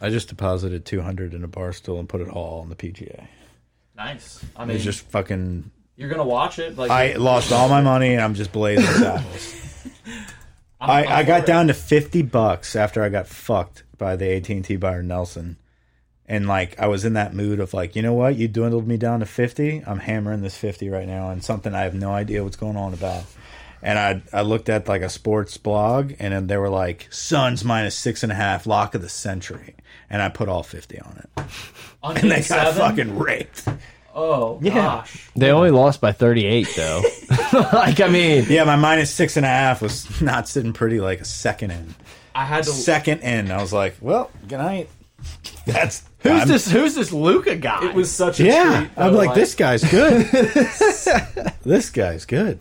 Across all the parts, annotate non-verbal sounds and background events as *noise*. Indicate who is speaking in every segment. Speaker 1: I just deposited 200 in a bar stool and put it all on the PGA.
Speaker 2: Nice. I
Speaker 1: It's
Speaker 2: mean,
Speaker 1: just fucking.
Speaker 2: you're gonna watch it. Like
Speaker 1: I lost all my money and I'm just blazing *laughs* saddles. I, I got down to 50 bucks after I got fucked by the AT&T buyer Nelson. And like I was in that mood of like, you know what? You dwindled me down to 50. I'm hammering this 50 right now on something I have no idea what's going on about. And I I looked at like a sports blog and then they were like Suns minus six and a half lock of the century. And I put all 50 on it. *laughs*
Speaker 2: on
Speaker 1: And they
Speaker 2: game
Speaker 1: got
Speaker 2: seven?
Speaker 1: fucking raked. *laughs*
Speaker 2: Oh gosh.
Speaker 3: They only lost by 38, *laughs* though. like, I mean,
Speaker 1: Yeah, my minus six and a half was *laughs* not sitting pretty like a second in.
Speaker 2: I had to.
Speaker 1: second in. I was like, well, good night. *laughs* That's
Speaker 3: who's
Speaker 1: I'm-
Speaker 3: this? Who's this Luca guy?
Speaker 2: it was such a
Speaker 1: Yeah,
Speaker 2: treat.
Speaker 1: I'm
Speaker 2: though,
Speaker 1: like, this guy's
Speaker 3: *laughs*
Speaker 1: good. this guy's good.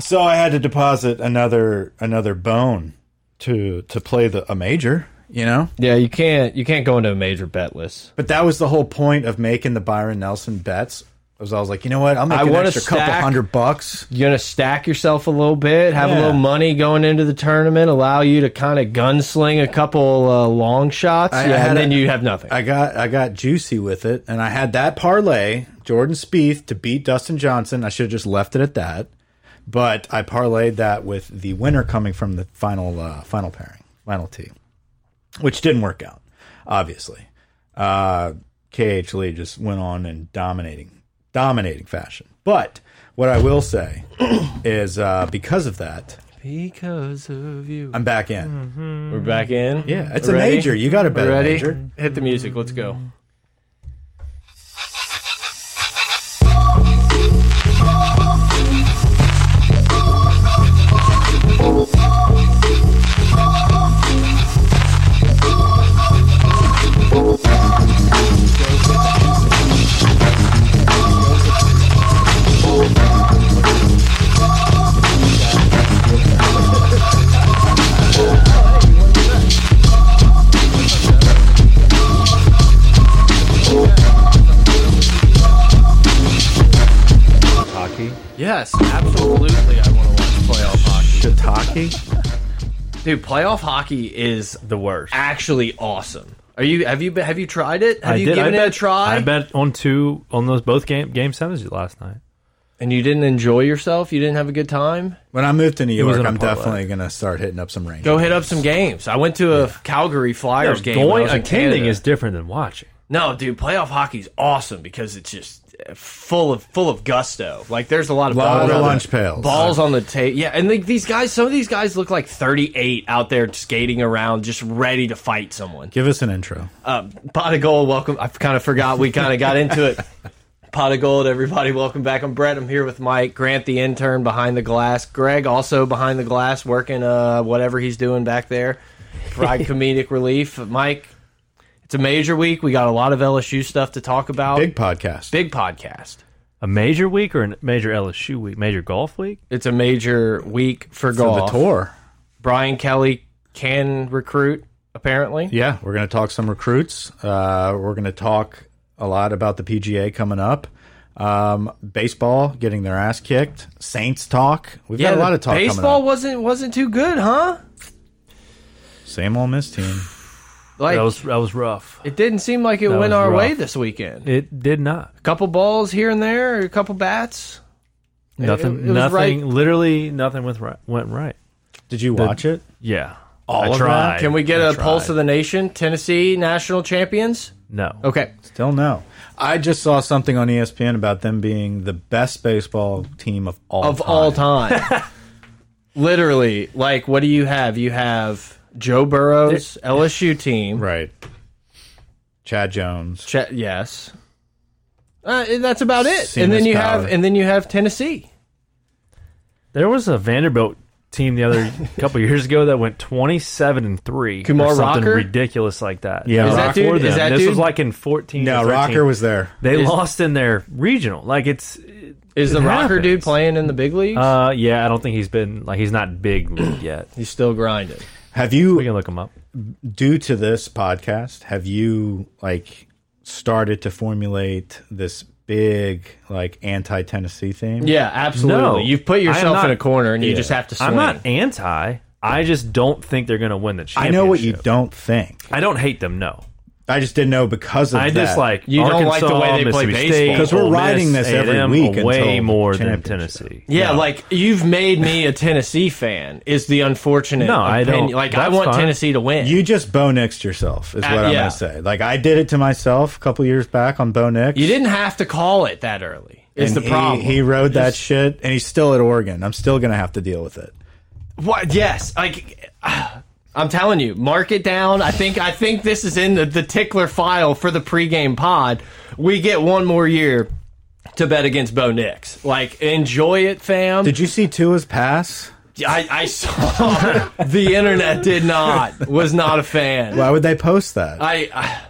Speaker 1: So I had to deposit another another bone to to play the a major, you know.
Speaker 3: yeah. You can't you can't go into a major bet list.
Speaker 1: But that was the whole point of making the Byron Nelson bets. Was I was like, you know what? I'll make
Speaker 3: I
Speaker 1: an
Speaker 3: wanna
Speaker 1: extra couple
Speaker 3: stack-
Speaker 1: hundred bucks.
Speaker 3: You're gonna stack yourself a little bit, have a
Speaker 1: Yeah.
Speaker 3: little money going into the tournament, allow you to kind of gunsling a couple uh, long shots,
Speaker 1: I- I
Speaker 3: yeah,
Speaker 1: had
Speaker 3: and then
Speaker 1: a-
Speaker 3: you have nothing.
Speaker 1: I got I got juicy with it, and I had that parlay Jordan Spieth to beat Dustin Johnson. I should have just left it at that, but I parlayed that with the winner coming from the final uh, final pairing, final tee, which didn't work out. Obviously, uh, KH Lee just went on in dominating dominating fashion. But what I will say *clears throat* is uh, because of that,
Speaker 3: because of you,
Speaker 1: I'm back in.
Speaker 3: we're back in.
Speaker 1: Yeah, it's
Speaker 3: We're
Speaker 1: a
Speaker 3: ready?
Speaker 1: major. You got to bet
Speaker 3: We're
Speaker 1: a
Speaker 3: ready.
Speaker 1: major.
Speaker 3: Hit the music. Let's go.
Speaker 1: Hockey,
Speaker 3: Yes, absolutely. I want to watch playoff hockey,
Speaker 1: Tataki.
Speaker 3: dude. Playoff hockey is
Speaker 4: The worst.
Speaker 3: actually awesome. Are you? Have you? been- Have you tried it? Have
Speaker 4: I
Speaker 3: you
Speaker 4: did. I
Speaker 3: given
Speaker 4: bet,
Speaker 3: it a try?
Speaker 4: I bet on two on those both game game sevens last night.
Speaker 3: And you didn't enjoy yourself. You didn't have a good time.
Speaker 1: When I move to New
Speaker 4: was
Speaker 1: York,
Speaker 4: in a
Speaker 1: I'm
Speaker 4: parlay.
Speaker 1: definitely gonna start hitting up some ranges.
Speaker 3: Go hit up some games. I went to a Calgary Flyers game. when I
Speaker 4: Going
Speaker 3: was in
Speaker 4: attending
Speaker 3: Canada.
Speaker 4: is different than watching.
Speaker 3: No, dude, playoff hockey's awesome because it's just uh, full of full of gusto. Like there's a lot of
Speaker 1: Lot
Speaker 3: balls
Speaker 1: of
Speaker 3: on
Speaker 1: lunch
Speaker 3: the,
Speaker 1: pails.
Speaker 3: balls on the tape. Yeah, and like these guys, some of these guys look like 38 out there skating around, just ready to fight someone.
Speaker 1: Give us an intro.
Speaker 3: Uh, pot of gold, welcome. I kind of forgot we kind of got into it. Pot of gold, everybody, welcome back. I'm Brett. I'm here with Mike Grant, the intern behind the glass. Greg, also behind the glass, working uh, whatever he's doing back there.
Speaker 1: *laughs*
Speaker 3: Provide comedic relief. Mike, it's a major week. We got a lot of LSU stuff to talk about.
Speaker 1: Big podcast.
Speaker 3: Big podcast.
Speaker 4: A major week or a major LSU week? Major golf week?
Speaker 3: It's a major week
Speaker 1: for
Speaker 3: for golf.
Speaker 1: the tour.
Speaker 3: Brian Kelly can recruit, apparently.
Speaker 1: Yeah, we're going to talk some recruits. Uh, we're going to talk a lot about the PGA coming up. Um, baseball getting their ass kicked. Saints talk. We've got a lot of talk
Speaker 3: Baseball
Speaker 1: coming up.
Speaker 3: wasn't wasn't too good, huh?
Speaker 1: Same old Miss team.
Speaker 3: Like
Speaker 4: That was that was rough.
Speaker 3: It didn't seem like it
Speaker 4: That
Speaker 3: went
Speaker 4: was
Speaker 3: our
Speaker 4: rough.
Speaker 3: way this weekend.
Speaker 4: It did not.
Speaker 3: A couple balls here and there, a couple bats.
Speaker 4: Nothing.
Speaker 3: it was
Speaker 4: nothing.
Speaker 3: right-
Speaker 4: Literally nothing went right. Went right.
Speaker 1: Did you watch it?
Speaker 4: Yeah.
Speaker 1: All
Speaker 4: I
Speaker 1: of that?
Speaker 4: tried.
Speaker 3: Can we get
Speaker 4: a
Speaker 3: a pulse of the nation? Tennessee national champions.
Speaker 4: No.
Speaker 3: Okay,
Speaker 1: Still no. I just saw something on E ESPN about them being the best baseball team of all
Speaker 3: of
Speaker 1: time.
Speaker 3: all
Speaker 4: *laughs*
Speaker 3: time. Literally, like, what do you have? You have Joe Burrow's
Speaker 4: *laughs*
Speaker 3: LSU team.
Speaker 1: Right. Chad Jones.
Speaker 3: Ch yes, uh, and that's about it.
Speaker 1: Seen
Speaker 3: and then
Speaker 1: this
Speaker 3: you
Speaker 1: power.
Speaker 3: have, and then you have Tennessee.
Speaker 4: There was a Vanderbilt team
Speaker 3: *laughs*
Speaker 4: the other couple years ago that went twenty-seven and three.
Speaker 3: Kumar
Speaker 4: or something
Speaker 3: Rocker?
Speaker 4: ridiculous like that.
Speaker 1: Yeah. Is that
Speaker 4: Rock
Speaker 3: dude-
Speaker 4: for
Speaker 3: is
Speaker 4: them.
Speaker 3: that
Speaker 4: this
Speaker 3: dude-
Speaker 4: was like in fourteen.
Speaker 1: No,
Speaker 4: or 13.
Speaker 1: Rocker was there.
Speaker 4: They
Speaker 3: Is-
Speaker 4: lost in their regional. Like it's.
Speaker 3: Is the
Speaker 4: It
Speaker 3: rocker dude
Speaker 4: happens.
Speaker 3: playing in the big leagues?
Speaker 4: Uh, yeah. I don't think he's been like he's not big *clears throat* league yet.
Speaker 3: He's still grinding.
Speaker 1: Have
Speaker 4: We
Speaker 1: you
Speaker 4: can look him up.
Speaker 1: due to this podcast, have you like started to formulate this big like anti Tennessee theme?
Speaker 3: Yeah, absolutely.
Speaker 4: No,
Speaker 3: You've put
Speaker 4: I am
Speaker 3: yourself
Speaker 4: not-
Speaker 3: in a corner, and you just have to swing.
Speaker 4: I'm not anti. I just don't think they're going to win the
Speaker 1: I
Speaker 4: championship.
Speaker 1: know what you don't think.
Speaker 4: I don't hate them. No,
Speaker 1: I just didn't know because of
Speaker 4: I
Speaker 1: that.
Speaker 4: just like
Speaker 3: You don't like
Speaker 4: Arkansas,
Speaker 3: the way they play
Speaker 4: Mississippi
Speaker 3: baseball.
Speaker 4: State
Speaker 1: 'Cause we're
Speaker 4: Ole Miss,
Speaker 1: riding this every
Speaker 4: A&M
Speaker 1: week
Speaker 4: way
Speaker 1: until
Speaker 4: more than
Speaker 1: championship.
Speaker 4: Tennessee.
Speaker 3: Yeah, like you've made me a Tennessee fan. Is the unfortunate?
Speaker 4: No, I
Speaker 3: opinion.
Speaker 4: don't-
Speaker 3: Like I
Speaker 4: that's
Speaker 3: want
Speaker 4: fine.
Speaker 3: Tennessee to win.
Speaker 1: you just Bo Nixed yourself is what
Speaker 3: Uh,
Speaker 1: I'm
Speaker 3: yeah.
Speaker 1: gonna say. Like I did it to myself a couple years back on Bo Nix.
Speaker 3: You didn't have to call it that early. Is
Speaker 1: and
Speaker 3: the
Speaker 1: he-
Speaker 3: problem?
Speaker 1: He, rode that shit, and he's still at Oregon. I'm still gonna have to deal with it.
Speaker 3: What? Yes, like *sighs* I'm telling you, mark it down. I think I think this is in the, the tickler file for the pregame pod. We get one more year to bet against Bo Nix. Like enjoy it, fam.
Speaker 1: Did you see Tua's pass?
Speaker 3: I, I saw *laughs* the internet did not was not a fan.
Speaker 1: Why would they post that?
Speaker 3: I, I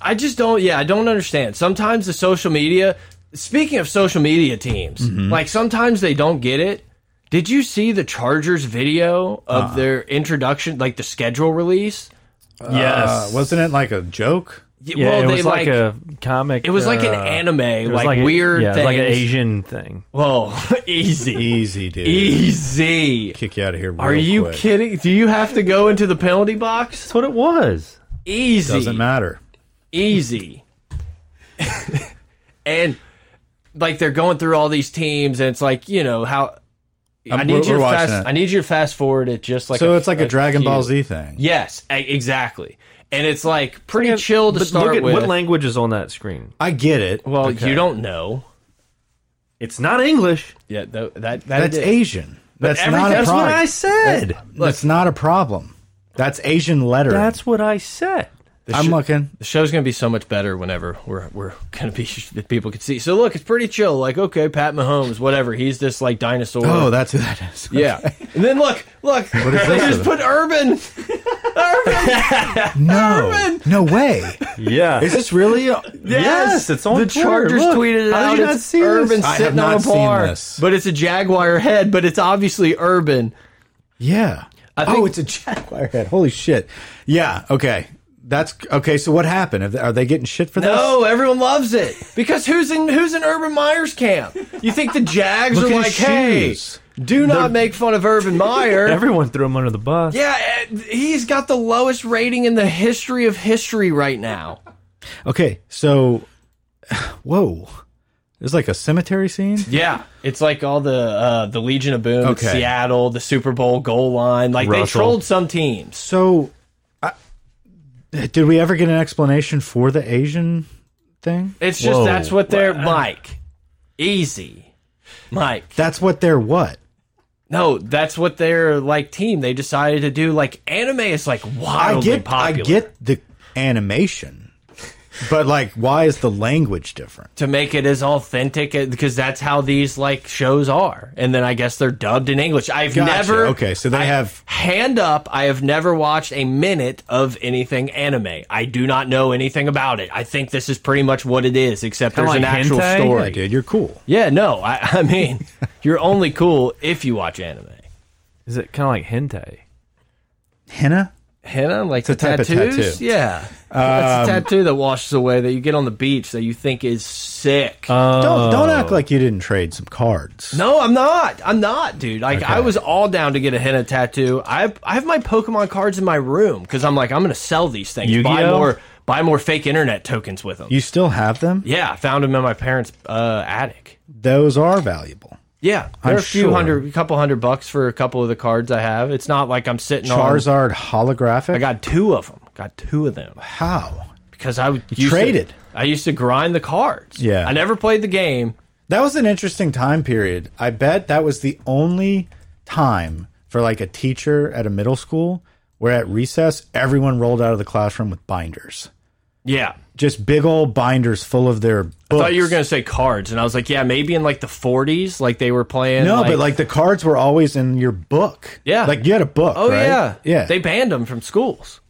Speaker 3: I just don't yeah, I don't understand. Sometimes the social media speaking of social media teams,
Speaker 4: Mm-hmm.
Speaker 3: like sometimes they don't get it. Did you see the Chargers video of
Speaker 4: Uh-huh.
Speaker 3: their introduction like the schedule release?
Speaker 1: Uh,
Speaker 4: Yes,
Speaker 1: wasn't it like a joke?
Speaker 3: Y-
Speaker 4: yeah, it was like, a comic.
Speaker 3: it was like an
Speaker 4: uh,
Speaker 3: anime,
Speaker 4: it was
Speaker 3: like,
Speaker 4: a-
Speaker 3: weird
Speaker 4: yeah, it was
Speaker 3: things.
Speaker 4: like an Asian thing. *laughs*
Speaker 3: Whoa, easy.
Speaker 1: Easy, dude.
Speaker 3: easy.
Speaker 1: Kick you out of here.
Speaker 3: E- Are
Speaker 1: real
Speaker 3: you
Speaker 1: quick.
Speaker 3: kidding? Do you have to go into the penalty box?
Speaker 4: That's what it was.
Speaker 3: Easy.
Speaker 1: Doesn't matter.
Speaker 3: easy. and like they're going through all these teams, and it's like you know how I
Speaker 1: I'm-
Speaker 3: need
Speaker 1: we're-
Speaker 3: your
Speaker 1: we're watching
Speaker 3: fast.
Speaker 1: it.
Speaker 3: I need your fast forward it just like
Speaker 1: So it's like a, Dragon Ball
Speaker 3: few-
Speaker 1: Z thing.
Speaker 3: Yes, e- exactly. And it's like pretty chill to
Speaker 4: But
Speaker 3: start
Speaker 4: look at
Speaker 3: with.
Speaker 4: what language is on that screen.
Speaker 1: I get it.
Speaker 3: well,
Speaker 4: Okay.
Speaker 3: you don't know.
Speaker 4: It's not English.
Speaker 3: Yeah, tho- that, that
Speaker 1: That's
Speaker 3: it is.
Speaker 1: Asian. That's
Speaker 3: every-
Speaker 1: not a
Speaker 4: That's
Speaker 1: problem.
Speaker 4: what I said.
Speaker 1: That's not a problem. That's Asian lettering.
Speaker 4: That's what I said.
Speaker 1: I'm looking.
Speaker 3: The show's gonna be so much better whenever we're we're gonna be *laughs* that people can see. So look, it's pretty chill. Like okay, Pat Mahomes, whatever. He's this like dinosaur.
Speaker 1: Oh, that's who that *laughs* is.
Speaker 3: yeah. *laughs* And then look, look. What
Speaker 1: is
Speaker 3: *laughs* they
Speaker 1: this?
Speaker 3: just put Urban.
Speaker 1: No, no way.
Speaker 4: Yeah.
Speaker 1: Is this really? A,
Speaker 4: Yes, it's on
Speaker 3: the
Speaker 4: Twitter.
Speaker 3: Chargers
Speaker 4: Look,
Speaker 3: tweeted it
Speaker 4: how did
Speaker 3: out.
Speaker 4: you not
Speaker 3: it's
Speaker 4: see this?
Speaker 3: Urban
Speaker 1: I have
Speaker 3: sitting on
Speaker 1: not
Speaker 3: a
Speaker 1: seen
Speaker 3: bar,
Speaker 1: this.
Speaker 3: but it's a Jaguar head. But it's obviously Urban.
Speaker 1: yeah. oh,
Speaker 3: think-
Speaker 1: it's a jaguar head. Holy shit. Yeah. Okay. That's okay. So what happened? Are they- Are they getting shit for this?
Speaker 3: No, Oh, everyone loves it because who's in who's in Urban Meyer's camp? You think the Jags
Speaker 1: Look
Speaker 3: are
Speaker 1: at
Speaker 3: like,
Speaker 1: his
Speaker 3: hey,
Speaker 1: shoes.
Speaker 3: do not make fun of Urban Meyer.
Speaker 4: Everyone threw him under the bus.
Speaker 3: Yeah, eh, he's got the lowest rating in the history of history right now.
Speaker 1: Okay. So, *sighs* whoa. There's like a cemetery scene.
Speaker 3: Yeah, it's like all the uh, the Legion of Boom,
Speaker 1: Okay.
Speaker 3: Seattle, the Super Bowl goal line. Like they
Speaker 4: Russell.
Speaker 3: trolled some teams.
Speaker 1: So, I, did we ever get an explanation for the Asian thing?
Speaker 3: It's just
Speaker 4: Whoa.
Speaker 3: that's what they're Mike. Easy, Mike.
Speaker 1: That's what they're what?
Speaker 3: No, that's what their like team. They decided to do like anime is like
Speaker 1: I
Speaker 3: wildly
Speaker 1: get
Speaker 3: popular.
Speaker 1: I get the animation, but like, why is the language different?
Speaker 3: to make it as authentic uh, because that's how these like shows are. And then I guess they're dubbed in English. I've
Speaker 1: Gotcha.
Speaker 3: never
Speaker 1: Okay, so they
Speaker 3: I-
Speaker 1: have-
Speaker 3: hand up. I have never watched a minute of anything anime. I do not know anything about it. I think this is pretty much what it is, except
Speaker 4: Kinda
Speaker 3: there's an
Speaker 4: like
Speaker 3: actual
Speaker 4: hentai?
Speaker 1: Yeah,
Speaker 3: story.
Speaker 1: dude, you're cool.
Speaker 3: Yeah, no, I, *laughs* I mean, you're only cool if you watch anime.
Speaker 4: Is it kind of like hentai?
Speaker 1: Henna?
Speaker 3: Henna, like the
Speaker 1: a type of
Speaker 3: tattoos,
Speaker 1: tattoo. Um,
Speaker 3: yeah, that's a tattoo that washes away that you get on the beach that you think is sick.
Speaker 1: Don't don't act like you didn't trade some cards.
Speaker 3: Uh, No, I'm not. I'm not, dude. Like I was all down to get a henna tattoo. I I have my Pokemon cards in my room because I'm like I'm gonna sell these things. Buy
Speaker 4: Yu-Gi-Oh?
Speaker 3: more buy more fake internet tokens with them.
Speaker 1: You still have them?
Speaker 3: yeah, I found them in my parents' uh, attic.
Speaker 1: Those are valuable.
Speaker 3: Yeah, there
Speaker 1: I'm
Speaker 3: are a few
Speaker 1: sure.
Speaker 3: hundred, a couple hundred bucks for a couple of the cards I have. It's not like I'm sitting on.
Speaker 1: Charizard holographic?
Speaker 3: Um, I got two of them. Got two of them
Speaker 1: How?
Speaker 3: because I would used to-
Speaker 1: traded.
Speaker 3: I used to grind the cards.
Speaker 1: Yeah.
Speaker 3: I never played the game.
Speaker 1: That was an interesting time period. I bet that was the only time for like a teacher at a middle school where at recess everyone rolled out of the classroom with binders.
Speaker 3: Yeah,
Speaker 1: Just big old binders full of their books.
Speaker 3: I thought you were gonna say cards, and I was like, yeah, maybe in like the 40s, like they were playing.
Speaker 1: No, but like the cards were always in your book.
Speaker 3: Yeah.
Speaker 1: Like you had a book.
Speaker 3: Oh
Speaker 1: right?
Speaker 3: yeah,
Speaker 1: Yeah.
Speaker 3: They banned them from schools.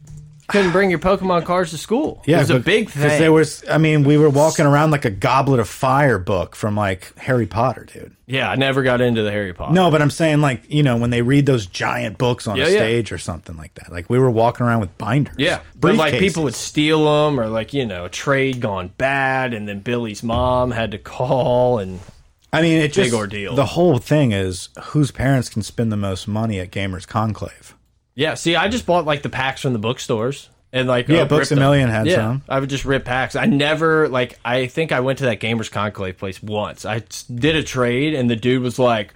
Speaker 3: Couldn't bring your Pokemon cards to school. it was a
Speaker 1: but-
Speaker 3: big thing.
Speaker 1: there was, I mean, we were walking around like a Goblet of Fire book from like Harry Potter, dude.
Speaker 3: yeah, I never got into the Harry Potter.
Speaker 1: No, but I'm saying like you know when they read those giant books on
Speaker 3: Yeah,
Speaker 1: a
Speaker 3: yeah.
Speaker 1: stage or something like that. Like we were walking around with binders.
Speaker 3: yeah, but like
Speaker 1: briefcases.
Speaker 3: people would steal them, or like you know, a trade gone bad, and then Billy's mom had to call, and
Speaker 1: I mean, it
Speaker 3: Big
Speaker 1: just
Speaker 3: ordeal.
Speaker 1: The whole thing is whose parents can spend the most money at Gamers Conclave.
Speaker 3: Yeah, see, I just bought like the packs from the bookstores and like
Speaker 1: Yeah,
Speaker 3: uh,
Speaker 1: Books
Speaker 3: ripped
Speaker 1: a
Speaker 3: them.
Speaker 1: Million had
Speaker 3: yeah,
Speaker 1: some.
Speaker 3: I would just rip packs. I never like. I think I went to that Gamers Conclave place once. I s- did a trade, and the dude was like,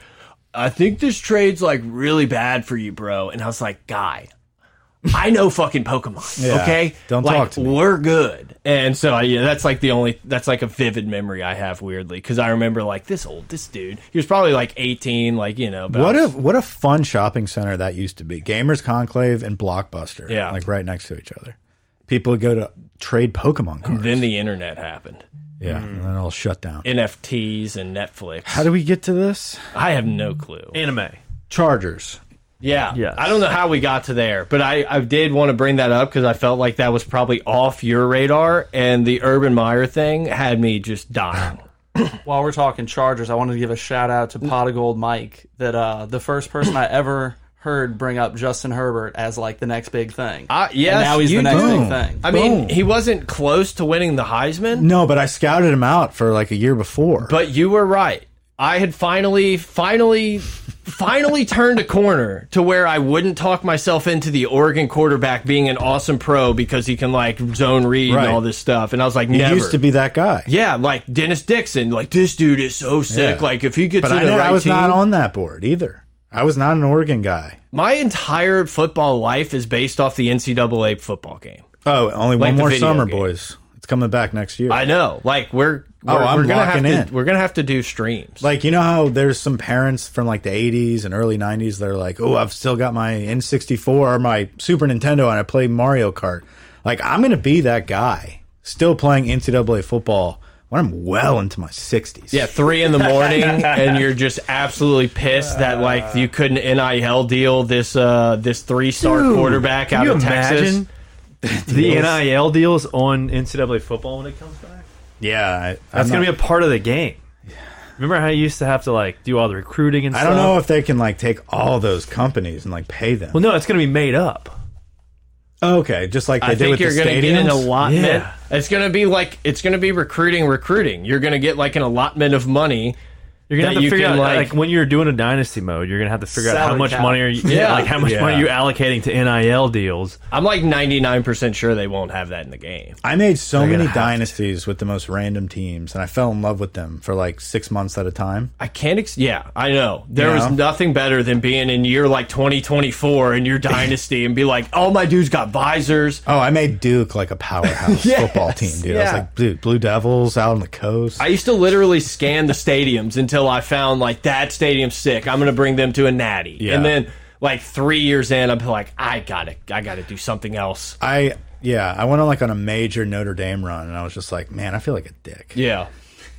Speaker 3: "I think this trade's like really bad for you, bro." And I was like, "Guy, I know fucking Pokemon.
Speaker 1: *laughs* Yeah,
Speaker 3: okay,
Speaker 1: don't
Speaker 3: like,
Speaker 1: talk to me."
Speaker 3: We're good." And so I, yeah, that's like the only that's like a vivid memory I have weirdly because I remember like this old this dude. He was probably like eighteen, like you know. But I
Speaker 1: What
Speaker 3: was-
Speaker 1: a what a fun shopping center that used to be. Gamers Conclave and Blockbuster.
Speaker 3: Yeah.
Speaker 1: like right next to each other. People would go to trade Pokemon cards.
Speaker 3: then the internet happened.
Speaker 1: yeah, and then it'll shut down.
Speaker 3: NFTs and Netflix.
Speaker 1: How do we get to this?
Speaker 3: I have no clue.
Speaker 4: Anime.
Speaker 1: Chargers.
Speaker 3: Yeah.
Speaker 4: Yes.
Speaker 3: I don't know how we got to there, but I, I did want to bring that up because I felt like that was probably off your radar, and the Urban Meyer thing had me just dying.
Speaker 2: While we're talking Chargers, I wanted to give a shout out to Pot of Gold Mike. That uh, the first person
Speaker 1: *laughs*
Speaker 2: I ever heard bring up Justin Herbert as like the next big thing.
Speaker 3: Uh, yes,
Speaker 2: and now he's
Speaker 3: you
Speaker 2: the next
Speaker 1: do.
Speaker 2: big thing.
Speaker 3: I mean, he wasn't close to winning the Heisman,
Speaker 1: No, but I scouted him out for like a year before.
Speaker 3: but you were right. I had finally, finally, finally turned a corner to where I wouldn't talk myself into the Oregon quarterback being an awesome pro because he can like zone read
Speaker 1: Right.
Speaker 3: and all this stuff. And I was like,
Speaker 1: he
Speaker 3: never.
Speaker 1: used to be that guy.
Speaker 3: Yeah, like Dennis Dixon, like this dude is so sick.
Speaker 1: Yeah.
Speaker 3: Like if he gets
Speaker 1: but
Speaker 3: in
Speaker 1: I,
Speaker 3: the
Speaker 1: know-
Speaker 3: right
Speaker 1: I was
Speaker 3: team,
Speaker 1: not on that board either. I was not an Oregon guy.
Speaker 3: my entire football life is based off the NCAA football game.
Speaker 1: Oh, only
Speaker 3: Like
Speaker 1: one
Speaker 3: the
Speaker 1: more
Speaker 3: video
Speaker 1: summer,
Speaker 3: game.
Speaker 1: boys. It's coming back next year.
Speaker 3: I know, like we're we're,
Speaker 1: Oh, I'm
Speaker 3: we're gonna have
Speaker 1: locking
Speaker 3: to
Speaker 1: in.
Speaker 3: we're gonna have to do streams.
Speaker 1: like you know how there's some parents from like the 80s and early 90s that are like, "Oh, I've still got my N64 or my Super Nintendo and I play Mario Kart." Like I'm going to be that guy still playing NCAA football when I'm well into my 60s.
Speaker 3: yeah, three in
Speaker 1: *laughs*
Speaker 3: the morning, and you're just absolutely pissed that like you couldn't nil deal this uh this three star
Speaker 4: Dude,
Speaker 3: quarterback
Speaker 4: Can
Speaker 3: out
Speaker 4: you
Speaker 3: of Texas. *laughs*
Speaker 4: imagine the NIL deals on NCAA football when it comes back?
Speaker 1: Yeah, I,
Speaker 4: That's going
Speaker 1: going
Speaker 4: to be a part of the game. Remember how you used to have to like do all the recruiting and
Speaker 1: I
Speaker 4: stuff?
Speaker 1: don't know if they can like take all those companies and like pay them.
Speaker 4: Well, no, it's going to be made up.
Speaker 1: Okay, just like they
Speaker 3: I
Speaker 1: did
Speaker 3: think
Speaker 1: with
Speaker 3: you're
Speaker 1: the
Speaker 3: going to get an
Speaker 1: stadiums.
Speaker 3: allotment.
Speaker 4: Yeah.
Speaker 3: It's going to be like it's going to be recruiting, recruiting. You're going to get like an allotment of money.
Speaker 4: You're
Speaker 3: that
Speaker 4: gonna have to
Speaker 3: you
Speaker 4: figure
Speaker 3: can,
Speaker 4: out
Speaker 3: like-
Speaker 4: like, when you're doing a dynasty mode, you're gonna have to figure out how
Speaker 2: Salary
Speaker 4: much
Speaker 2: cap.
Speaker 4: money are you,
Speaker 3: Yeah.
Speaker 4: yeah, like how much
Speaker 1: Yeah.
Speaker 4: money you're allocating to NIL deals.
Speaker 3: I'm like 99% sure they won't have that in the game.
Speaker 1: I made so
Speaker 4: gonna
Speaker 1: many
Speaker 4: have to.
Speaker 1: dynasties with the most random teams, and I fell in love with them for like six months at a time.
Speaker 3: I can't ex yeah, I know. There
Speaker 1: Yeah.
Speaker 3: was nothing better than being in year like 2024 in your dynasty and be like, "All my dudes got visors."
Speaker 1: Oh, I made Duke like a
Speaker 3: *laughs*
Speaker 1: powerhouse football team, dude. I was
Speaker 3: yeah.
Speaker 1: like, dude, Blue Devils out on the coast.
Speaker 3: I used to literally scan the stadiums until I found like that stadium's sick. I'm going to bring them to a natty.
Speaker 1: Yeah.
Speaker 3: And then like 3 years in, I'm like, "I got to I got to do something else."
Speaker 1: I yeah, I went on like on a major Notre Dame run, and I was just like, man, I feel like a dick.
Speaker 3: Yeah.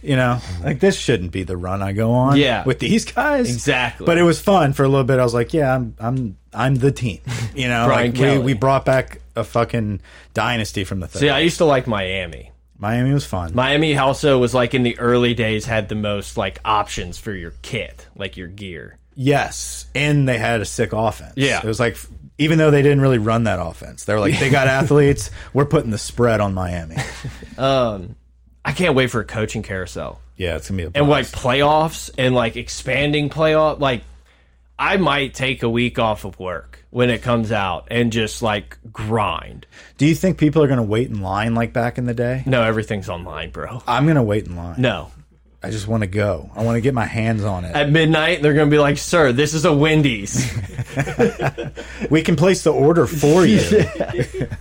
Speaker 1: You know, like this shouldn't be the run I go on.
Speaker 3: Yeah.
Speaker 1: with these guys,
Speaker 3: Exactly.
Speaker 1: But it was fun for a little bit. I was like, yeah, I'm I'm I'm the team. You know,
Speaker 3: Brian
Speaker 1: like
Speaker 3: Kelly.
Speaker 1: we we brought back a fucking dynasty from the thing.
Speaker 3: See, I used to like Miami.
Speaker 1: Miami was fun.
Speaker 3: Miami also was like in the early days had the most like options for your kit, like your gear.
Speaker 1: Yes, and they had a sick offense.
Speaker 3: Yeah.
Speaker 1: it was like even though they didn't really run that offense, they were like they got
Speaker 3: *laughs*
Speaker 1: athletes. We're putting the spread on Miami.
Speaker 3: I can't wait for a coaching carousel
Speaker 1: Yeah, it's gonna be a
Speaker 3: and like
Speaker 1: blast.
Speaker 3: playoffs and like expanding playoff. Like, I might take a week off of work when it comes out and just like grind.
Speaker 1: Do you think people are gonna wait in line like back in the day?
Speaker 3: No, everything's online, bro.
Speaker 1: I'm gonna wait in line.
Speaker 3: No,
Speaker 1: I just want to go. I want to get my hands on it.
Speaker 3: at midnight they're gonna be like, "Sir, this is
Speaker 1: *laughs*
Speaker 3: a Wendy's."
Speaker 1: we can place the order for
Speaker 3: *laughs*
Speaker 1: you.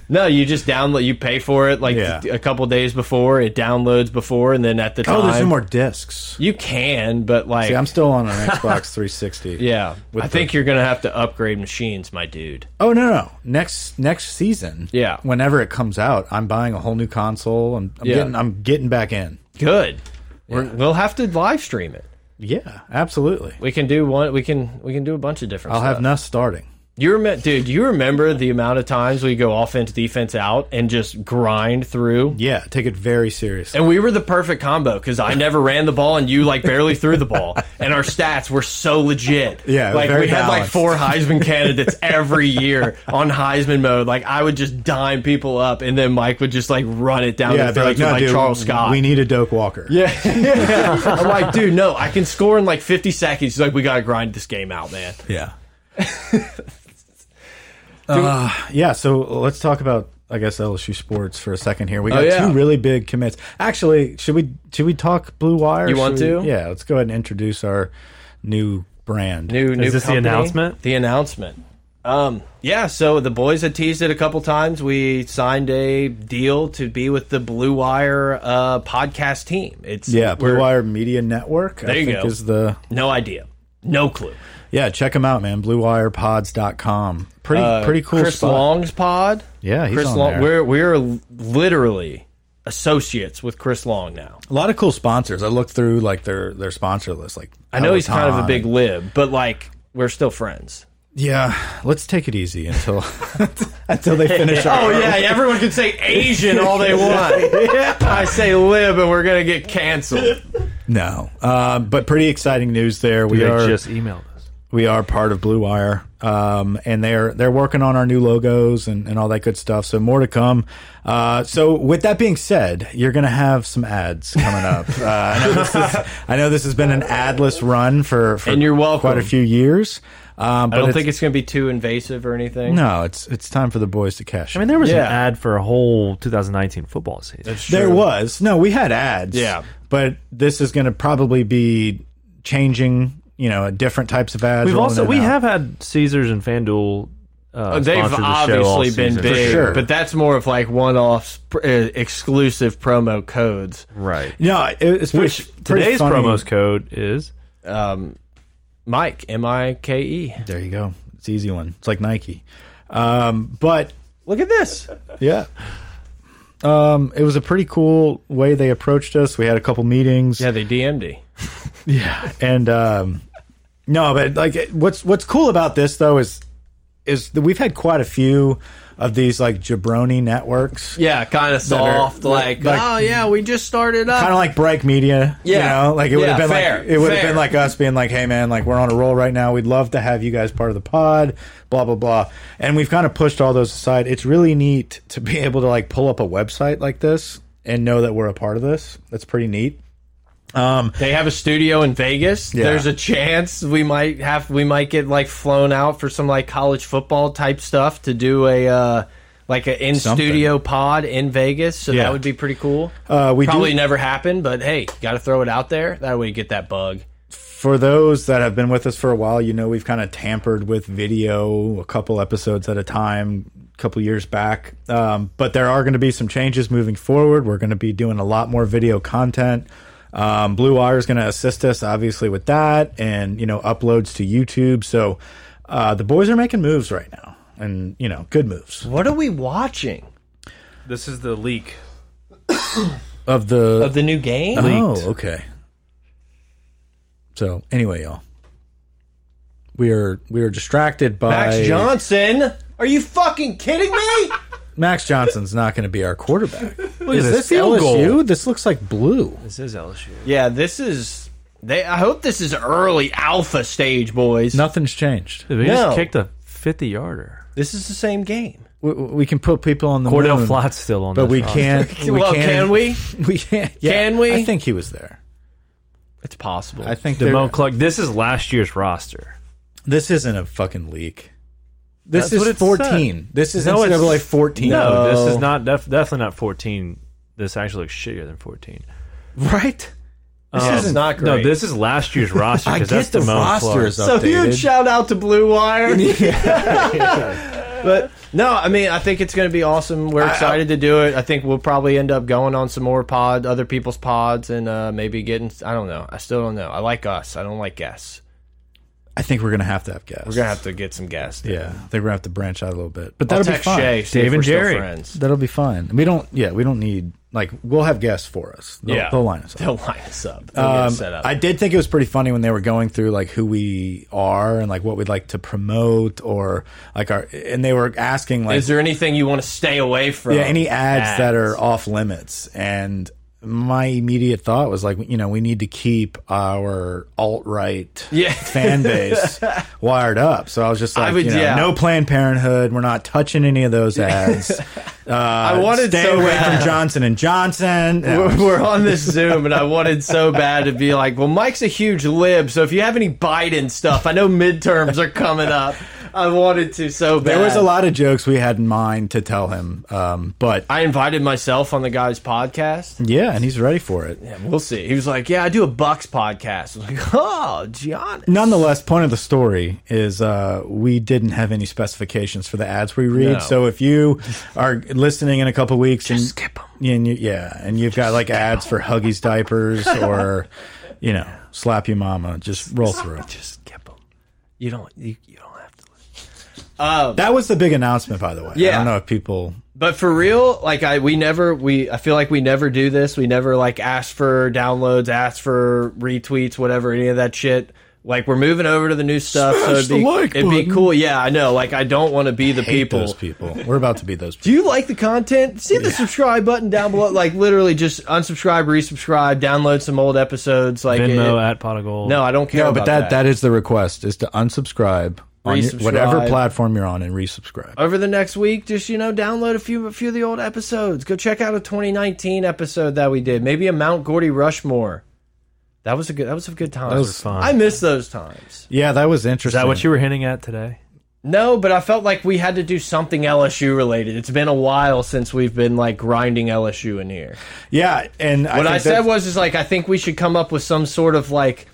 Speaker 3: no, you just download. You pay for it like
Speaker 1: Yeah.
Speaker 3: a couple days before it downloads before, and then at the
Speaker 1: Oh,
Speaker 3: time
Speaker 1: there's no more discs.
Speaker 3: you can, but like
Speaker 1: See, I'm still on an
Speaker 3: *laughs*
Speaker 1: Xbox 360.
Speaker 3: Yeah,
Speaker 1: With
Speaker 3: I
Speaker 1: the-
Speaker 3: think you're gonna have to upgrade machines, my dude.
Speaker 1: Oh no, no. Next next season.
Speaker 3: Yeah.
Speaker 1: Whenever it comes out, I'm buying a whole new console. I'm, I'm
Speaker 3: Yeah.
Speaker 1: getting I'm getting back in.
Speaker 3: Good. We're, we'll have to live stream it.
Speaker 1: Yeah, absolutely.
Speaker 3: We can do one. We can we can do a bunch of different.
Speaker 1: I'll
Speaker 3: stuff.
Speaker 1: have Ness starting.
Speaker 3: You remember, dude? You remember the amount of times we go offense, defense out, and just grind through.
Speaker 1: Yeah, take it very seriously.
Speaker 3: And we were the perfect combo because I never ran the ball and you like barely threw the ball, and our stats were so legit.
Speaker 1: *laughs* Yeah, it was
Speaker 3: like
Speaker 1: very
Speaker 3: we had like
Speaker 1: balanced.
Speaker 3: four Heisman candidates every year on Heisman mode. Like I would just dime people up, and then Mike would just like run it down
Speaker 1: Yeah, they're
Speaker 3: their throats
Speaker 1: like,
Speaker 3: with,
Speaker 1: no,
Speaker 3: like
Speaker 1: dude,
Speaker 3: Charles Scott.
Speaker 1: we need a Doak Walker.
Speaker 3: Yeah. *laughs* yeah. I'm like, dude, no, I can score in like 50 seconds. He's like, we got to grind this game out, man.
Speaker 1: *laughs* Yeah. Uh, yeah, so let's talk about I guess LSU sports for a second here. We got
Speaker 3: Oh, yeah.
Speaker 1: two really big commits. Actually, should we should we talk Blue Wire?
Speaker 3: You
Speaker 1: Should
Speaker 3: want
Speaker 1: we-
Speaker 3: to?
Speaker 1: Yeah, let's go ahead and introduce our new brand.
Speaker 3: New, new
Speaker 4: this the
Speaker 3: company?
Speaker 4: announcement?
Speaker 3: The announcement. Um, yeah, so the boys had teased it a couple times. We signed a deal to be with the Blue Wire uh, podcast team. It's
Speaker 1: yeah, Blue
Speaker 3: we're-
Speaker 1: Wire Media Network.
Speaker 3: There
Speaker 1: I
Speaker 3: you
Speaker 1: think
Speaker 3: go.
Speaker 1: is the
Speaker 3: No idea. No clue.
Speaker 1: Yeah, check them out, man. BlueWirePods.com. Pretty pretty cool
Speaker 3: Uh, Chris
Speaker 1: spot.
Speaker 3: Long's pod.
Speaker 1: Yeah, he's
Speaker 3: Chris
Speaker 1: on
Speaker 3: Long.
Speaker 1: there.
Speaker 3: We're we're literally associates with Chris Long now.
Speaker 1: A lot of cool sponsors. I looked through like their their sponsor list. Like
Speaker 3: I know he's kind of a
Speaker 1: Peloton.
Speaker 3: big lib, but like we're still friends.
Speaker 1: Yeah, let's take it easy until *laughs* until
Speaker 3: *laughs*
Speaker 1: they finish. Our,
Speaker 3: Oh yeah, everyone can say Asian all *laughs* they want. I say lib, and we're gonna get canceled.
Speaker 1: No, uh, but pretty exciting news there. We
Speaker 4: They
Speaker 1: are
Speaker 4: just emailed us.
Speaker 1: we are part of Blue Wire, um, and they're they're working on our new logos and, and all that good stuff. So more to come. Uh, so with that being said, you're gonna have some ads coming
Speaker 3: *laughs*
Speaker 1: up. uh, I, know this is, I know this has been an adless run for, for
Speaker 3: And you're welcome.
Speaker 1: quite a few years. Um, but
Speaker 3: I don't
Speaker 1: it's-
Speaker 3: think it's gonna be too invasive or anything.
Speaker 1: no, it's it's time for the boys to cash.
Speaker 4: I mean, there was
Speaker 3: Yeah.
Speaker 4: an ad for a whole 2019 football season.
Speaker 1: There was. No, we had ads.
Speaker 3: Yeah.
Speaker 1: But this is going to probably be changing, you know, different types of ads.
Speaker 4: We've
Speaker 1: rolling
Speaker 4: also
Speaker 1: it
Speaker 4: we
Speaker 1: out.
Speaker 4: have had Caesars and FanDuel. Uh,
Speaker 3: They've
Speaker 4: sponsor the show all
Speaker 3: obviously been
Speaker 4: season.
Speaker 3: big,
Speaker 1: sure.
Speaker 3: but that's more of like one-off pr- uh, exclusive promo codes.
Speaker 1: Mm-hmm.
Speaker 4: right?
Speaker 1: No, it- it's pretty,
Speaker 4: Which
Speaker 1: pretty
Speaker 4: today's
Speaker 1: funny.
Speaker 4: promos code is
Speaker 3: Um, Mike, M I K E.
Speaker 1: There you go. It's an easy one. It's like Nike. Um, but
Speaker 3: Look at this.
Speaker 1: yeah. Um, it was a pretty cool way they approached us. We had a couple meetings.
Speaker 3: Yeah, they DM'd. you.
Speaker 1: and um, no, but like it- what's what's cool about this though is is that we've had quite a few of these like jabroni networks
Speaker 3: Yeah, kind of
Speaker 1: are-
Speaker 3: soft, like,
Speaker 1: like-
Speaker 3: oh yeah, we just started up.
Speaker 1: kind of like break media.
Speaker 3: Yeah.
Speaker 1: You know, like it would have
Speaker 3: Yeah,
Speaker 1: been
Speaker 3: fair,
Speaker 1: like it would have
Speaker 3: fair.
Speaker 1: been like us being like, "Hey man, like we're on a roll right now. We'd love to have you guys part of the pod, blah blah blah." And we've kind of pushed all those aside. It's really neat to be able to like pull up a website like this and know that we're a part of this. That's pretty neat. Um,
Speaker 3: They have a studio in Vegas.
Speaker 1: Yeah.
Speaker 3: There's a chance we might have we might get like flown out for some like college football type stuff to do a uh like an in studio pod in Vegas. So
Speaker 1: Yeah.
Speaker 3: that would be pretty cool.
Speaker 1: uh, we
Speaker 3: Probably
Speaker 1: do,
Speaker 3: never happened, but hey, got to throw it out there. That way you get that bug.
Speaker 1: for those that have been with us for a while, you know we've kind of tampered with video a couple episodes at a time, a couple years back. Um, but there are going to be some changes moving forward. We're going to be doing a lot more video content. Um, Blue Wire is going to assist us, obviously, with that, and you know uploads to YouTube. So uh, the boys are making moves right now, and you know good moves
Speaker 3: What are we watching
Speaker 4: this is the leak.
Speaker 1: of the
Speaker 3: of the new game?
Speaker 4: leaked.
Speaker 1: Oh, okay. So anyway, y'all, we are we are distracted by
Speaker 3: Max Johnson. Are you fucking kidding me? *laughs*
Speaker 1: Max Johnson's not going to be our *laughs* quarterback.
Speaker 4: at
Speaker 1: Is
Speaker 4: this
Speaker 1: this
Speaker 4: field
Speaker 1: LSU?
Speaker 4: goal.
Speaker 1: This looks like blue.
Speaker 4: This is LSU.
Speaker 3: yeah, this is. They. I hope this is early alpha stage, boys.
Speaker 1: Nothing's changed.
Speaker 4: They
Speaker 3: No.
Speaker 4: just kicked a 50 yarder.
Speaker 3: This is the same game.
Speaker 1: We, we can put people on the
Speaker 4: Cordell
Speaker 1: moon,
Speaker 4: Flott's still on,
Speaker 1: Mm. but
Speaker 4: this
Speaker 1: we
Speaker 4: roster.
Speaker 1: can't.
Speaker 3: *laughs*
Speaker 1: We
Speaker 3: well,
Speaker 1: can't,
Speaker 3: can we?
Speaker 1: *laughs* We can't. yeah,
Speaker 3: Can we?
Speaker 1: I think he was there.
Speaker 3: It's possible.
Speaker 1: I think they're-
Speaker 4: Demone Clark. This is last year's roster.
Speaker 1: this isn't a fucking leak. This
Speaker 4: That's what
Speaker 1: is
Speaker 4: it
Speaker 1: fourteen. This is
Speaker 4: No, it's-
Speaker 1: NCAA fourteen.
Speaker 4: No,
Speaker 3: No.
Speaker 4: this is not def definitely not 14. This actually looks shittier than 14.
Speaker 1: right? This
Speaker 4: Um,
Speaker 1: isn't
Speaker 3: Oh, not
Speaker 4: No,
Speaker 3: great.
Speaker 4: this is last year's
Speaker 1: *laughs*
Speaker 4: roster.
Speaker 1: I
Speaker 4: 'cause
Speaker 1: get
Speaker 4: that's
Speaker 1: the
Speaker 4: Demone
Speaker 1: roster
Speaker 4: Clark.
Speaker 1: is
Speaker 3: So
Speaker 1: updated.
Speaker 3: huge shout out to Blue *laughs* Wire. *laughs* but no, I mean I think it's going to be awesome. We're excited to do it. I think we'll probably end up going on some more pod, other people's pods, and uh, maybe getting. I don't know. I still don't know. I like us. I don't like guests.
Speaker 1: I think we're gonna have to have guests.
Speaker 3: We're gonna have to get some guests.
Speaker 1: yeah, I think we're gonna have to branch out a little bit, but
Speaker 3: I'll
Speaker 1: that'll be
Speaker 3: text
Speaker 1: fine.
Speaker 3: Shay. see if
Speaker 4: Dave and
Speaker 3: we're still
Speaker 4: Jerry.
Speaker 3: friends.
Speaker 1: That'll be fine. We don't. Yeah, we don't need like we'll have guests for us. They'll,
Speaker 3: Yeah.
Speaker 1: they'll line us up.
Speaker 3: They'll line us up. They'll get
Speaker 1: Um,
Speaker 3: us set up.
Speaker 1: I did think it was pretty funny when they were going through like who we are and like what we'd like to promote or like our and they were asking like
Speaker 3: Is there anything you want to stay away from?
Speaker 1: yeah, any ads, that
Speaker 3: Ads.
Speaker 1: are off limits and my immediate thought was like you know we need to keep our alt right
Speaker 3: *laughs* Yeah.
Speaker 1: fan
Speaker 3: *laughs*
Speaker 1: base wired up so I was just like
Speaker 3: would-
Speaker 1: you know,
Speaker 3: yeah.
Speaker 1: no Planned Parenthood we're not touching any of
Speaker 3: *laughs*
Speaker 1: those ads uh, I
Speaker 3: wanted
Speaker 1: stay
Speaker 3: so
Speaker 1: away
Speaker 3: bad.
Speaker 1: from Johnson and
Speaker 3: *laughs*
Speaker 1: Johnson
Speaker 3: we're, we're
Speaker 1: *laughs*
Speaker 3: on this Zoom, and I wanted so bad to be like, well, Mike's a huge lib, so if you have any Biden stuff, I know midterms are coming up. I wanted to so bad.
Speaker 1: There was a lot of jokes we had in mind to tell him, um, but
Speaker 3: I invited myself on the guy's podcast.
Speaker 1: yeah, and he's ready for it.
Speaker 3: Yeah, we'll see. He was like, yeah, I do a Bucks podcast. I was like, oh, Giannis.
Speaker 1: Nonetheless, point of the story is uh, we didn't have any specifications for the ads we read.
Speaker 3: No.
Speaker 1: So if you are listening in a couple weeks and
Speaker 3: skip 'em.
Speaker 1: and you, yeah, and you've got like ads for Huggies
Speaker 3: *laughs*
Speaker 1: diapers or you know slap you mama, just roll through.
Speaker 3: Just skip them. You don't, you, you don't have to listen. Um,
Speaker 1: That was the big announcement, by the way. I
Speaker 3: Yeah.
Speaker 1: don't know if people.
Speaker 3: But for real, like I we never we I feel like we never do this. We never like ask for downloads, ask for retweets, whatever, any of that shit. Like we're moving over to the new stuff, so it'd
Speaker 1: the
Speaker 3: be,
Speaker 1: like
Speaker 3: it'd be
Speaker 1: button.
Speaker 3: cool. Yeah, I know. Like I don't want to be the
Speaker 1: Hate
Speaker 3: people.
Speaker 1: those people. We're about to be those.
Speaker 3: Do
Speaker 1: people.
Speaker 3: *laughs* you like the content? See the subscribe button down below. Like literally, just unsubscribe, resubscribe, download some old episodes. Like it-
Speaker 4: Venmo at pot of gold.
Speaker 3: no, I don't care.
Speaker 1: No, but
Speaker 3: about
Speaker 1: that, that is the request: is to unsubscribe on your- whatever
Speaker 3: Resubscribe.
Speaker 1: platform you're on and resubscribe.
Speaker 3: over the next week, just you know, download a few a few of the old episodes. Go check out a 2019 episode that we did. Maybe a Mount Gordy Rushmore. That was a good. That was a good time.
Speaker 4: Those was- were fun.
Speaker 3: I miss those times.
Speaker 1: Yeah, that was
Speaker 4: Is
Speaker 1: interesting.
Speaker 4: that what you were hinting at today?
Speaker 3: No, but I felt like we had to do something LSU related. It's been a while since we've been like grinding LSU in here.
Speaker 1: Yeah, and
Speaker 3: What I,
Speaker 1: think
Speaker 3: said
Speaker 1: that-
Speaker 3: was is like I think we should come up with some sort of like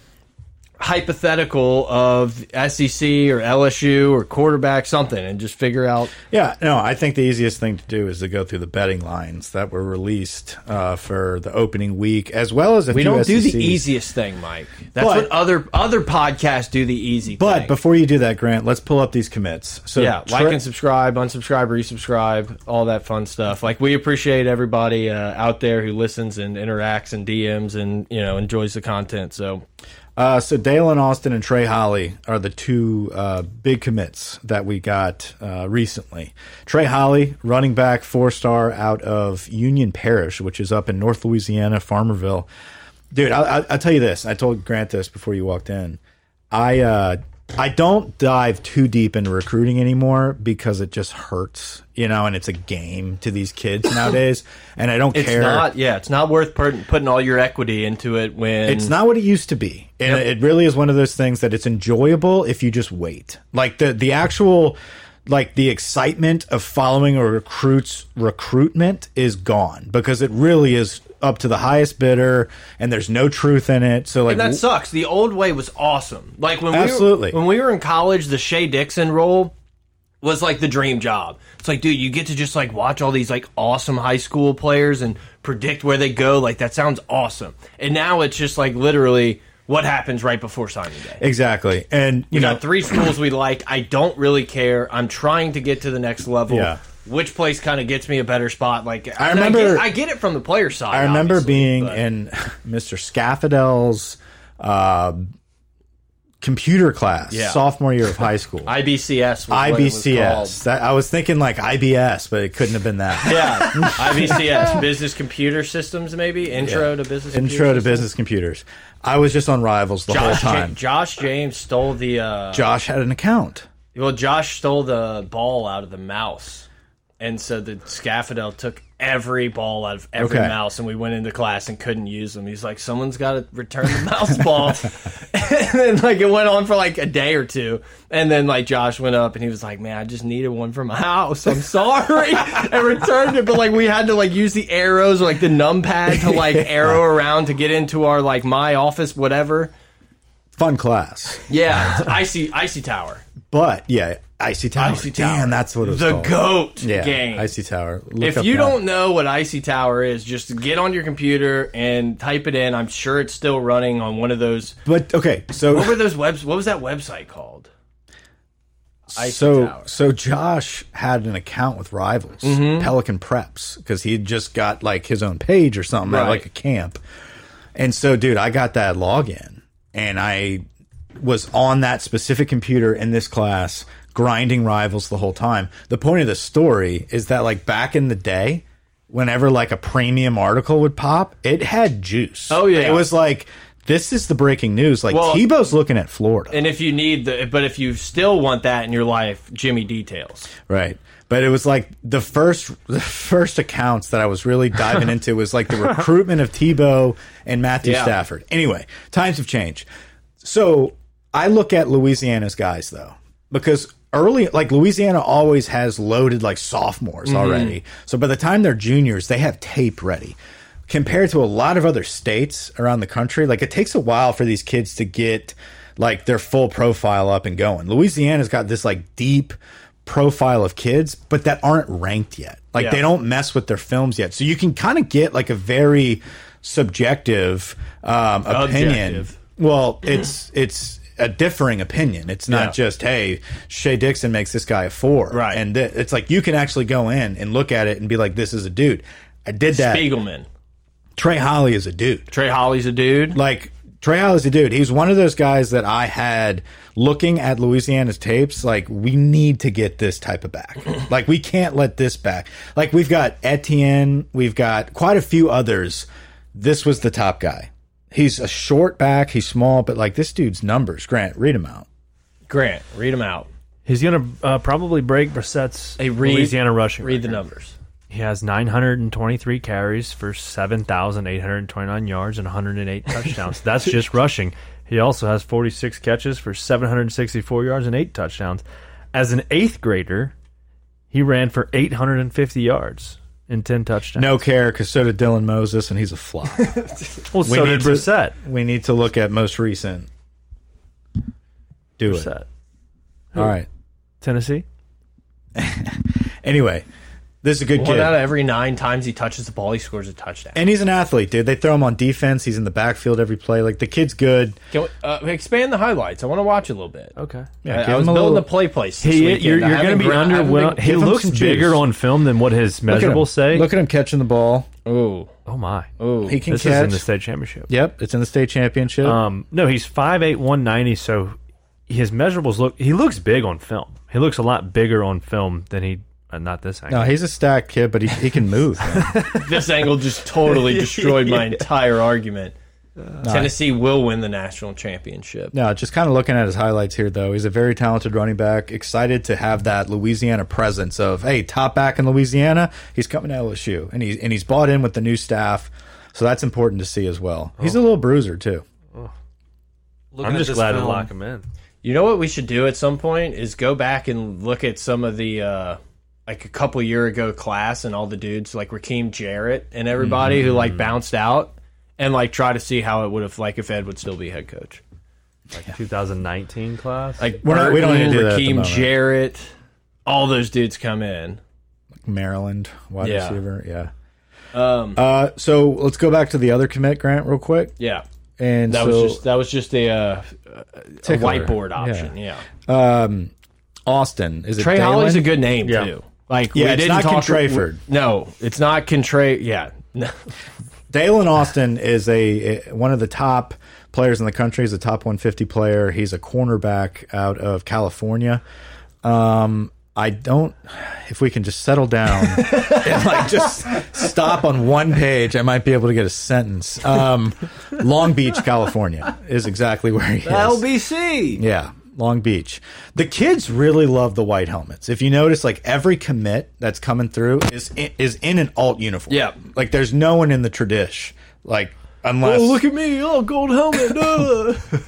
Speaker 3: hypothetical of SEC or LSU or quarterback something and just figure out
Speaker 1: yeah, no, I think the easiest thing to do is to go through the betting lines that were released uh, for the opening week, as well as a
Speaker 3: We
Speaker 1: few E
Speaker 3: don't do the
Speaker 1: SECs.
Speaker 3: easiest thing, Mike. That's
Speaker 1: But-
Speaker 3: what other other podcasts do the easy
Speaker 1: But
Speaker 3: thing.
Speaker 1: before you do that, Grant, let's pull up these commits. So
Speaker 3: yeah, like
Speaker 1: Tre-
Speaker 3: and subscribe, unsubscribe, resubscribe, all that fun stuff. Like we appreciate everybody uh, out there who listens and interacts and DMs and you know enjoys the content. So
Speaker 1: Uh, so Dalen Austin and Trey Holly are the two uh, big commits that we got uh, recently. Trey Holly, running back, four star out of Union Parish, which is up in North Louisiana, Farmerville. Dude, I, I, I'll tell you this. I told Grant this before you walked in. I uh, I don't dive too deep into recruiting anymore because it just hurts, you know, and it's a game to these kids
Speaker 3: *coughs*
Speaker 1: nowadays. And I don't
Speaker 3: it's
Speaker 1: care.
Speaker 3: not yeah, it's not worth put- putting all your equity into it when
Speaker 1: It's not what it used to be. And it really is one of those things that it's enjoyable if you just wait. Like the the actual like the excitement of following a recruit's recruitment is gone because it really is up to the highest bidder and there's no truth in it. So like
Speaker 3: And that sucks. The old way was awesome. Like when
Speaker 1: Absolutely.
Speaker 3: we were, when we were in college, the Shea Dixon role was like the dream job. It's like, dude, you get to just like watch all these like awesome high school players and predict where they go. Like that sounds awesome. And now it's just like literally what happens right before signing day.
Speaker 1: exactly. And you
Speaker 3: We
Speaker 1: know
Speaker 3: got three schools we like. I don't really care. I'm trying to get to the next level.
Speaker 1: Yeah.
Speaker 3: Which place kind of gets me a better spot? Like and I
Speaker 1: remember-
Speaker 3: get, I get it from the player side.
Speaker 1: I remember
Speaker 3: obviously,
Speaker 1: being
Speaker 3: but-
Speaker 1: in *laughs* Mr. Scaffoldell's uh, computer class
Speaker 3: Yeah.
Speaker 1: sophomore year of
Speaker 3: *laughs*
Speaker 1: high school.
Speaker 3: IBCS. Was what it was called.
Speaker 1: IBCS. That, I was thinking like IBS, but it couldn't have been that.
Speaker 3: Yeah,
Speaker 1: *laughs*
Speaker 3: IBCS, Business Computer Systems, maybe intro to business.
Speaker 1: Intro
Speaker 3: Computer
Speaker 1: to
Speaker 3: Systems.
Speaker 1: business computers. I was just on Rivals the
Speaker 3: Josh,
Speaker 1: whole
Speaker 3: Ja-
Speaker 1: time.
Speaker 3: Josh James stole the. Uh,
Speaker 1: Josh had an account.
Speaker 3: well, Josh stole the ball out of the mouse, and so the Scaffadel took every ball out of every
Speaker 1: Okay.
Speaker 3: mouse, and we went into class and couldn't use them. He's like, "Someone's got to return the mouse ball," *laughs* and then like it went on for like a day or two, and then like Josh went up and he was like, "Man, I just needed one for my house. I'm sorry," and returned it. But like we had to like use the arrows or like the numpad to like arrow around to get into our like my office, whatever.
Speaker 1: Fun class.
Speaker 3: Yeah, *laughs* icy icy tower.
Speaker 1: But yeah, Icy Tower.
Speaker 3: Icy Tower.
Speaker 1: Oh, Damn, that's what it was
Speaker 3: the
Speaker 1: called.
Speaker 3: goat
Speaker 1: yeah,
Speaker 3: game.
Speaker 1: Icy Tower. Look
Speaker 3: if
Speaker 1: up
Speaker 3: you
Speaker 1: that.
Speaker 3: don't know what Icy Tower is, just get on your computer and type it in. I'm sure it's still running on one of those.
Speaker 1: but okay, so
Speaker 3: What were those webs? What was that website called? Icy
Speaker 1: so
Speaker 3: Tower.
Speaker 1: so Josh had an account with Rivals
Speaker 3: Mm-hmm.
Speaker 1: Pelican Preps because he had just got like his own page or something at
Speaker 3: Right.
Speaker 1: like a camp, and so dude, I got that login and I was on that specific computer in this class grinding Rivals the whole time. The point of the story is that like back in the day. Whenever like a premium article would pop, it had juice.
Speaker 3: Oh, yeah.
Speaker 1: it was like this is the breaking news. Like
Speaker 3: Well-
Speaker 1: Tebow's looking at Florida.
Speaker 3: And if you need the, but if you still want that in your life, Jimmy details.
Speaker 1: Right. But it was like the first the first accounts that I was really diving into was like the recruitment of Tebow and Matthew
Speaker 3: Yeah.
Speaker 1: Stafford. Anyway, times have changed. So I look at Louisiana's guys though, because early like Louisiana always has loaded like sophomores already. So by the time they're juniors, they have tape ready. Compared to a lot of other states around the country, like it takes a while for these kids to get like their full profile up and going. Louisiana's got this like deep profile of kids, but that aren't ranked yet. Like
Speaker 3: Yeah.
Speaker 1: they don't mess with their films yet. So you can kind of get like a very subjective um, opinion.
Speaker 3: Objective.
Speaker 1: Well, it's it's a differing opinion. It's not
Speaker 3: Yeah.
Speaker 1: just hey, Shea Dixon makes this guy a four,
Speaker 3: Right.
Speaker 1: And th it's like you can actually go in and look at it and be like, this is a dude. I did that.
Speaker 3: Spiegelman.
Speaker 1: Trey Holly is a dude
Speaker 3: Trey Holly's a dude.
Speaker 1: like Trey Hollis, a dude. He's one of those guys that I had looking at Louisiana's tapes. Like, we need to get this type of back. like, we can't let this back. Like, we've got Etienne, we've got quite a few others. This was the top guy. He's a short back, he's small, but like this dude's numbers. Grant, read him out.
Speaker 3: Grant, read them out.
Speaker 4: He's gonna uh, probably break Brissett's
Speaker 3: Hey, read-
Speaker 4: Louisiana rushing.
Speaker 3: Read the
Speaker 4: record.
Speaker 3: numbers.
Speaker 4: He has 923 carries for 7,829 yards and 108 touchdowns. That's just rushing. He also has 46 catches for 764 yards and 8 touchdowns. As an eighth grader, he ran for 850 yards and 10 touchdowns.
Speaker 1: No care, because so did Dylan Moses, and he's a flop.
Speaker 4: well, so did
Speaker 1: need to-
Speaker 4: Brissett.
Speaker 1: we need to look at most recent. Do it.
Speaker 4: Brissett.
Speaker 1: All right.
Speaker 4: Tennessee?
Speaker 1: Anyway, this is a good
Speaker 3: One
Speaker 1: kid.
Speaker 3: out of every nine times he touches the ball, he scores a touchdown.
Speaker 1: And he's an athlete, dude. They throw him on defense. He's in the backfield every play. Like the kid's good.
Speaker 3: Can we, uh, expand the highlights. I want to watch a little bit.
Speaker 4: Okay.
Speaker 1: Yeah,
Speaker 3: I, I was building the play place. This
Speaker 4: He,
Speaker 3: weekend.
Speaker 4: you're
Speaker 3: I
Speaker 4: you're going to
Speaker 3: haven't
Speaker 4: be
Speaker 3: gra- I haven't been-
Speaker 4: underwhelmed. He
Speaker 1: give him
Speaker 4: looks
Speaker 1: some juice.
Speaker 4: bigger on film than what his
Speaker 1: Look at him.
Speaker 4: measurables say.
Speaker 1: Look at him catching the ball.
Speaker 3: Ooh,
Speaker 4: oh, my.
Speaker 3: ooh.
Speaker 1: He can
Speaker 4: This is
Speaker 1: catch.
Speaker 4: in the state championship.
Speaker 1: yep, it's in the state championship.
Speaker 4: Um, no, he's 5'8", 190, so his measurables look. He looks big on film. He looks a lot bigger on film than he. Uh, not this angle.
Speaker 1: no, he's a stacked kid, but he, he can move. man.
Speaker 3: this angle
Speaker 1: *laughs*
Speaker 3: just totally destroyed my entire argument. Tennessee will win the national championship.
Speaker 1: Uh, no, just kind of looking at his highlights here, though. He's a very talented running back. Excited to have that Louisiana presence of hey, top back in Louisiana. He's coming to LSU, and he's and he's bought in with the new staff. So that's important to see as well. He's a little bruiser too.
Speaker 2: Looking
Speaker 4: I'm
Speaker 2: at
Speaker 4: just
Speaker 2: this
Speaker 4: glad to
Speaker 2: film,
Speaker 4: lock him in.
Speaker 3: You know what we should do at some point is go back and look at some of the uh, like a couple year ago class and all the dudes like Raheem Jarrett and everybody who
Speaker 1: Mm-hmm.
Speaker 3: like bounced out and like try to see how it would have like if Ed would still be head coach.
Speaker 4: Like 2019 class.
Speaker 3: Like
Speaker 1: We're not- we don't
Speaker 3: Burton,
Speaker 1: need to do that at the
Speaker 3: Raheem
Speaker 1: moment.
Speaker 3: Jarrett, all those dudes come in.
Speaker 1: Maryland wide
Speaker 3: Yeah.
Speaker 1: receiver. Yeah.
Speaker 3: Um,
Speaker 1: Uh, so let's go back to the other commit, Grant, real quick.
Speaker 3: yeah,
Speaker 1: And
Speaker 3: that
Speaker 1: so,
Speaker 3: was just that was just a, uh, a
Speaker 1: Tickler.
Speaker 3: whiteboard option. Yeah,
Speaker 1: um, Austin. Is it
Speaker 3: Trey
Speaker 1: Dalen?
Speaker 3: Holly's a good name
Speaker 4: Yeah.
Speaker 3: too. Like
Speaker 1: Yeah,
Speaker 3: we
Speaker 1: it's
Speaker 3: didn't
Speaker 1: not
Speaker 3: talk
Speaker 1: Contrayford.
Speaker 3: No, it's not Contray. Yeah, *laughs* no.
Speaker 1: Dalen Austin is a, a- one of the top players in the country. He's a top 150 player. He's a cornerback out of California. Um, I don't. If we can just settle
Speaker 3: *laughs*
Speaker 1: down and like just stop on one page, I might be able to get a sentence. Um, Long Beach, California, is exactly where he is.
Speaker 3: LBC.
Speaker 1: Yeah, Long Beach. The kids really love the white helmets. If you notice, like every commit that's coming through is in, is in an alt uniform.
Speaker 3: Yeah.
Speaker 1: like there's no one in the tradish. Like unless
Speaker 3: at me, oh gold helmet.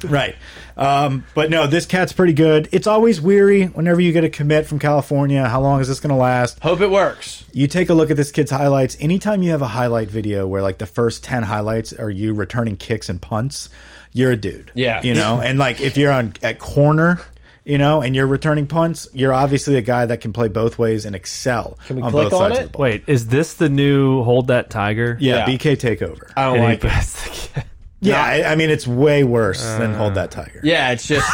Speaker 1: right, um, but no, this cat's pretty good. It's always weary whenever you get a commit from California. How long is this going to last?
Speaker 3: Hope it works.
Speaker 1: you take a look at this kid's highlights. Anytime you have a highlight video where like the first ten highlights are you returning kicks and punts, you're a dude.
Speaker 3: Yeah. *laughs*
Speaker 1: you know, and like if you're on at corner you know, and you're returning punts, you're obviously a guy that can play both ways and excel
Speaker 3: Can we
Speaker 1: on
Speaker 3: click
Speaker 1: both
Speaker 3: on
Speaker 1: sides
Speaker 3: it?
Speaker 1: of the ball.
Speaker 4: *laughs* Wait, is this the new hold that tiger?
Speaker 1: Yeah,
Speaker 3: Yeah. Um,
Speaker 1: BK takeover.
Speaker 3: I don't
Speaker 4: And he
Speaker 3: like it.
Speaker 4: puts the-
Speaker 1: yeah, I, I mean it's way worse than hold that tiger.
Speaker 3: Yeah, it's *laughs* just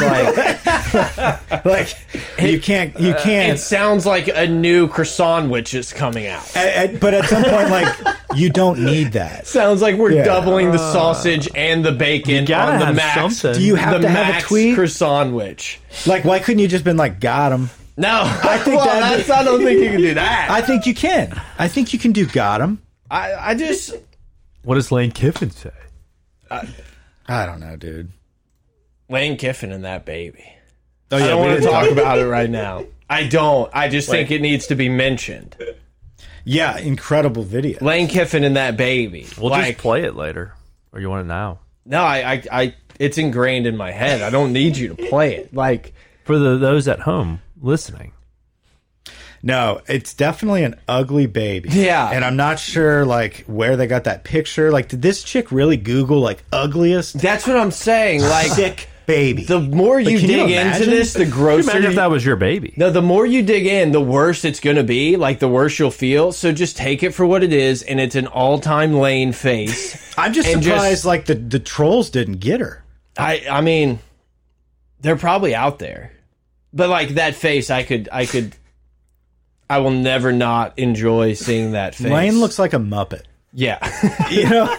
Speaker 1: *laughs*
Speaker 3: like
Speaker 1: like you can't, you can't.
Speaker 3: it uh, sounds like a new croissant which is coming out.
Speaker 1: at- at- but at some point, like you don't need
Speaker 3: *laughs*
Speaker 1: that.
Speaker 3: Sounds like we're
Speaker 1: Yeah.
Speaker 3: doubling the sausage and the bacon
Speaker 4: gotta
Speaker 3: on the
Speaker 4: have
Speaker 3: max.
Speaker 4: something.
Speaker 1: Do you have to
Speaker 3: the
Speaker 1: have a
Speaker 3: max
Speaker 1: tweet?
Speaker 3: croissant witch?
Speaker 1: Like, why couldn't you just been like, got him? *laughs*
Speaker 3: No, I
Speaker 1: think
Speaker 3: well,
Speaker 1: that'd be-
Speaker 3: that's, I don't think you can do that.
Speaker 1: *laughs* I think you can. I think you can do got him.
Speaker 3: I, I just
Speaker 4: What does Lane Kiffin say?
Speaker 1: I don't know, dude.
Speaker 3: Lane Kiffin and that baby.
Speaker 1: Oh
Speaker 3: I
Speaker 1: yeah,
Speaker 3: don't
Speaker 1: we
Speaker 3: want to
Speaker 1: didn't
Speaker 3: talk about it right now. I don't. I just think it needs to be mentioned.
Speaker 1: Yeah, incredible video.
Speaker 3: Lane Kiffin and that baby.
Speaker 4: We'll
Speaker 3: like,
Speaker 4: just play it later, or you want it now
Speaker 3: no, I, I, I, it's ingrained in my head. I don't need you to play it. Like,
Speaker 4: for the those at home listening.
Speaker 1: No, it's definitely an ugly baby.
Speaker 3: Yeah.
Speaker 1: and I'm not sure like where they got that picture. Like, did this chick really Google like ugliest
Speaker 3: that's what I'm saying. Like,
Speaker 1: sick baby?
Speaker 3: the more you
Speaker 1: can you
Speaker 3: dig into
Speaker 1: imagine?
Speaker 3: this, the
Speaker 4: Could you
Speaker 3: grosser.
Speaker 4: imagine if
Speaker 3: you-
Speaker 4: that was your baby?
Speaker 3: No, the more you dig in, the worse it's going to be. Like, the worse you'll feel. So just take it for what it is, and it's an all-time
Speaker 1: *laughs*
Speaker 3: Lane face.
Speaker 1: I'm just
Speaker 3: and
Speaker 1: surprised
Speaker 3: just-
Speaker 1: like the the trolls didn't get her.
Speaker 3: I, I mean, they're probably out there, but like that face, I could, I could. I will never not enjoy seeing that face.
Speaker 1: Lane looks like a muppet. *laughs*
Speaker 3: yeah. *laughs*
Speaker 1: You know,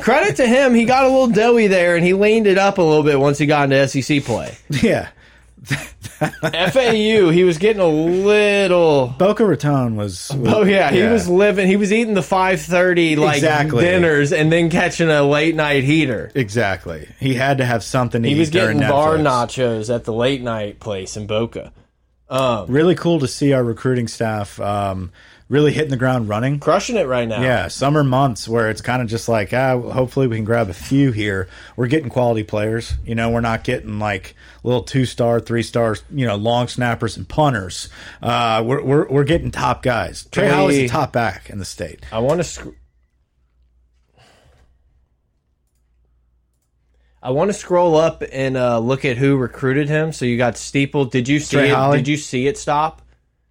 Speaker 3: Credit to him, he got a little doughy there and he leaned it up a little bit once he got into SEC play.
Speaker 1: yeah.
Speaker 3: FAU, he was getting a little.
Speaker 1: Boca Raton was.
Speaker 3: Oh yeah, he was living. He was eating the five thirty like
Speaker 1: Exactly.
Speaker 3: dinners and then catching a late night heater.
Speaker 1: exactly. He had to have something to
Speaker 3: He
Speaker 1: eat
Speaker 3: was getting
Speaker 1: during
Speaker 3: bar
Speaker 1: Netflix.
Speaker 3: nachos at the late night place in Boca.
Speaker 1: Really cool to see our recruiting staff um, really hitting the ground running.
Speaker 3: Crushing it right now.
Speaker 1: Yeah, summer months where it's kind of just like, ah, hopefully we can grab a few here. We're getting quality players. You know, we're not getting like little two star, three stars, you know, long snappers and punters. Uh, we're, we're, we're getting top guys. Trey
Speaker 3: Can
Speaker 1: Howell is
Speaker 3: we-
Speaker 1: the top back in the state.
Speaker 3: I want to. Sc- I want to scroll up and uh, look at who recruited him. So you got Steeple. Did you see?
Speaker 1: Trey
Speaker 3: It?
Speaker 1: Holly?
Speaker 3: Did you see it stop?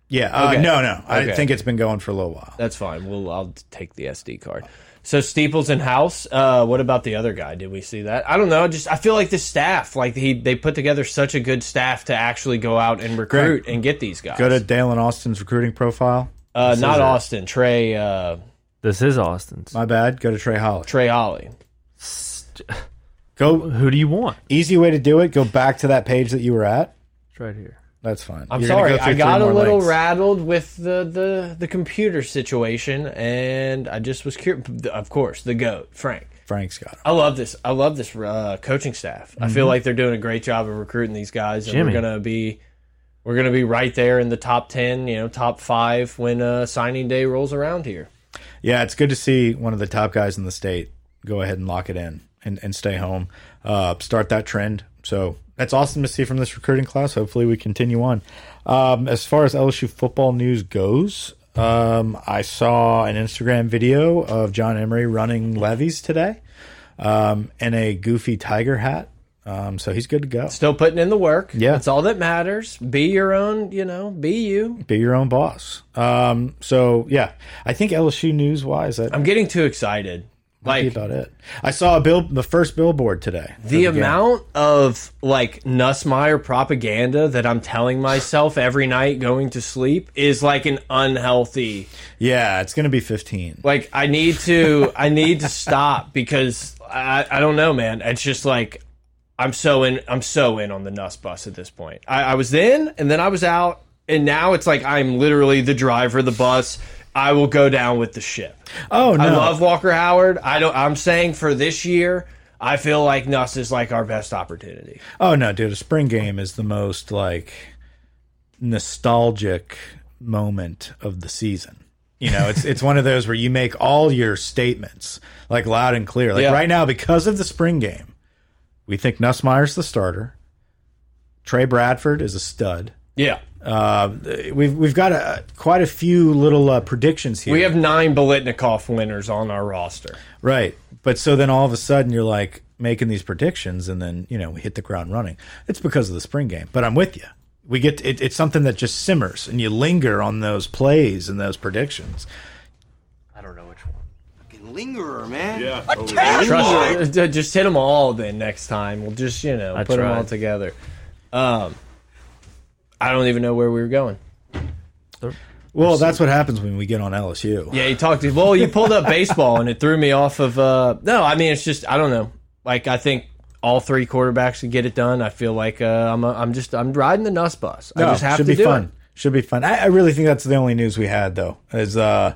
Speaker 1: Yeah. Uh,
Speaker 3: Okay.
Speaker 1: No, no. I
Speaker 3: Okay.
Speaker 1: think it's been going for a little while.
Speaker 3: That's fine. We'll I'll take the SD card. So Steeples in house. Uh, what about the other guy? Did we see that? I don't know. Just I feel like the staff, like he they put together such a good staff to actually go out and recruit and get these guys.
Speaker 1: Go to Dale and Austin's recruiting profile.
Speaker 3: uh, not
Speaker 4: it.
Speaker 3: Austin Trey uh,
Speaker 4: This is Austin's.
Speaker 1: My bad. Go to Trey Howell.
Speaker 3: Trey Holly.
Speaker 4: *laughs*
Speaker 1: Go
Speaker 4: Who do you want?
Speaker 1: easy way to do it. Go back to that page that you were at.
Speaker 4: It's right here.
Speaker 1: That's fine.
Speaker 3: I'm
Speaker 1: You're gonna
Speaker 3: sorry,
Speaker 1: go through
Speaker 3: I
Speaker 1: three
Speaker 3: got a
Speaker 1: more
Speaker 3: little
Speaker 1: links.
Speaker 3: rattled with the, the the computer situation, and I just was curious. Of course, the goat Frank.
Speaker 1: Frank's got him.
Speaker 3: I love this. I love this uh, coaching staff. I
Speaker 1: Mm-hmm.
Speaker 3: feel like they're doing a great job of recruiting these guys, and
Speaker 4: Jimmy.
Speaker 3: we're gonna be we're gonna be right there in the top ten, you know, top five when uh, signing day rolls around here.
Speaker 1: Yeah, it's good to see one of the top guys in the state go ahead and lock it in and, and stay home. Uh, start that trend. So that's awesome to see from this recruiting class. Hopefully, we continue on. Um, as far as LSU football news goes, um, I saw an Instagram video of John Emery running levies today um, in a goofy tiger hat. Um, so he's good to go.
Speaker 3: Still putting in the work.
Speaker 1: Yeah.
Speaker 3: that's all that matters. Be your own, you know, be you.
Speaker 1: Be your own boss. Um, so yeah, I think LSU news wise, that
Speaker 3: I'm getting too excited.
Speaker 1: be
Speaker 3: Like
Speaker 1: about it. I saw a bill, the first billboard today. for
Speaker 3: the
Speaker 1: game.
Speaker 3: amount of like Nussmeyer propaganda that I'm telling myself every night going to sleep is like an unhealthy.
Speaker 1: Yeah, it's gonna be fifteen.
Speaker 3: Like I need to, I need to stop because I, I don't know, man. It's just like I'm so in, I'm so in on the Nuss bus at this point. I, I was in, and then I was out, and now it's like I'm literally the driver of the bus. I will go down with the ship.
Speaker 1: Oh no,
Speaker 3: I love Walker Howard. I don't. I'm saying for this year, I feel like Nuss is like our best opportunity.
Speaker 1: oh no, dude. A spring game is the most like nostalgic moment of the season. You know, it's it's one of those where you make all your statements like loud and clear. Like
Speaker 3: Yeah.
Speaker 1: right now, because of the spring game, we think Nussmeyer's the starter. Trey Bradford is a stud.
Speaker 3: Yeah,
Speaker 1: Uh, we've we've got a, quite a few little uh, predictions here.
Speaker 3: we have nine Bolitnikoff winners on our roster.
Speaker 1: Right. But so then all of a sudden you're like, making these predictions and then you know we hit the ground running. It's because of the spring game, but I'm with you. We get it, it's something that just simmers and you linger on those plays and those predictions.
Speaker 4: I don't know which one.
Speaker 5: Lingerer, man.
Speaker 6: Yeah.
Speaker 3: Trust uh, just hit them all. Then next time we'll just you know
Speaker 4: I
Speaker 3: put them all
Speaker 4: tried.
Speaker 3: together. Um, I don't even know where we were going.
Speaker 1: Well, that's what happens when we get on LSU.
Speaker 3: Yeah, you talked to well, you pulled up baseball and it threw me off of uh no, I mean it's just I don't know. Like I think all three quarterbacks can get it done. I feel like uh, I'm a, I'm just I'm riding the nuss bus. I
Speaker 1: No,
Speaker 3: just have
Speaker 1: should
Speaker 3: to
Speaker 1: be
Speaker 3: do
Speaker 1: fun.
Speaker 3: it.
Speaker 1: Should be fun. I, I really think that's the only news we had though. Is uh,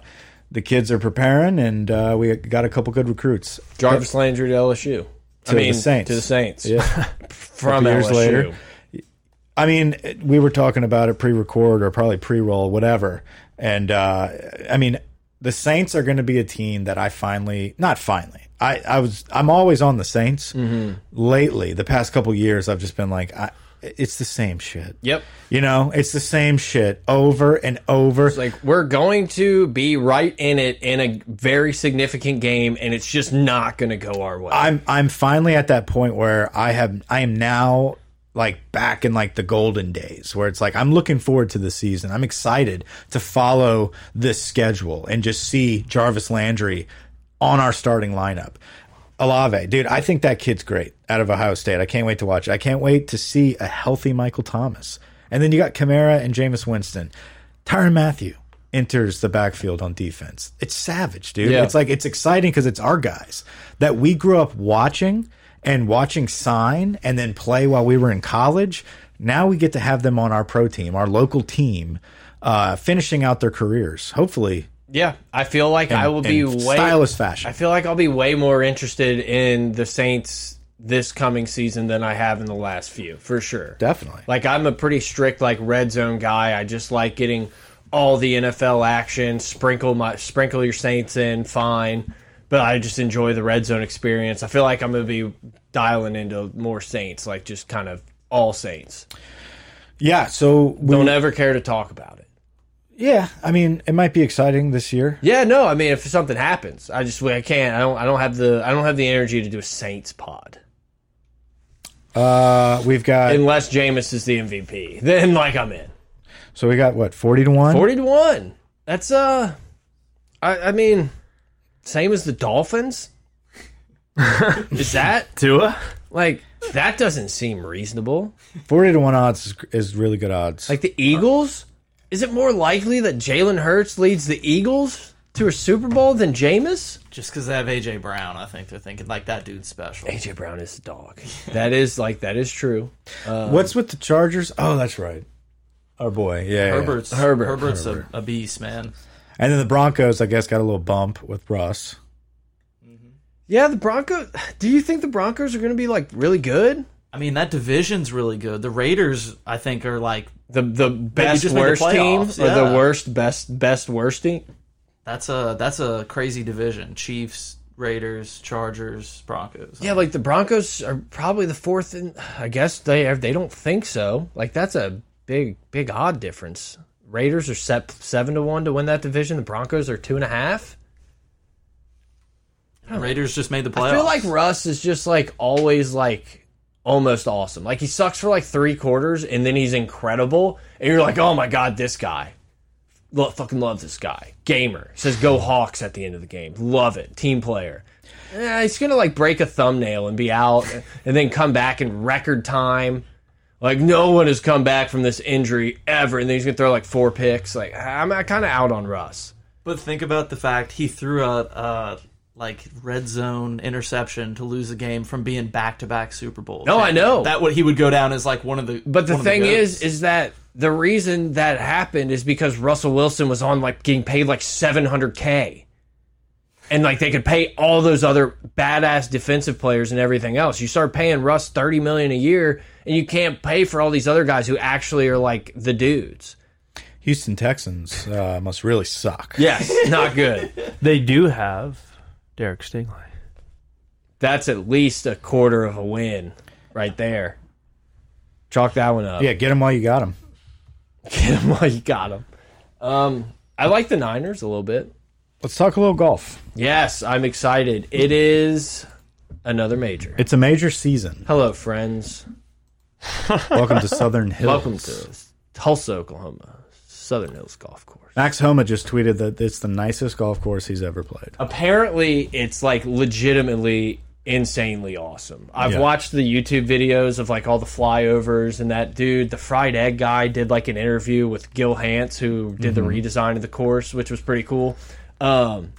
Speaker 1: the kids are preparing and uh, we got a couple good recruits.
Speaker 3: Jarvis Landry to LSU. I
Speaker 1: To the
Speaker 3: mean,
Speaker 1: Saints.
Speaker 3: To the Saints.
Speaker 1: Yeah.
Speaker 3: *laughs* From
Speaker 1: Years
Speaker 3: LSU.
Speaker 1: later. I mean, it- we were talking about it pre-record or probably pre-roll, whatever. And uh, I mean, the Saints are going to be a team that I finally, not finally, I, I was, I'm always on the Saints. Lately, the past couple years, I've just been like, I, it's the same shit.
Speaker 3: Yep.
Speaker 1: You know, it's the same shit over and over.
Speaker 3: It's like we're going to be right in it in a very significant game and it's just not going to go our way.
Speaker 1: I'm I'm finally at that point where I have I am now like back in like the golden days where it's like I'm looking forward to the season. I'm excited to follow this schedule and just see Jarvis Landry on our starting lineup. Alave, dude, I think that kid's great out of Ohio State. I can't wait to watch it. I can't wait to see a healthy Michael Thomas. And then you got Kamara and Jameis Winston. Tyron Matthew enters the backfield on defense. It's savage, dude.
Speaker 3: Yeah.
Speaker 1: It's like it's exciting because it's our guys that we grew up watching and watching sign and then play while we were in college. Now we get to have them on our pro team, our local team, uh, finishing out their careers. Hopefully,
Speaker 3: yeah, I feel like I will be
Speaker 1: in
Speaker 3: way
Speaker 1: stylish fashion.
Speaker 3: I feel like I'll be way more interested in the Saints this coming season than I have in the last few, for sure.
Speaker 1: Definitely.
Speaker 3: Like I'm a pretty strict like red zone guy. I just like getting all the NFL action, sprinkle my sprinkle your Saints in, fine. But I just enjoy the red zone experience. I feel like I'm gonna be dialing into more Saints, like just kind of all Saints.
Speaker 1: yeah. So we,
Speaker 3: Don't ever care to talk about it.
Speaker 1: yeah, I mean, it might be exciting this year.
Speaker 3: Yeah, no, I mean if something happens, I just I can't. I don't I don't have the I don't have the energy to do a Saints pod.
Speaker 1: Uh, we've got
Speaker 3: unless Jameis is the MVP. *laughs* Then like I'm in.
Speaker 1: so we got what forty to one.
Speaker 3: Forty to one. That's uh I, I mean same as the *laughs* Dolphins. is that
Speaker 4: Tua?
Speaker 3: like that doesn't seem reasonable.
Speaker 1: 40 to 1 odds is, is really good odds.
Speaker 3: Like the Eagles? Is it more likely that Jalen Hurts leads the Eagles to a Super Bowl than Jameis?
Speaker 2: Just because they have AJ Brown, I think they're thinking like that dude's special.
Speaker 3: AJ Brown is the dog. That is like that is true.
Speaker 1: Uh, What's with the Chargers? Oh, that's right. Our boy. Yeah. yeah, yeah.
Speaker 2: Herbert's
Speaker 3: Herbert.
Speaker 2: Herbert's A, a beast, man.
Speaker 1: And then the Broncos, I guess, got a little bump with Russ.
Speaker 3: Yeah, the Broncos. Do you think the Broncos are going to be like really good?
Speaker 2: I mean, that division's really good. The Raiders, I think, are like
Speaker 3: The the best
Speaker 2: just made the
Speaker 3: worst team
Speaker 2: playoffs,
Speaker 3: or
Speaker 2: yeah.
Speaker 3: the worst best best worst team?
Speaker 2: that's a that's a crazy division. Chiefs, Raiders, Chargers, Broncos.
Speaker 3: Yeah, like the Broncos are probably the fourth, and I guess they are, they don't think so. Like that's a big big odd difference. Raiders are set seven to one to win that division. The Broncos are two and a half.
Speaker 2: The Raiders just made the playoffs.
Speaker 3: I feel like Russ is just like always like almost awesome. Like he sucks for like three quarters and then he's incredible, and you're like, oh my god, this guy. Lo fucking love this guy. Gamer says go Hawks at the end of the game. Love it. Team player. Eh, he's gonna like break a thumbnail and be out, *laughs* and then come back in record time. Like no one has come back from this injury ever, and then he's gonna throw like four picks. Like I'm kind of out on Russ.
Speaker 2: But think about the fact he threw a, a like red zone interception to lose a game from being back to back Super Bowl.
Speaker 3: No, I know.
Speaker 2: that would he would go down as like one of the.
Speaker 3: But the
Speaker 2: one of
Speaker 3: thing
Speaker 2: goats.
Speaker 3: is, is that the reason that happened is because Russell Wilson was on like getting paid like 700k, and like they could pay all those other badass defensive players and everything else. You start paying Russ 30 million a year, and you can't pay for all these other guys who actually are like the dudes.
Speaker 1: Houston Texans uh, must really suck.
Speaker 3: Yes, *laughs* not good.
Speaker 4: They do have Derek Stingley.
Speaker 3: That's at least a quarter of a win right there. Chalk that one up.
Speaker 1: Yeah, get him while you got him.
Speaker 3: *laughs* Get him while you got him. Um, I like the Niners a little bit.
Speaker 1: Let's talk a little golf.
Speaker 3: Yes, I'm excited. It is another major.
Speaker 1: It's a major
Speaker 3: *laughs*
Speaker 1: season.
Speaker 3: Hello, friends.
Speaker 1: Welcome to Southern Hills.
Speaker 3: Welcome to Tulsa, Oklahoma, Southern Hills Golf Course.
Speaker 1: Max Homa just tweeted that it's the nicest golf course he's ever played.
Speaker 3: Apparently, it's like legitimately insanely awesome. I've
Speaker 1: Yeah.
Speaker 3: watched the YouTube videos of like all the flyovers and that dude, the fried egg guy, did like an interview with Gil Hance, who did the
Speaker 1: Mm-hmm.
Speaker 3: redesign of the course, which was pretty cool. Um,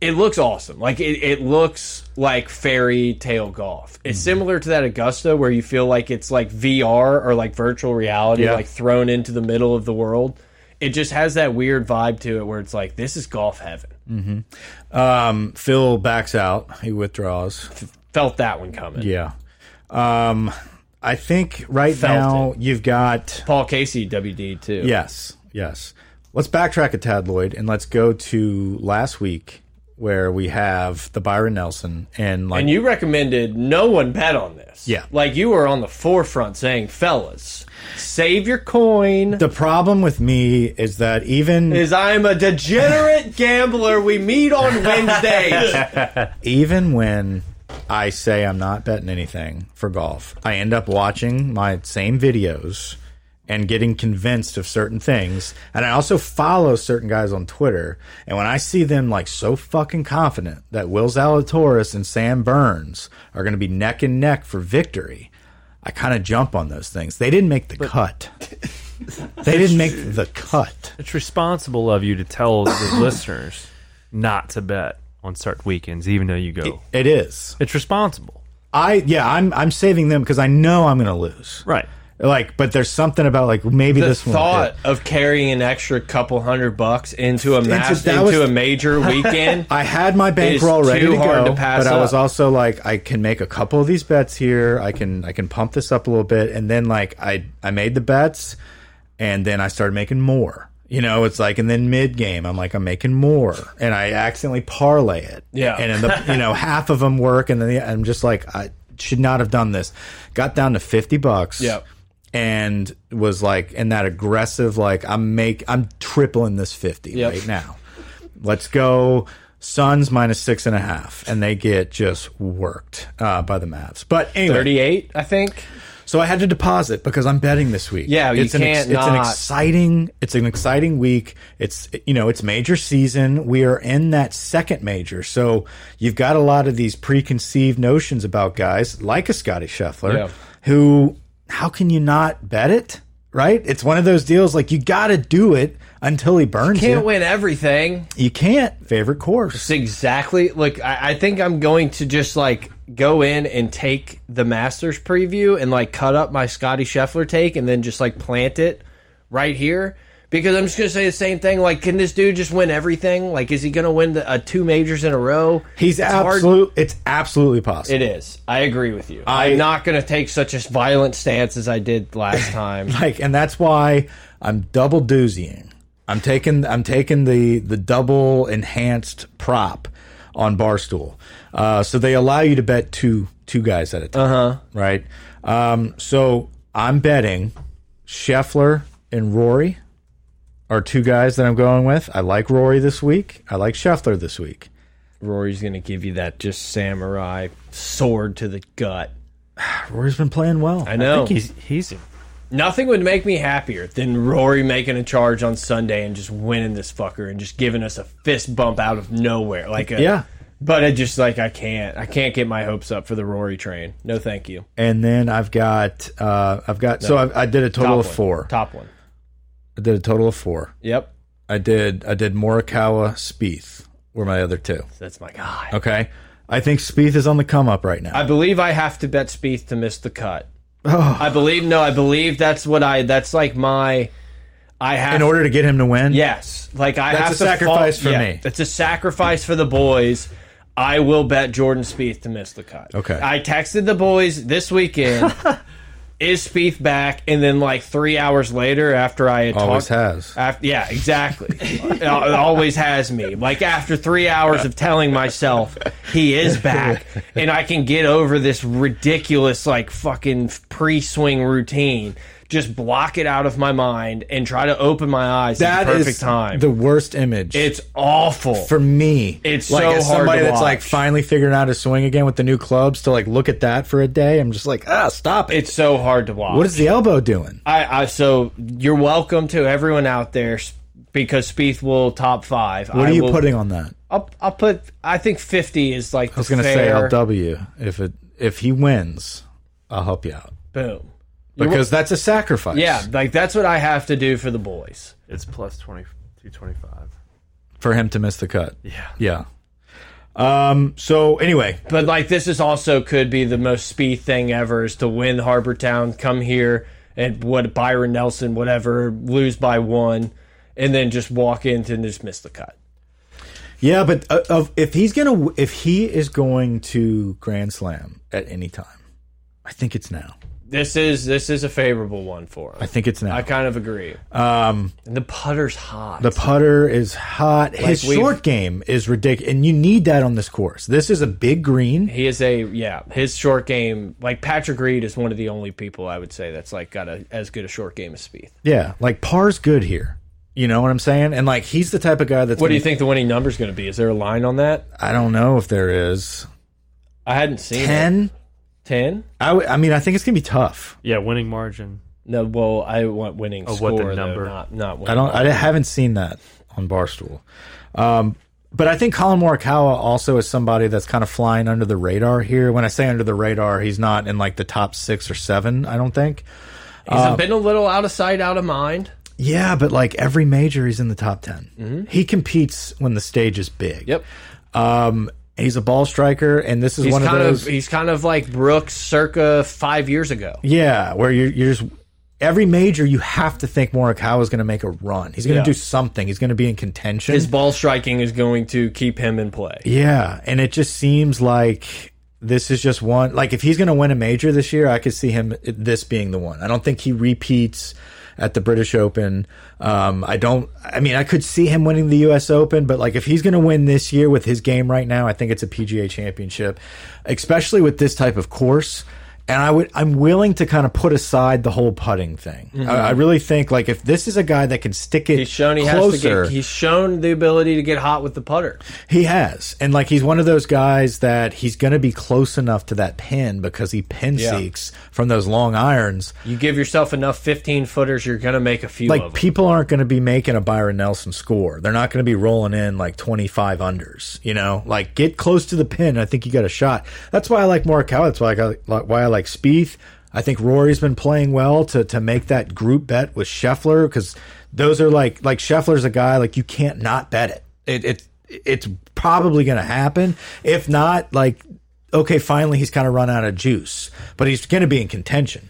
Speaker 3: it looks awesome. Like it, it looks like fairy tale golf.
Speaker 1: Mm-hmm.
Speaker 3: It's similar to that Augusta where you feel like it's like VR or like virtual reality,
Speaker 1: Yeah.
Speaker 3: like thrown into the middle of the world. It just has that weird vibe to it where it's like this is golf heaven.
Speaker 1: Um, Phil backs out. He withdraws.
Speaker 3: Felt that one coming.
Speaker 1: Yeah. Um, I think right
Speaker 3: Felt
Speaker 1: now you've got
Speaker 3: Paul Casey WD too.
Speaker 1: yes, yes. Let's backtrack a tad, Lloyd, and let's go to last week where we have the Byron Nelson and like
Speaker 3: And you recommended no one bet on this.
Speaker 1: Yeah.
Speaker 3: Like you were on the forefront saying, fellas, save your coin.
Speaker 1: the problem with me is that even
Speaker 3: Is I'm
Speaker 1: *laughs*
Speaker 3: a degenerate gambler. We meet on Wednesdays.
Speaker 1: even when I say I'm not betting anything for golf, I end up watching my same videos and getting convinced of certain things. And I also follow certain guys on Twitter. And when I see them like so fucking confident that Will Zalatoris and Sam Burns are going to be neck and neck for victory, I kind of jump on those things. They didn't make the cut. they didn't make the cut.
Speaker 4: It's responsible of you to tell the *coughs* listeners not to bet on certain weekends, even though you go.
Speaker 1: It is.
Speaker 4: it's responsible,
Speaker 1: I yeah, I'm I'm saving them because I know I'm going to lose.
Speaker 4: right?
Speaker 1: Like, but there's something about like maybe
Speaker 3: the
Speaker 1: this
Speaker 3: thought
Speaker 1: One
Speaker 3: of carrying an extra couple hundred bucks into a mass,
Speaker 1: that
Speaker 3: into
Speaker 1: was- *laughs*
Speaker 3: a major weekend.
Speaker 1: I had my
Speaker 3: It is
Speaker 1: bankroll ready
Speaker 3: too
Speaker 1: to go,
Speaker 3: hard to pass
Speaker 1: but I was
Speaker 3: up.
Speaker 1: also like, I can make a couple of these bets here. I can I can pump this up a little bit, and then like I I made the bets, and then I started making more. You know, it's like, and then mid game, I'm like, I'm making more, and I accidentally parlay it.
Speaker 3: Yeah.
Speaker 1: and then the
Speaker 3: *laughs*
Speaker 1: you know half of them work, and then the, I'm just like, I should not have done this. Got down to fifty bucks.
Speaker 3: Yep.
Speaker 1: and was like in that aggressive like I'm make I'm tripling this fifty
Speaker 3: Yep.
Speaker 1: right now. Let's go Suns minus six and a half, and they get just worked uh, by the Mavs. But anyway,
Speaker 3: 38, I think.
Speaker 1: so I had to deposit because I'm betting this week.
Speaker 3: Yeah, you
Speaker 1: it's an ex-
Speaker 3: can't
Speaker 1: It's an
Speaker 3: not.
Speaker 1: exciting. It's an exciting week. It's you know it's major season. We are in that second major, so you've got a lot of these preconceived notions about guys like a Scotty Scheffler,
Speaker 3: Yeah.
Speaker 1: who how can you not bet it? Right? It's one of those deals like you got to do it until he burns you.
Speaker 3: Can't win everything.
Speaker 1: You can't favorite course.
Speaker 3: It's exactly like I, I think I'm going to just like go in and take the Masters preview and like cut up my Scotty Scheffler take and then just like plant it right here because I'm just gonna say the same thing. Like, can this dude just win everything? Like, is he gonna win the uh, two majors in a row?
Speaker 1: He's
Speaker 3: It's hard-
Speaker 1: absolute. It's absolutely possible.
Speaker 3: It is. I agree with you.
Speaker 1: I-
Speaker 3: I'm not gonna take such a violent stance as I did last time.
Speaker 1: like and that's why i'm double doozying i'm taking i'm taking the the double enhanced prop on barstool uh, so they allow you to bet two two guys at a time uh-huh. right um, so i'm betting Scheffler and rory are two guys that i'm going with i like rory this week i like Scheffler this week
Speaker 3: Rory's gonna give you that just samurai sword to the gut.
Speaker 1: rory's been playing well
Speaker 3: I know.
Speaker 4: I think he's he's
Speaker 3: Nothing would make me happier than Rory making a charge on Sunday and just winning this fucker and just giving us a fist bump out of nowhere. Like a,
Speaker 1: yeah
Speaker 3: but I just like I can't I can't get my hopes up for the Rory train. No, thank you.
Speaker 1: and then i've got uh, i've got so I, I did a total
Speaker 3: Top
Speaker 1: of
Speaker 3: one.
Speaker 1: four
Speaker 3: Top one.
Speaker 1: i did a total of four
Speaker 3: Yep,
Speaker 1: I did I did Morikawa, Spieth were my other two.
Speaker 3: that's my guy.
Speaker 1: Okay. I think Spieth is on the come up right now.
Speaker 3: I believe I have to bet Spieth to miss the cut.
Speaker 1: Oh.
Speaker 3: I believe no. I believe that's what I. That's like my. I have
Speaker 1: in order to get him to win.
Speaker 3: Yes, like I
Speaker 1: That's
Speaker 3: have
Speaker 1: a
Speaker 3: to
Speaker 1: sacrifice
Speaker 3: fall-
Speaker 1: for
Speaker 3: yeah,
Speaker 1: me.
Speaker 3: It's a sacrifice for the boys. I will bet Jordan Spieth to miss the cut.
Speaker 1: Okay.
Speaker 3: I texted the boys
Speaker 1: *laughs*
Speaker 3: this weekend. is Spieth back? And then like three hours later, after I had
Speaker 1: Always
Speaker 3: talked,
Speaker 1: has.
Speaker 3: After, yeah, exactly. it al- it always has me. Like after three hours of telling myself he is back, and I can get over this ridiculous like fucking pre-swing routine. just block it out of my mind and try to open my eyes at
Speaker 1: That
Speaker 3: the
Speaker 1: is
Speaker 3: perfect time.
Speaker 1: the worst image.
Speaker 3: it's awful.
Speaker 1: for me.
Speaker 3: It's
Speaker 1: like
Speaker 3: so
Speaker 1: as
Speaker 3: hard
Speaker 1: somebody
Speaker 3: to
Speaker 1: that's like
Speaker 3: watch.
Speaker 1: finally figuring out his swing again with the new clubs to like look at that for a day. I'm just like, ah, stop it.
Speaker 3: it's so hard to watch.
Speaker 1: What is the elbow doing?
Speaker 3: I, I so you're welcome to everyone out there s- because Spieth will top five.
Speaker 1: What
Speaker 3: I
Speaker 1: are you
Speaker 3: will-
Speaker 1: putting on that?
Speaker 3: I'll, I'll put. I think fifty is like.
Speaker 1: I was gonna say LW if it if he wins, I'll help you out
Speaker 3: Boom.
Speaker 1: because that's a sacrifice.
Speaker 3: Yeah, like that's what I have to do for the boys.
Speaker 4: It's plus 20, 225.
Speaker 1: for him to miss the cut. Yeah, yeah. Um. So anyway,
Speaker 3: But like this is also could be the most Spieth thing ever is to win Harbor Town, come here and what Byron Nelson, whatever, lose by one, and then just walk into and just miss the cut.
Speaker 1: yeah, but uh, of, if he's gonna w- if he is going to Grand Slam at any time, I think it's now.
Speaker 3: This is this is a favorable one for
Speaker 1: I
Speaker 3: him.
Speaker 1: think it's now.
Speaker 3: I kind of agree.
Speaker 1: Um.
Speaker 3: And the putter's hot.
Speaker 1: The putter is hot. His
Speaker 3: we've-
Speaker 1: short game is ridiculous, and you need that on this course. This is a big green.
Speaker 3: He is a yeah. His short game, like Patrick Reed, is one of the only people I would say that's like got a as good a short game as Spieth.
Speaker 1: Yeah, like par's good here. You know what I'm saying? And like he's the type of guy that's.
Speaker 3: What do
Speaker 1: gonna-
Speaker 3: you think the winning number's going to be? Is there a line on that?
Speaker 1: I don't know if there is
Speaker 3: I hadn't seen it.
Speaker 1: ten.
Speaker 3: ten.
Speaker 1: I, w I mean, I think it's gonna be tough.
Speaker 4: Yeah, winning margin.
Speaker 3: No, well, I want winning
Speaker 4: Of
Speaker 3: score.
Speaker 4: what the
Speaker 3: though,
Speaker 4: number-
Speaker 3: not not winning.
Speaker 1: I don't. I haven't seen that on Barstool. Um, but I think Colin Morikawa also is somebody that's kind of flying under the radar here. When I say under the radar, he's not in like the top six or seven. I don't think.
Speaker 3: He's
Speaker 1: uh,
Speaker 3: been a little out of sight, out of mind.
Speaker 1: Yeah, but like every major, he's in the top 10 He competes when the stage is big.
Speaker 3: Mm-hmm. Yep.
Speaker 1: Um, he's a ball striker, and this is
Speaker 3: He's
Speaker 1: one of
Speaker 3: kind
Speaker 1: those.
Speaker 3: of he's kind of like Brooks circa five years ago.
Speaker 1: yeah, where you're, you're just every major, you have to think Morikawa is going to make a run. He's going to
Speaker 3: Yeah.
Speaker 1: do something. He's going to be in contention.
Speaker 3: His ball striking is going to keep him in play.
Speaker 1: yeah, and it just seems like. This is just one. Like, if he's going to win a major this year, I could see him this being the one. I don't think he repeats at the British Open. Um, I don't. I mean, I could see him winning the U.S. Open, but like, if he's going to win this year with his game right now, I think it's a PGA Championship, especially with this type of course. And I would, I'm willing to kind of put aside the whole putting thing. I, I really think like if this is a guy that can stick it
Speaker 3: Mm-hmm. He's shown he
Speaker 1: closer,
Speaker 3: has to get. He's shown the ability to get hot with the putter.
Speaker 1: he has. And like he's one of those guys that he's going to be close enough to that pin because he pin
Speaker 3: Yeah.
Speaker 1: seeks from those long irons.
Speaker 3: You give yourself enough 15 footers, you're going to make a few of
Speaker 1: Like
Speaker 3: 'em.
Speaker 1: people aren't going to be making a Byron Nelson score. They're not going to be rolling in like 25 unders, you know? Like get close to the pin, I think you got a shot. That's why I like Morikawa, that's why I got- like why I like Spieth. I think Rory's been playing well to to make that group bet with Scheffler cuz those are like like Scheffler's a guy like you can't not bet it. It it it's probably going to happen. If not, like okay, finally he's kind of run out of juice, but he's going to be in contention.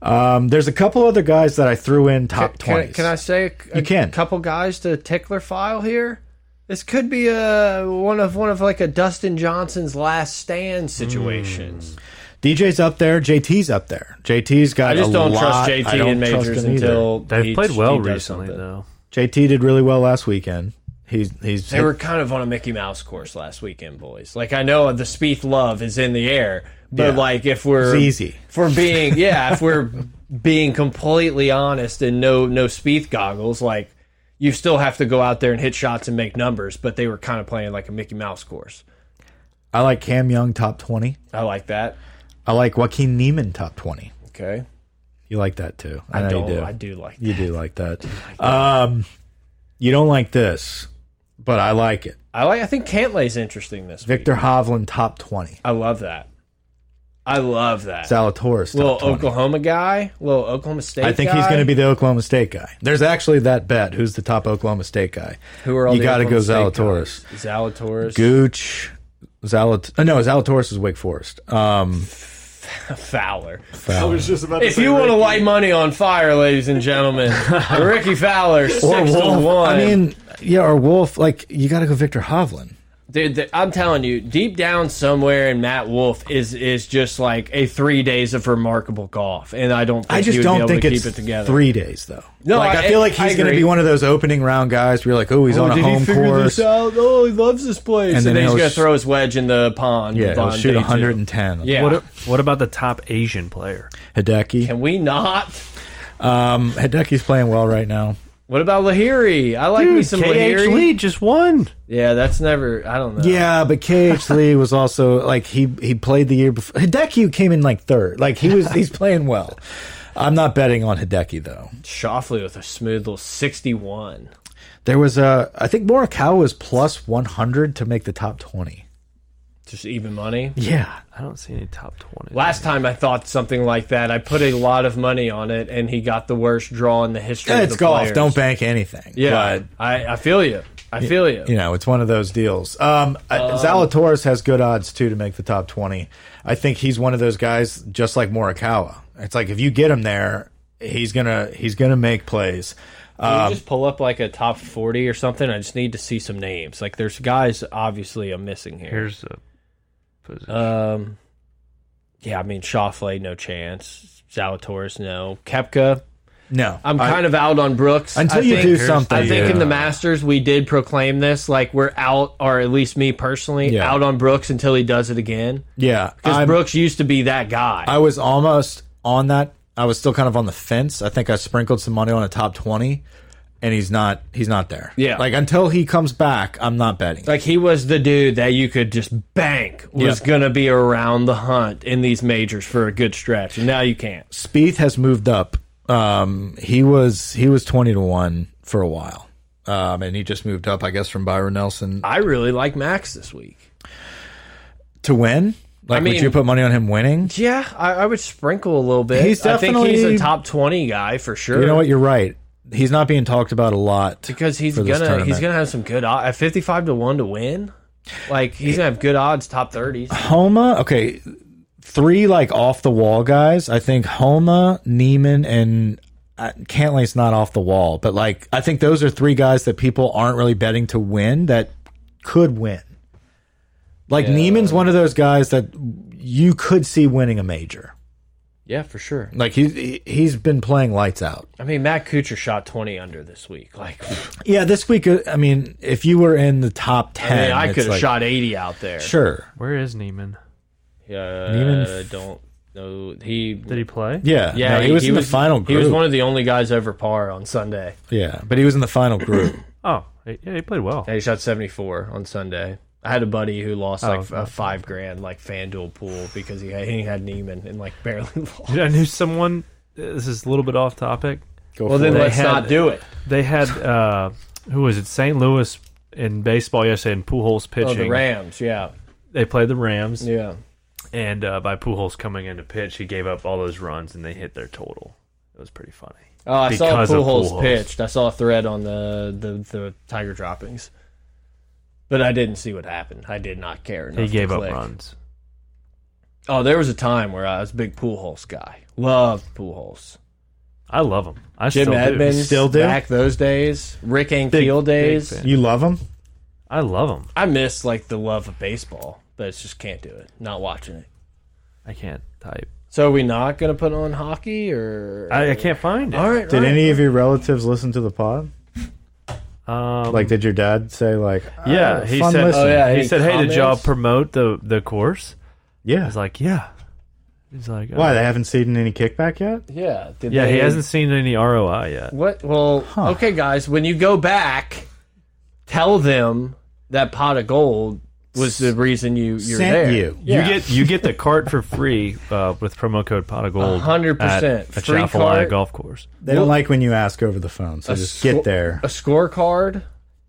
Speaker 1: Um, there's a couple other guys that I threw in top
Speaker 3: Can,
Speaker 1: twenty.
Speaker 3: can I say a, a
Speaker 1: You can.
Speaker 3: couple guys to tickler file here? This could be a one of one of like a Dustin Johnson's last stand situations.
Speaker 1: DJ's up there. JT's up there. JT's got.
Speaker 3: I just
Speaker 1: a
Speaker 3: don't
Speaker 1: lot-
Speaker 3: trust
Speaker 1: I
Speaker 3: JT
Speaker 1: don't
Speaker 3: in
Speaker 1: trust
Speaker 3: majors
Speaker 1: him either.
Speaker 3: until
Speaker 4: They've
Speaker 3: he-
Speaker 4: played
Speaker 3: he
Speaker 4: well
Speaker 3: does
Speaker 4: recently,
Speaker 3: something.
Speaker 4: though.
Speaker 1: JT did really well last weekend. He's he's
Speaker 3: They were kind of on a Mickey Mouse course last weekend, boys. Like I know the Spieth love is in the air, but
Speaker 1: Yeah.
Speaker 3: like if we're
Speaker 1: It's easy.
Speaker 3: if
Speaker 1: *laughs*
Speaker 3: we're being yeah, if we're being completely honest and no no Spieth goggles, like you still have to go out there and hit shots and make numbers. But they were kind of playing like a Mickey Mouse course.
Speaker 1: I like Cam Young top twenty.
Speaker 3: I like that.
Speaker 1: I like Joaquin Neiman top twenty.
Speaker 3: Okay,
Speaker 1: You like that too. I,
Speaker 3: I,
Speaker 1: know
Speaker 3: don't.
Speaker 1: you do.
Speaker 3: I do like.
Speaker 1: You do like that. Um, you don't like this, but I like it.
Speaker 3: I like. I think Cantlay's interesting this week.
Speaker 1: Victor Hovland top twenty.
Speaker 3: I love that. I love that.
Speaker 1: Zalatoris
Speaker 3: little
Speaker 1: top twenty.
Speaker 3: Oklahoma guy, little Oklahoma State.
Speaker 1: I think he's
Speaker 3: guy.
Speaker 1: going to be the Oklahoma State guy. There's actually that bet. Who's the top Oklahoma State guy?
Speaker 3: Who are all
Speaker 1: you
Speaker 3: the
Speaker 1: got to go
Speaker 3: Oklahoma State
Speaker 1: Zalatoris,
Speaker 3: guys? Zalatoris.
Speaker 1: Gooch, Zalat. uh, No, Zalatoris is Wake Forest. Um,
Speaker 3: Fowler.
Speaker 7: I was just about to
Speaker 3: If
Speaker 7: say
Speaker 3: you want to
Speaker 7: Ricky.
Speaker 3: light money on fire, ladies
Speaker 1: *laughs*
Speaker 3: and gentlemen, Ricky Fowler six to one.
Speaker 1: I mean, yeah, or Wolf. Like you got to go Victor Hovland.
Speaker 3: dude, th- I'm telling you, deep down somewhere in Matt Wolf is is just like a three days of remarkable golf, and I don't. Think
Speaker 1: I
Speaker 3: he
Speaker 1: just
Speaker 3: would be
Speaker 1: don't
Speaker 3: able
Speaker 1: think
Speaker 3: to
Speaker 1: it's
Speaker 3: keep it together.
Speaker 1: three days though.
Speaker 3: No,
Speaker 1: like I,
Speaker 3: I-
Speaker 1: feel like
Speaker 3: I
Speaker 1: he's going to
Speaker 3: agree.
Speaker 1: be one of those opening round guys. Where you're like, oh, he's on a home course.
Speaker 3: out? Oh, he loves this place. And,
Speaker 1: And
Speaker 3: then,
Speaker 1: then
Speaker 3: he's
Speaker 1: he'll
Speaker 3: gonna
Speaker 1: sh-
Speaker 3: throw his wedge in the pond.
Speaker 1: Yeah, he'll
Speaker 3: on
Speaker 1: shoot
Speaker 3: day two.
Speaker 1: 110.
Speaker 3: Yeah.
Speaker 4: What, a- what about the top Asian player?
Speaker 1: Hideki.
Speaker 3: Can we not?
Speaker 1: Um, Hideki's playing well right now.
Speaker 3: What about Lahiri? I like me
Speaker 4: Dude,
Speaker 3: some
Speaker 4: KH
Speaker 3: Lahiri.
Speaker 4: Lee just won.
Speaker 3: Yeah, that's never. I don't
Speaker 1: *laughs*
Speaker 3: know.
Speaker 1: Yeah, but KH Lee was also like he he played the year before. Hideki came in like third. Like he was he's playing well. I'm not betting on Hideki though.
Speaker 3: Shoffley with a smooth little sixty-one.
Speaker 1: There was a I think Morikawa was plus 100 to make the top 20.
Speaker 3: Just even money.
Speaker 1: Yeah.
Speaker 4: I don't see any top twenty.
Speaker 3: Last time I thought something like that, I put a lot of money on it, and he got the worst draw in the history. of
Speaker 1: It's
Speaker 3: the
Speaker 1: golf.
Speaker 3: players.
Speaker 1: Don't bank anything.
Speaker 3: Yeah, I, I feel you. I feel you.
Speaker 1: But, you know, it's one of those deals. Um, uh, Zalatoris has good odds too to make the top 20. I think he's one of those guys just like Morikawa. It's like if you get him there, he's going to he's going to make plays.
Speaker 3: Can
Speaker 1: Um,
Speaker 3: you just pull up like a top forty or something? I just need to see some names. Like there's guys obviously I'm missing here.
Speaker 4: Here's the position.
Speaker 3: Um, yeah, I mean Shoffley, no chance. Zalatoris, no. Kepka,
Speaker 1: No.
Speaker 3: I'm
Speaker 1: I-
Speaker 3: kind of out on Brooks
Speaker 1: until
Speaker 3: I
Speaker 1: you
Speaker 3: think-
Speaker 1: do something.
Speaker 3: I think in the
Speaker 1: yeah.
Speaker 3: Masters we did proclaim this. Like we're out, or at least me personally,
Speaker 1: Yeah.
Speaker 3: out on Brooks until he does it again.
Speaker 1: Yeah.
Speaker 3: Because
Speaker 1: I'm-
Speaker 3: Brooks used to be that guy.
Speaker 1: I was almost on that. I was still kind of on the fence. I think I sprinkled some money on a top twenty, and he's not. He's not there.
Speaker 3: Yeah.
Speaker 1: Like until he comes back, I'm not betting.
Speaker 3: like he was the dude that you could just bank was
Speaker 1: Yeah.
Speaker 3: gonna be around the hunt in these majors for a good stretch, and now you can't.
Speaker 1: Spieth has moved up. Um, he was he was twenty to one for a while, um, and he just moved up, I guess, from Byron Nelson
Speaker 3: I really like Max this week.
Speaker 1: to win. Like,
Speaker 3: mean-
Speaker 1: would you put money on him winning?
Speaker 3: Yeah, I, I would sprinkle a little bit.
Speaker 1: He's
Speaker 3: I think he's a
Speaker 1: definitely-
Speaker 3: top twenty guy for sure.
Speaker 1: You know what? You're right. He's not being talked about a lot
Speaker 3: because he's
Speaker 1: for this
Speaker 3: gonna he's
Speaker 1: tournament.
Speaker 3: gonna have some good odds at fifty five to one to win. Like he's gonna have good odds, top thirties.
Speaker 1: Homa, okay, three like off the wall guys. I think Homa, Neiman, and uh, Cantley's not off the wall, but like I think those are three guys that people aren't really betting to win that could win. Like Neiman's one of those guys that you could see winning a major.
Speaker 3: Yeah, for sure.
Speaker 1: Like he- he he's been playing lights out.
Speaker 3: I mean, Matt Kuchar shot twenty under this week. Like,
Speaker 1: Yeah, this week uh, I mean, if you were in the top
Speaker 3: I
Speaker 1: *laughs*
Speaker 3: mean,
Speaker 1: ten,
Speaker 3: I
Speaker 1: it's
Speaker 3: could have
Speaker 1: like,
Speaker 3: shot eighty out there.
Speaker 1: Sure,
Speaker 4: Where is Neiman?
Speaker 3: Yeah, I don't know. He,
Speaker 4: Did he play?
Speaker 1: yeah,
Speaker 3: yeah,
Speaker 1: no, he, was in the final group.
Speaker 3: He was one of the only guys over par on Sunday.
Speaker 1: yeah, but he was in the final
Speaker 3: *coughs*
Speaker 1: group.
Speaker 4: Oh, he- yeah, he played well. *laughs*
Speaker 3: Yeah, he shot seventy four on Sunday. I had a buddy who lost like
Speaker 4: Oh,
Speaker 3: a five grand like FanDuel pool because he had, he had Neiman and like barely *laughs* lost.
Speaker 4: Dude, I knew someone. This is a little bit off topic.
Speaker 1: Go
Speaker 3: Well, then
Speaker 4: They
Speaker 3: let's
Speaker 4: had-
Speaker 3: not do it.
Speaker 4: They had uh, who was it? St. Louis in baseball yesterday, and Pujols
Speaker 3: Oh,
Speaker 4: pitching.
Speaker 3: the Rams, yeah,
Speaker 4: They played the Rams,
Speaker 3: yeah.
Speaker 4: and uh, by Pujols coming in to pitch, he gave up all those runs, and they hit their total. It was pretty funny.
Speaker 3: Oh, I
Speaker 4: Because
Speaker 3: saw
Speaker 4: of
Speaker 3: Pujols,
Speaker 4: Pujols.
Speaker 3: pitched. I saw a thread on the, the the Tiger droppings, but I didn't see what happened. I did not care. enough
Speaker 4: He
Speaker 3: to
Speaker 4: gave up
Speaker 3: click.
Speaker 4: runs.
Speaker 3: Oh, there was a time where I was a big Pujols guy. Loved Pujols.
Speaker 4: I love him. I
Speaker 3: Jim
Speaker 4: still
Speaker 3: Edmonds,
Speaker 4: do.
Speaker 1: Still do?
Speaker 3: back those days. Rick Ankiel days.
Speaker 4: fan.
Speaker 1: You love him?
Speaker 4: I love him.
Speaker 3: I miss like the love of baseball, but it's just can't do it. Not watching it.
Speaker 4: I can't type.
Speaker 3: So are we not gonna put on hockey or?
Speaker 4: I, I can't find it.
Speaker 3: all right.
Speaker 1: Did any of your relatives listen to the pod?
Speaker 4: Um,
Speaker 3: Mm.
Speaker 1: Like, did your dad say like,
Speaker 4: yeah,
Speaker 1: "Oh,
Speaker 4: he
Speaker 1: fun
Speaker 4: said.
Speaker 1: listen."
Speaker 3: Oh, yeah.
Speaker 4: he
Speaker 3: any
Speaker 4: said, "Hey, did y'all
Speaker 3: comments?
Speaker 4: promote the the course?" I
Speaker 1: yeah."
Speaker 4: was like, "Yeah." He's like,
Speaker 1: Why
Speaker 4: "Oh."
Speaker 1: they haven't seen any kickback yet?
Speaker 3: Yeah. Did
Speaker 4: Yeah, he
Speaker 3: they-
Speaker 4: hasn't seen any ROI yet.
Speaker 3: What? Well, okay, guys. When you go back, tell them that pot of gold was the reason you you're
Speaker 1: Sent
Speaker 3: there.
Speaker 1: you.
Speaker 3: Yeah.
Speaker 4: You get you
Speaker 3: *laughs*
Speaker 4: get the cart for free uh, with promo code pot of gold.
Speaker 3: A hundred percent.
Speaker 4: at a
Speaker 3: Free
Speaker 4: Atchafalaya
Speaker 3: cart.
Speaker 4: golf course.
Speaker 1: They don't like when you ask over the phone, so just
Speaker 3: sco-
Speaker 1: get there.
Speaker 3: a scorecard.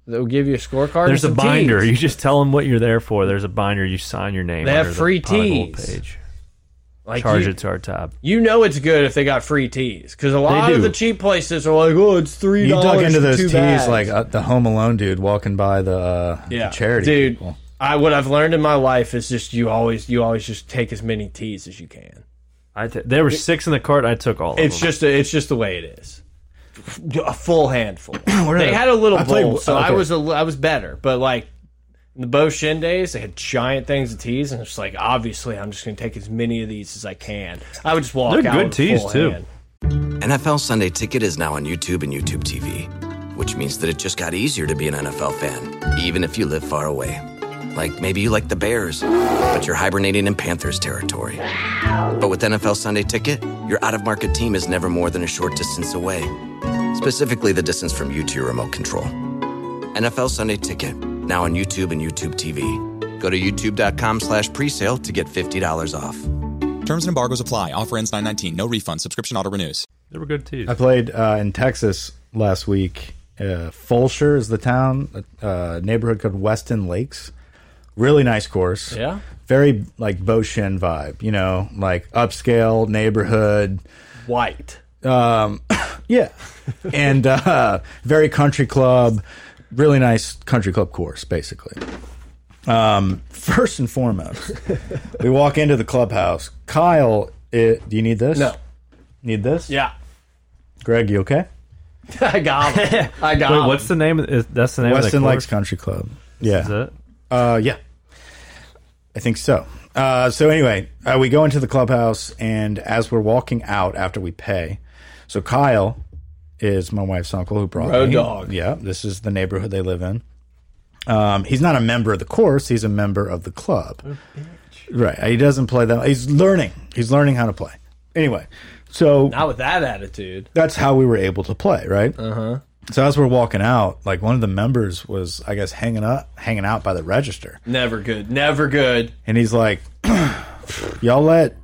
Speaker 3: That will give you a scorecard.
Speaker 4: There's a
Speaker 3: and some
Speaker 4: binder.
Speaker 3: teas.
Speaker 4: You just tell them what you're there for. There's a binder. You sign your name.
Speaker 3: They have
Speaker 4: under the
Speaker 3: free
Speaker 4: pot of gold
Speaker 3: tees.
Speaker 4: page.
Speaker 3: Like
Speaker 4: Charge
Speaker 3: you,
Speaker 4: it to our tab.
Speaker 3: you know it's good if they got free teas because a lot of
Speaker 4: do.
Speaker 3: the cheap places are like, oh, it's three.
Speaker 1: You dug into
Speaker 3: for
Speaker 1: those
Speaker 3: two
Speaker 1: tees
Speaker 3: bags.
Speaker 1: like uh, the Home Alone dude walking by the, uh, the charity
Speaker 3: dude.
Speaker 1: people.
Speaker 3: I what I've learned in my life is just you always you always just take as many teas as you can.
Speaker 4: I t there were six in the cart. I took all.
Speaker 3: It's
Speaker 4: of them.
Speaker 3: just it's just the way it is. A full handful.
Speaker 1: are
Speaker 3: *clears throat* they
Speaker 1: they?
Speaker 3: had a little
Speaker 1: I
Speaker 3: bowl,
Speaker 1: played-
Speaker 3: so I
Speaker 1: okay.
Speaker 3: was a li- I was better. But like in the Bo Shin days, they had giant things of teas, and it's like obviously I'm just going to take as many of these as I can. I would just walk
Speaker 4: They're
Speaker 3: out
Speaker 4: good
Speaker 3: with
Speaker 4: tees,
Speaker 3: full
Speaker 4: too.
Speaker 3: hand.
Speaker 5: NFL Sunday Ticket is now on YouTube and YouTube TV, which means that it just got easier to be an NFL fan, even if you live far away. Like maybe you like the Bears, but you're hibernating in Panthers territory. But with NFL Sunday Ticket, your out of market team is never more than a short distance away, specifically the distance from you to your remote control. NFL Sunday Ticket, now on YouTube and YouTube TV. Go to youtube.com slash presale to get $50 off.
Speaker 8: Terms and embargoes apply. Offer ends 919. No refund. Subscription auto renews.
Speaker 4: They were good teas.
Speaker 1: I played uh, in Texas last week. Uh, Fulshire is the town, uh, neighborhood called Weston Lakes. Really nice course.
Speaker 3: Yeah.
Speaker 1: Very like Boshin vibe, you know, like upscale neighborhood.
Speaker 3: White.
Speaker 1: Yeah. Um, *laughs* and uh, very country club, really nice country club course, basically. Um, first and foremost, we walk into the clubhouse. Kyle, it, do you need this?
Speaker 3: No.
Speaker 1: Need this?
Speaker 3: Yeah.
Speaker 1: Greg, you okay?
Speaker 3: *laughs* I got *laughs* him. I got
Speaker 4: Wait,
Speaker 3: him.
Speaker 4: what's the name? Of, is, that's the name
Speaker 1: Weston
Speaker 4: of the
Speaker 1: Lakes
Speaker 4: course?
Speaker 1: Country Club.
Speaker 4: Is
Speaker 1: Yeah.
Speaker 4: it?
Speaker 1: Uh, yeah. I think so. Uh, so anyway, uh, we go into the clubhouse, and as we're walking out after we pay, so Kyle is my wife's uncle who brought
Speaker 3: Road
Speaker 1: me.
Speaker 3: dog.
Speaker 1: Yeah, this is the neighborhood they live in. Um, he's not a member of the course; he's a member of the club.
Speaker 3: Oh,
Speaker 1: Right? He doesn't play that. He's learning. He's learning how to play. Anyway, so
Speaker 3: Not with that attitude.
Speaker 1: that's how we were able to play, right?
Speaker 3: Uh-huh.
Speaker 1: So as we're walking out, like one of the members was, I guess, hanging up, hanging out by the register,
Speaker 3: Never good. Never good.
Speaker 1: and he's like, *clears throat* "Y'all let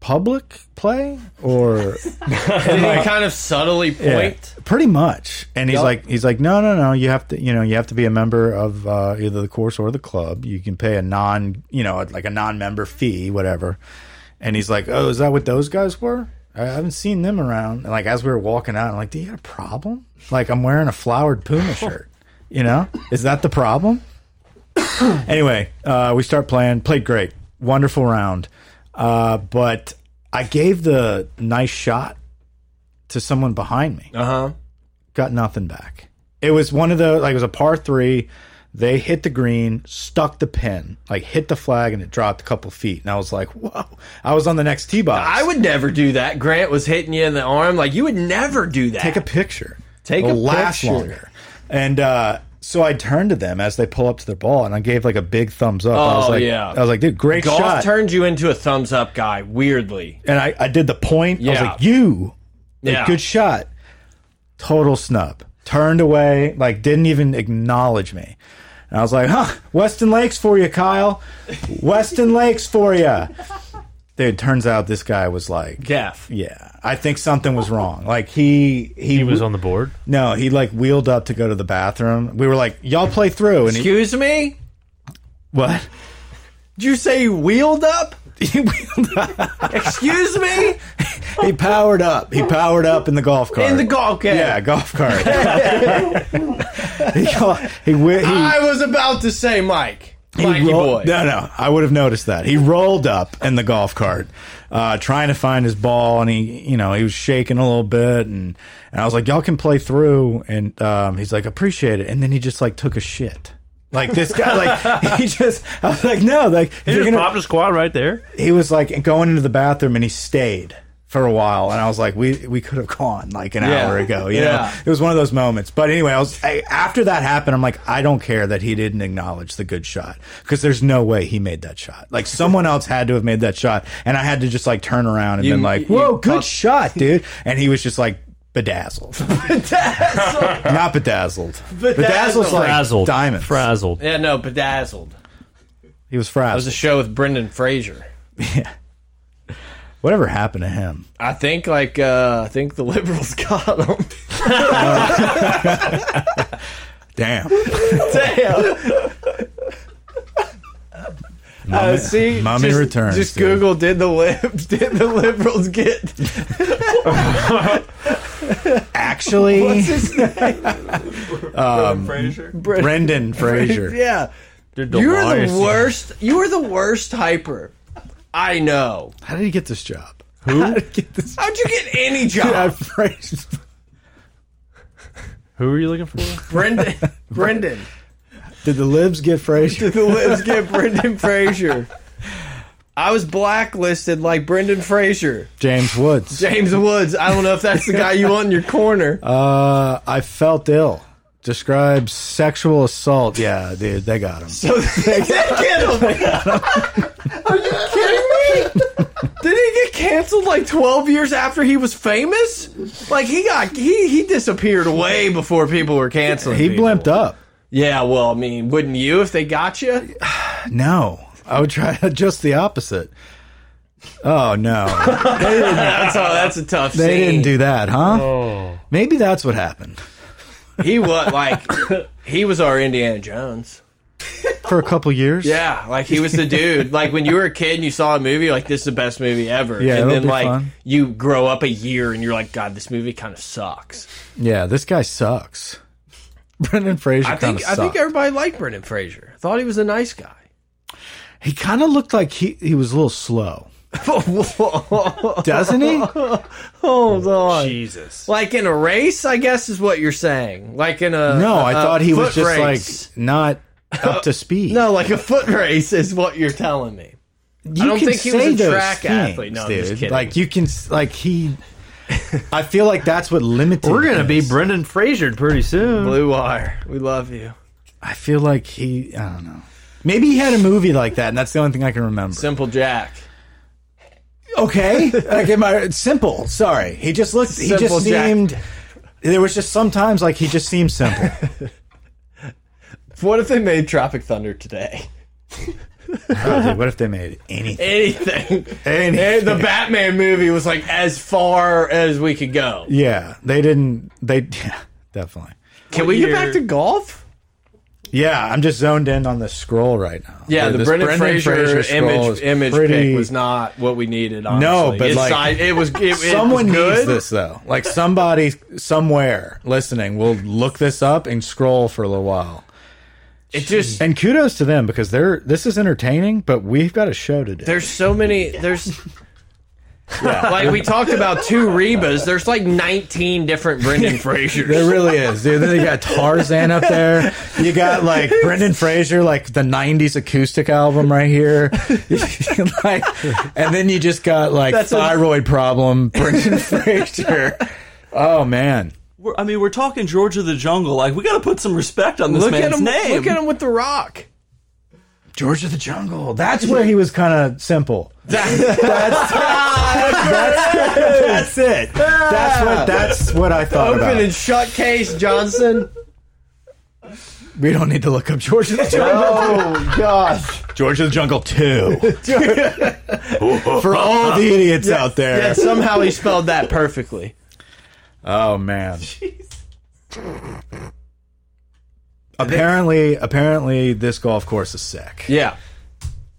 Speaker 1: public play or
Speaker 3: Did he kind of subtly point?
Speaker 1: pretty much?" And he's
Speaker 3: Yup.
Speaker 1: like, "He's like, no, no, no. You have to, you know, you have to be a member of uh, either the course or the club. You can pay a non, you know, like a non-member fee, whatever." And he's like, "Oh, is that what those guys were?" I haven't seen them around. And like as we were walking out, I'm like, "Do you got a problem?" Like I'm wearing a flowered puma shirt. You know, is that the problem? *coughs* anyway, uh, we start playing. Played great, wonderful round. Uh, but I gave the nice shot to someone behind me. Uh huh. Got nothing back. It was one of the like it was a par three. They hit the green, stuck the pin, like hit the flag, and it dropped a couple feet. And I was like, "Whoa!" I was on the next tee box.
Speaker 3: I would never do that. Grant was hitting you in the arm. Like, you would never do that.
Speaker 1: take a picture.
Speaker 3: Take
Speaker 1: It'll
Speaker 3: a
Speaker 1: last
Speaker 3: picture.
Speaker 1: longer. And uh, so I turned to them as they pull up to their ball, and I gave like a big thumbs up. I was
Speaker 3: Oh,
Speaker 1: like,
Speaker 3: yeah.
Speaker 1: I was like, "Dude, great
Speaker 3: Golf
Speaker 1: shot!"
Speaker 3: turned you into a thumbs up guy, weirdly.
Speaker 1: and I, I did the point. I was
Speaker 3: Yeah.
Speaker 1: like, you, like,
Speaker 3: Yeah.
Speaker 1: good shot. Total snub. Turned away, like didn't even acknowledge me. And I was like, huh, Weston Lakes for you, Kyle. Weston Lakes for you. Dude, turns out this guy was like,
Speaker 3: Jeff.
Speaker 1: yeah, I think something was wrong. Like he, he,
Speaker 4: He was on the board.
Speaker 1: no, he like wheeled up to go to the bathroom. We were like, y'all play through, and he,
Speaker 3: Excuse me?
Speaker 1: what?
Speaker 3: Did you say you wheeled up?
Speaker 1: he *laughs* wheeled up.
Speaker 3: Excuse me?
Speaker 1: He powered up. He powered up in the golf cart.
Speaker 3: In the golf game.
Speaker 1: Yeah, golf cart. *laughs* he, he, wi- he,
Speaker 3: I was about to say Mike.
Speaker 1: he
Speaker 3: Mikey
Speaker 1: roll-
Speaker 3: boy.
Speaker 1: No, no, I would have noticed that. He rolled up in the golf cart, uh, trying to find his ball, and he, you know, he was shaking a little bit, and and I was like, "Y'all can play through," and um, he's like, "Appreciate it," and then he just like took a shit. Like this guy, like *laughs* he just, I was like, no, like
Speaker 4: He
Speaker 1: you're
Speaker 4: just
Speaker 1: gonna-
Speaker 4: popped a squad right there.
Speaker 1: he was like going into the bathroom and he stayed for a while and i was like we we could have gone like an
Speaker 3: Yeah.
Speaker 1: hour ago you know
Speaker 3: Yeah.
Speaker 1: it was one of those moments but anyway i was I, after that happened i'm like i don't care that he didn't acknowledge the good shot because there's no way he made that shot like someone else had to have made that shot and i had to just like turn around and been like
Speaker 3: you-
Speaker 1: whoa
Speaker 3: you
Speaker 1: good
Speaker 3: talk-
Speaker 1: shot dude and he was just like bedazzled
Speaker 3: *laughs*
Speaker 1: not bedazzled bedazzled's like
Speaker 4: Frazzled.
Speaker 1: diamonds
Speaker 4: Frazzled.
Speaker 3: Yeah, no, bedazzled.
Speaker 1: he was
Speaker 3: It was a
Speaker 1: frazzled
Speaker 3: show with Brendan Fraser.
Speaker 1: whatever happened to him
Speaker 3: I think like uh I think the liberals *laughs* got him.
Speaker 1: damn
Speaker 3: Damn. Uh, see,
Speaker 1: Mommy
Speaker 3: just,
Speaker 1: returns,
Speaker 3: Just
Speaker 1: dude.
Speaker 3: Google did the lib *laughs* did the liberals get
Speaker 1: actually
Speaker 3: *laughs* what's
Speaker 1: *laughs*
Speaker 3: his name?
Speaker 2: Frazier.
Speaker 3: *laughs*
Speaker 1: Brendan Fraser.
Speaker 3: yeah, you're the worst. You are the worst hyper. I know.
Speaker 1: How did he get this job? *laughs*
Speaker 3: How'd you get any job,
Speaker 1: Fraser.
Speaker 4: Who are you looking for?
Speaker 3: Brendan? Brendan,
Speaker 1: Did the libs get Fraser?
Speaker 3: did the libs get Brendan Fraser? I was blacklisted like Brendan Fraser,
Speaker 1: *laughs* James Woods.
Speaker 3: James Woods. I don't know if that's the guy you want in your corner.
Speaker 1: Uh, I felt ill. Describes sexual assault. Yeah, dude, they got him.
Speaker 3: *laughs* Did he get canceled like 12 years after he was famous? Like he got he he disappeared way before people were canceling.
Speaker 1: he
Speaker 3: people.
Speaker 1: blimped up.
Speaker 3: Yeah, well, I mean, wouldn't you if they got you?
Speaker 1: No, I would try *laughs* just the opposite. Oh *laughs* no,
Speaker 3: That's all. That's a tough.
Speaker 1: they
Speaker 3: scene.
Speaker 1: didn't do that, huh? Maybe that's what happened
Speaker 3: He was like, he was our Indiana Jones.
Speaker 1: for a couple years.
Speaker 3: Yeah, like he was the dude. Like when you were a kid and you saw a movie, like this is the best movie ever.
Speaker 1: Yeah,
Speaker 3: and
Speaker 1: it'll
Speaker 3: then
Speaker 1: be
Speaker 3: like
Speaker 1: fun.
Speaker 3: you grow up a year and you're like, God, this movie kind of sucks.
Speaker 1: yeah. This guy sucks. *laughs* Brendan Fraser.
Speaker 3: I think
Speaker 1: kinda
Speaker 3: I think
Speaker 1: sucked.
Speaker 3: everybody liked Brendan Fraser. I thought he was a nice guy. *laughs*
Speaker 1: he kind of looked like he he was a little
Speaker 3: *laughs*
Speaker 1: slow, doesn't he?
Speaker 3: Hold on.
Speaker 4: Jesus.
Speaker 3: Like in a race, I guess is what you're saying. Like in a
Speaker 1: No,
Speaker 3: a-
Speaker 1: I
Speaker 3: a
Speaker 1: thought he was
Speaker 3: Uh, foot
Speaker 1: just
Speaker 3: race.
Speaker 1: like not up to speed.
Speaker 3: no, like a foot race is what you're telling me.
Speaker 1: you
Speaker 3: don't
Speaker 1: can
Speaker 3: think he was
Speaker 1: say
Speaker 3: a
Speaker 1: those
Speaker 3: track
Speaker 1: things,
Speaker 3: athlete. No, I'm
Speaker 1: dude.
Speaker 3: just kidding.
Speaker 1: Like you can, s- like he. *laughs* I feel like that's what limited.
Speaker 4: We're gonna
Speaker 1: him
Speaker 4: be
Speaker 1: is-
Speaker 4: Brendan Fraser pretty soon.
Speaker 3: Blue wire, we love you.
Speaker 1: I feel like he. I don't know. Maybe he had a movie like that, and that's the only thing I can remember.
Speaker 3: Simple Jack. *laughs*
Speaker 1: okay, like am I simple? Sorry, he just looked. he
Speaker 3: Simple
Speaker 1: just
Speaker 3: Jack.
Speaker 1: seemed. There was just sometimes like he just seemed
Speaker 3: *laughs*
Speaker 1: simple.
Speaker 3: What if they made Tropic Thunder today?
Speaker 1: Oh, dude, what if they made anything?
Speaker 3: Anything.
Speaker 1: *laughs* Anything.
Speaker 3: The Batman movie was like as far as we could go.
Speaker 1: Yeah, they didn't. They *laughs* yeah, definitely.
Speaker 3: Can we get back to golf?
Speaker 1: Yeah, I'm just zoned in on the scroll right now.
Speaker 3: Yeah, the
Speaker 1: This
Speaker 3: Brendan, Fraser,
Speaker 1: scroll
Speaker 3: image
Speaker 1: is
Speaker 3: image
Speaker 1: pretty-
Speaker 3: pick was not what we needed. Honestly.
Speaker 1: but,
Speaker 3: It's
Speaker 1: like,
Speaker 3: si- it was. It, it
Speaker 1: Someone
Speaker 3: was good.
Speaker 1: needs this though. Like somebody somewhere listening will look this up and scroll for a little while.
Speaker 3: It just
Speaker 1: And kudos to them because they're this is entertaining, but we've got a show to do.
Speaker 3: there's so many.
Speaker 2: *laughs*
Speaker 3: There's like we talked about two Rebas. There's like 19
Speaker 2: *laughs*
Speaker 3: different Brendan Frasers.
Speaker 1: There really is, dude. Then you got Tarzan up there. You got like Brendan Fraser, like the '90s acoustic album right here. *laughs* like, and then you just got like
Speaker 3: That's a-
Speaker 1: thyroid problem, Brendan *laughs* Fraser. Oh man,
Speaker 2: We're, I mean, we're talking George of the Jungle. Like, we got to put some respect on this
Speaker 3: Look at
Speaker 2: man's
Speaker 3: him.
Speaker 2: name.
Speaker 3: Look at him with the Rock.
Speaker 1: George of the Jungle. That's where he was kind of *laughs* simple. *laughs* that's, that's, it. That's what. That's what I thought
Speaker 3: Open
Speaker 1: about.
Speaker 3: and shut case,
Speaker 1: *laughs*
Speaker 3: Johnson. *laughs*
Speaker 1: we don't need to look up George of the Jungle.
Speaker 3: Oh gosh.
Speaker 1: George of the Jungle Two. For all the idiots out there.
Speaker 3: Yeah, somehow he spelled that perfectly.
Speaker 1: Oh man. *laughs* apparently, apparently, this golf course is sick.
Speaker 3: Yeah.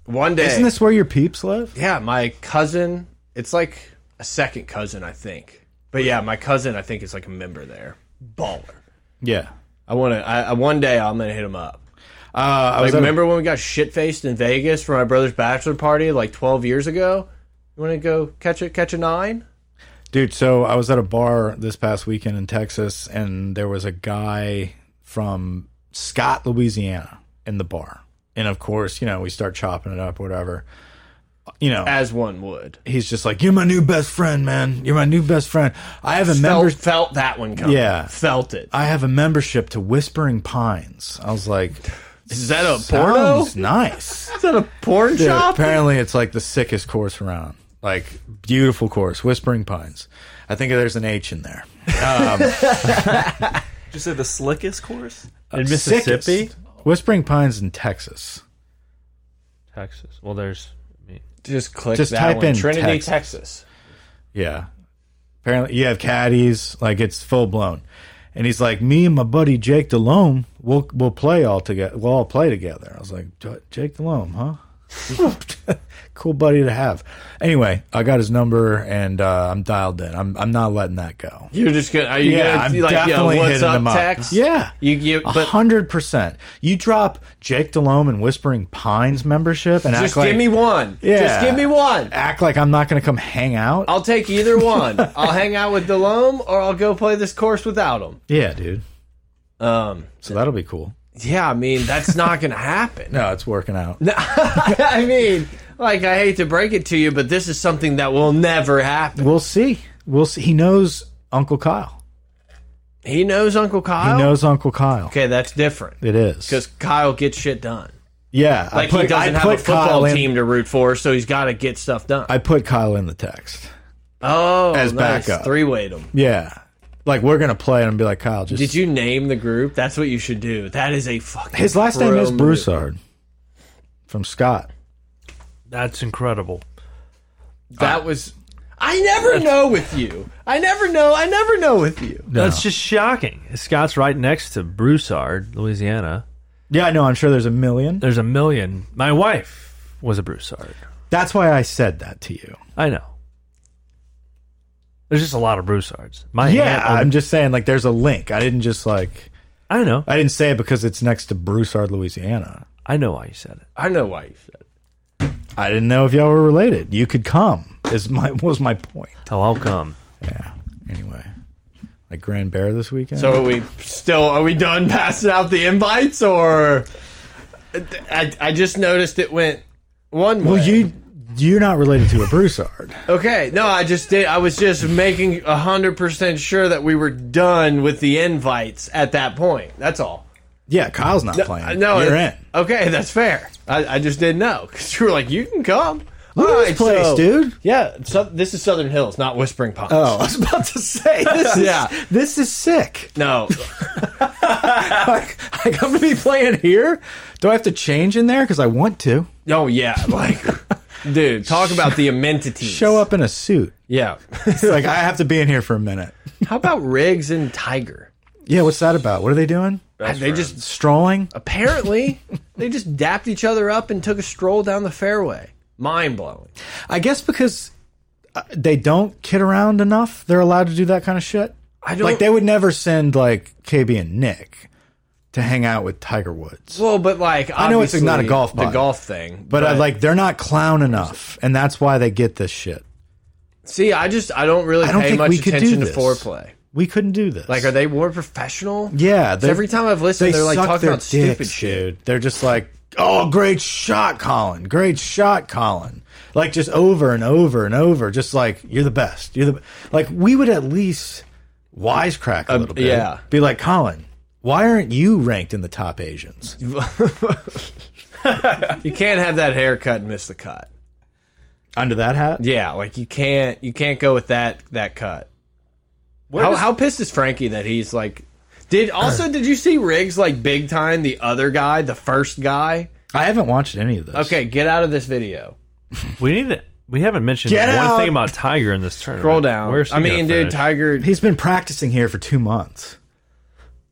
Speaker 3: One day.
Speaker 1: Isn't this where your peeps live?
Speaker 3: Yeah, my cousin. It's like a second cousin, I think. But yeah, my cousin, I think, is like a member there. Baller.
Speaker 1: Yeah.
Speaker 3: I want to. I, I one day I'm gonna hit him up.
Speaker 1: Uh, I
Speaker 3: Like,
Speaker 1: was at a-
Speaker 3: remember when we got shit faced in Vegas for my brother's bachelor party like 12 years ago? You want to go catch a catch a nine?
Speaker 1: dude. So I was at a bar this past weekend in Texas, and there was a guy from Scott, Louisiana, in the bar. And of course, you know, we start chopping it up, whatever. You know,
Speaker 3: As one would.
Speaker 1: he's just like, "You're my new best friend, man. You're my new best friend. I have a member."
Speaker 3: Felt, felt that one coming.
Speaker 1: Yeah.
Speaker 3: felt it.
Speaker 1: I have a membership to Whispering Pines. I was like,
Speaker 3: Is that a
Speaker 1: *laughs*
Speaker 3: porno?
Speaker 1: sounds nice.
Speaker 3: Is that a porn
Speaker 1: Dude,
Speaker 3: shop?
Speaker 1: apparently, it's like the sickest course around. Like beautiful course, Whispering Pines. I think there's an H in there.
Speaker 2: Did you say the slickest course?
Speaker 4: In Mississippi,
Speaker 1: Uh, Sickest. Whispering Pines in Texas.
Speaker 4: Texas. Well, there's. I mean,
Speaker 3: Just click
Speaker 1: Just
Speaker 3: that
Speaker 1: type
Speaker 3: one.
Speaker 1: in
Speaker 3: Trinity,
Speaker 1: Texas.
Speaker 3: Texas.
Speaker 1: Yeah. Apparently, you have caddies. Like it's full blown. And he's like, me and my buddy Jake Delhomme, we'll we'll play all together. We'll all play together. I was like, "J- Jake Delhomme, huh? *laughs* cool buddy to have. Anyway, I got his number and uh, I'm dialed in. I'm I'm not letting that go.
Speaker 3: You're just gonna. Are you
Speaker 1: yeah,
Speaker 3: gonna
Speaker 1: I'm
Speaker 3: be like,
Speaker 1: definitely
Speaker 3: yo, what's
Speaker 1: hitting
Speaker 3: up,
Speaker 1: him up.
Speaker 3: text?
Speaker 1: Yeah,
Speaker 3: You give,
Speaker 1: a
Speaker 3: but
Speaker 1: hundred percent. You drop Jake Delhomme and Whispering Pines membership and
Speaker 3: just
Speaker 1: act
Speaker 3: give
Speaker 1: like
Speaker 3: me one.
Speaker 1: Yeah.
Speaker 3: Just give me one.
Speaker 1: act like I'm not going to come hang out.
Speaker 3: I'll take either one. I'll hang out with Delome or I'll go play this course without him.
Speaker 1: yeah, dude.
Speaker 3: Um,
Speaker 1: So that'll be cool.
Speaker 3: yeah, I mean that's not gonna happen. *laughs*
Speaker 1: No, it's working out.
Speaker 3: I mean, like I hate to break it to you, but this is something that will never happen.
Speaker 1: We'll see. We'll see. He knows Uncle Kyle.
Speaker 3: He knows Uncle
Speaker 1: He
Speaker 3: Kyle.
Speaker 1: knows Uncle Kyle.
Speaker 3: Okay, that's different
Speaker 1: It is
Speaker 3: because Kyle gets shit done.
Speaker 1: yeah.
Speaker 3: Like he doesn't have a football team to root for, so he's got to get stuff done.
Speaker 1: I put Kyle in the text.
Speaker 3: oh,
Speaker 1: as
Speaker 3: nice.
Speaker 1: backup.
Speaker 3: three weight him.
Speaker 1: Yeah, like we're gonna play and be like Kyle. Just
Speaker 3: Did you name the group? That's what you should do. That is a fucking.
Speaker 1: His last name
Speaker 3: pro
Speaker 1: is
Speaker 3: move.
Speaker 1: Broussard from Scott.
Speaker 4: That's incredible.
Speaker 3: That was. I *laughs* never know with you. I never know. I never know with you.
Speaker 4: That's just shocking. Scott's right next to Broussard, Louisiana.
Speaker 1: Yeah, I know. I'm sure there's a million.
Speaker 4: There's a million. My wife was a Broussard.
Speaker 1: That's why I said that to you.
Speaker 4: I know. There's just a lot of Broussards. My
Speaker 1: Yeah,
Speaker 4: aunt owned-
Speaker 1: I'm just saying. Like, there's a link. I didn't just like.
Speaker 4: I know.
Speaker 1: I didn't say it because it's next to Broussard, Louisiana.
Speaker 4: I know why you said it.
Speaker 3: I know why you said. it.
Speaker 1: I didn't know if y'all were related. You could come. Is my *laughs* was my point.
Speaker 4: Oh, I'll come.
Speaker 1: Yeah. Anyway, like Grand Bear this weekend.
Speaker 3: So are we still are we done *laughs* passing out the invites or? I, I just noticed it went one way.
Speaker 1: well, you you're not related to a Broussard.
Speaker 3: Okay, no, I just did. I was just making hundred percent sure that we were done with the invites at that point. That's all.
Speaker 1: yeah, Kyle's not playing.
Speaker 3: No,
Speaker 1: you're in.
Speaker 3: it- Okay, that's fair. I, I just didn't know because you were like, you can come.
Speaker 1: Look at this place,
Speaker 3: *laughs*
Speaker 1: dude.
Speaker 3: Yeah, so, this is Southern Hills, not Whispering Pines.
Speaker 1: Oh, I was about to say this. Is,
Speaker 3: Yeah.
Speaker 1: this is sick.
Speaker 3: no,
Speaker 1: like, like, I'm gonna be playing here. Do I have to change in there because I want to
Speaker 3: oh yeah, like, dude, talk about the amenities.
Speaker 1: show up in a suit?
Speaker 3: Yeah.
Speaker 1: *laughs* like I have to be in here for a minute.
Speaker 3: How about Riggs and Tiger?
Speaker 1: Yeah, what's that about? What are they doing?
Speaker 3: they just
Speaker 1: Strolling?
Speaker 3: apparently they just dapped each other up and took a stroll down the fairway. Mind blowing.
Speaker 1: I guess because uh, they don't kid around enough, they're allowed to do that kind of shit.
Speaker 3: I don't
Speaker 1: Like they would never send like KB and Nick to hang out with Tiger Woods.
Speaker 3: Well, but like I
Speaker 1: know it's not a golf
Speaker 3: the
Speaker 1: pod.
Speaker 3: golf thing,
Speaker 1: But uh, I like they're not clown enough, and that's why they get this shit.
Speaker 3: See, I just I don't really
Speaker 1: I don't
Speaker 3: pay
Speaker 1: think
Speaker 3: much
Speaker 1: we could
Speaker 3: attention
Speaker 1: do
Speaker 3: to
Speaker 1: this.
Speaker 3: foreplay.
Speaker 1: We couldn't do this.
Speaker 3: Like, are they more professional?
Speaker 1: Yeah,
Speaker 3: So every time I've listened,
Speaker 1: they
Speaker 3: they're like
Speaker 1: suck
Speaker 3: talking
Speaker 1: their
Speaker 3: about stupid
Speaker 1: dicks,
Speaker 3: shit.
Speaker 1: dude. They're just like, "Oh, great shot, Colin! Great shot, Colin!" Like just over and over and over, just like you're the best. You're the be-" like we would at least wisecrack a little bit.
Speaker 3: Um, yeah.
Speaker 1: be like Colin. Why aren't you ranked in the top Asians?
Speaker 3: *laughs* You can't have that haircut and miss the cut.
Speaker 1: Under that hat,
Speaker 3: Yeah, like you can't you can't go with that that cut.
Speaker 9: Where
Speaker 3: how
Speaker 9: does-
Speaker 3: how pissed is Frankie that he's like? Did also did you see Riggs like big time the other guy the first guy?
Speaker 1: I haven't watched any of this.
Speaker 3: Okay, get out of this video.
Speaker 4: We need to. We haven't mentioned
Speaker 1: Get
Speaker 4: one
Speaker 1: out!
Speaker 4: thing about Tiger in this tournament.
Speaker 3: Scroll down.
Speaker 4: Where's he
Speaker 3: I
Speaker 4: gonna
Speaker 3: mean, dude,
Speaker 4: finish?
Speaker 3: Tiger.
Speaker 1: he's been practicing here for two months.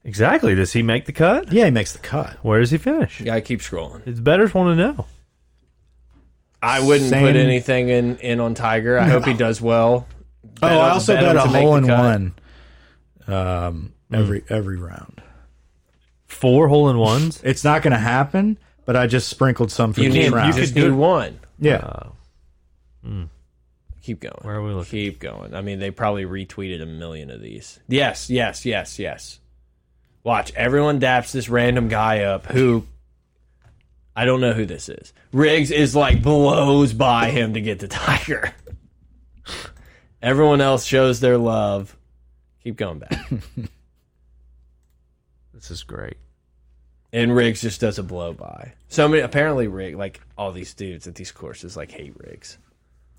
Speaker 4: exactly. Does he make the cut?
Speaker 1: Yeah, he makes the cut.
Speaker 4: Where does he finish?
Speaker 3: Yeah, I keep scrolling.
Speaker 4: It's betters want to know.
Speaker 3: I wouldn't
Speaker 1: Same-
Speaker 3: put anything in in on Tiger. I hope
Speaker 4: *laughs*
Speaker 3: he does well.
Speaker 1: Oh,
Speaker 3: on-
Speaker 1: I also
Speaker 3: bet
Speaker 1: bet
Speaker 3: him
Speaker 1: a
Speaker 3: to make
Speaker 1: hole
Speaker 3: the
Speaker 1: in
Speaker 3: cut.
Speaker 1: one. Um, every every round.
Speaker 4: Four hole in ones.
Speaker 1: It's not going to happen, but I just sprinkled some for
Speaker 3: You
Speaker 1: each
Speaker 3: need you
Speaker 1: round.
Speaker 3: just need one.
Speaker 1: yeah.
Speaker 3: Keep going.
Speaker 4: Where are we looking?
Speaker 3: Keep going. I mean, they probably retweeted a million of these. Yes, yes, yes, yes. Watch. Everyone daps this random guy up who I don't know who this is. Riggs is like blows by him to get the tiger. *laughs* Everyone else shows their love. Keep going back.
Speaker 4: *laughs* This is great.
Speaker 3: And Riggs just does a blow by. So many apparently Riggs like all these dudes at these courses like hate Riggs.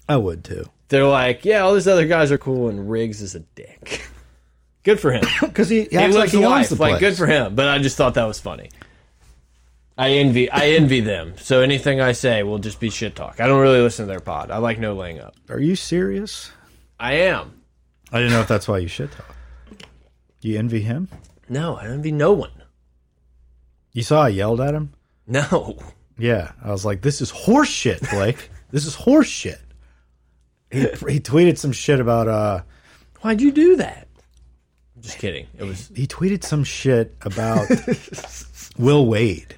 Speaker 1: I would too.
Speaker 3: They're like, yeah, all these other guys are cool, and Riggs is a dick. *laughs* good for him.
Speaker 1: Because he,
Speaker 3: he
Speaker 1: acts like
Speaker 3: lives
Speaker 1: he
Speaker 3: a
Speaker 1: owns
Speaker 3: life.
Speaker 1: the
Speaker 3: Like,
Speaker 1: place.
Speaker 3: good for him. But I just thought that was funny. I envy, I envy them. So anything I say will just be shit talk. I don't really listen to their pod. I like no laying up.
Speaker 1: Are you serious?
Speaker 3: I am.
Speaker 1: I didn't know if that's why you shit talk. You envy him?
Speaker 3: No, I envy no one.
Speaker 1: You saw I yelled at him?
Speaker 3: No.
Speaker 1: Yeah. I was like, this is horse shit, Blake. *laughs* this is horse shit. He, he tweeted some shit about, uh,
Speaker 3: Why'd you do that? I'm *laughs* just kidding. It was.
Speaker 1: he tweeted some shit about Will Wade.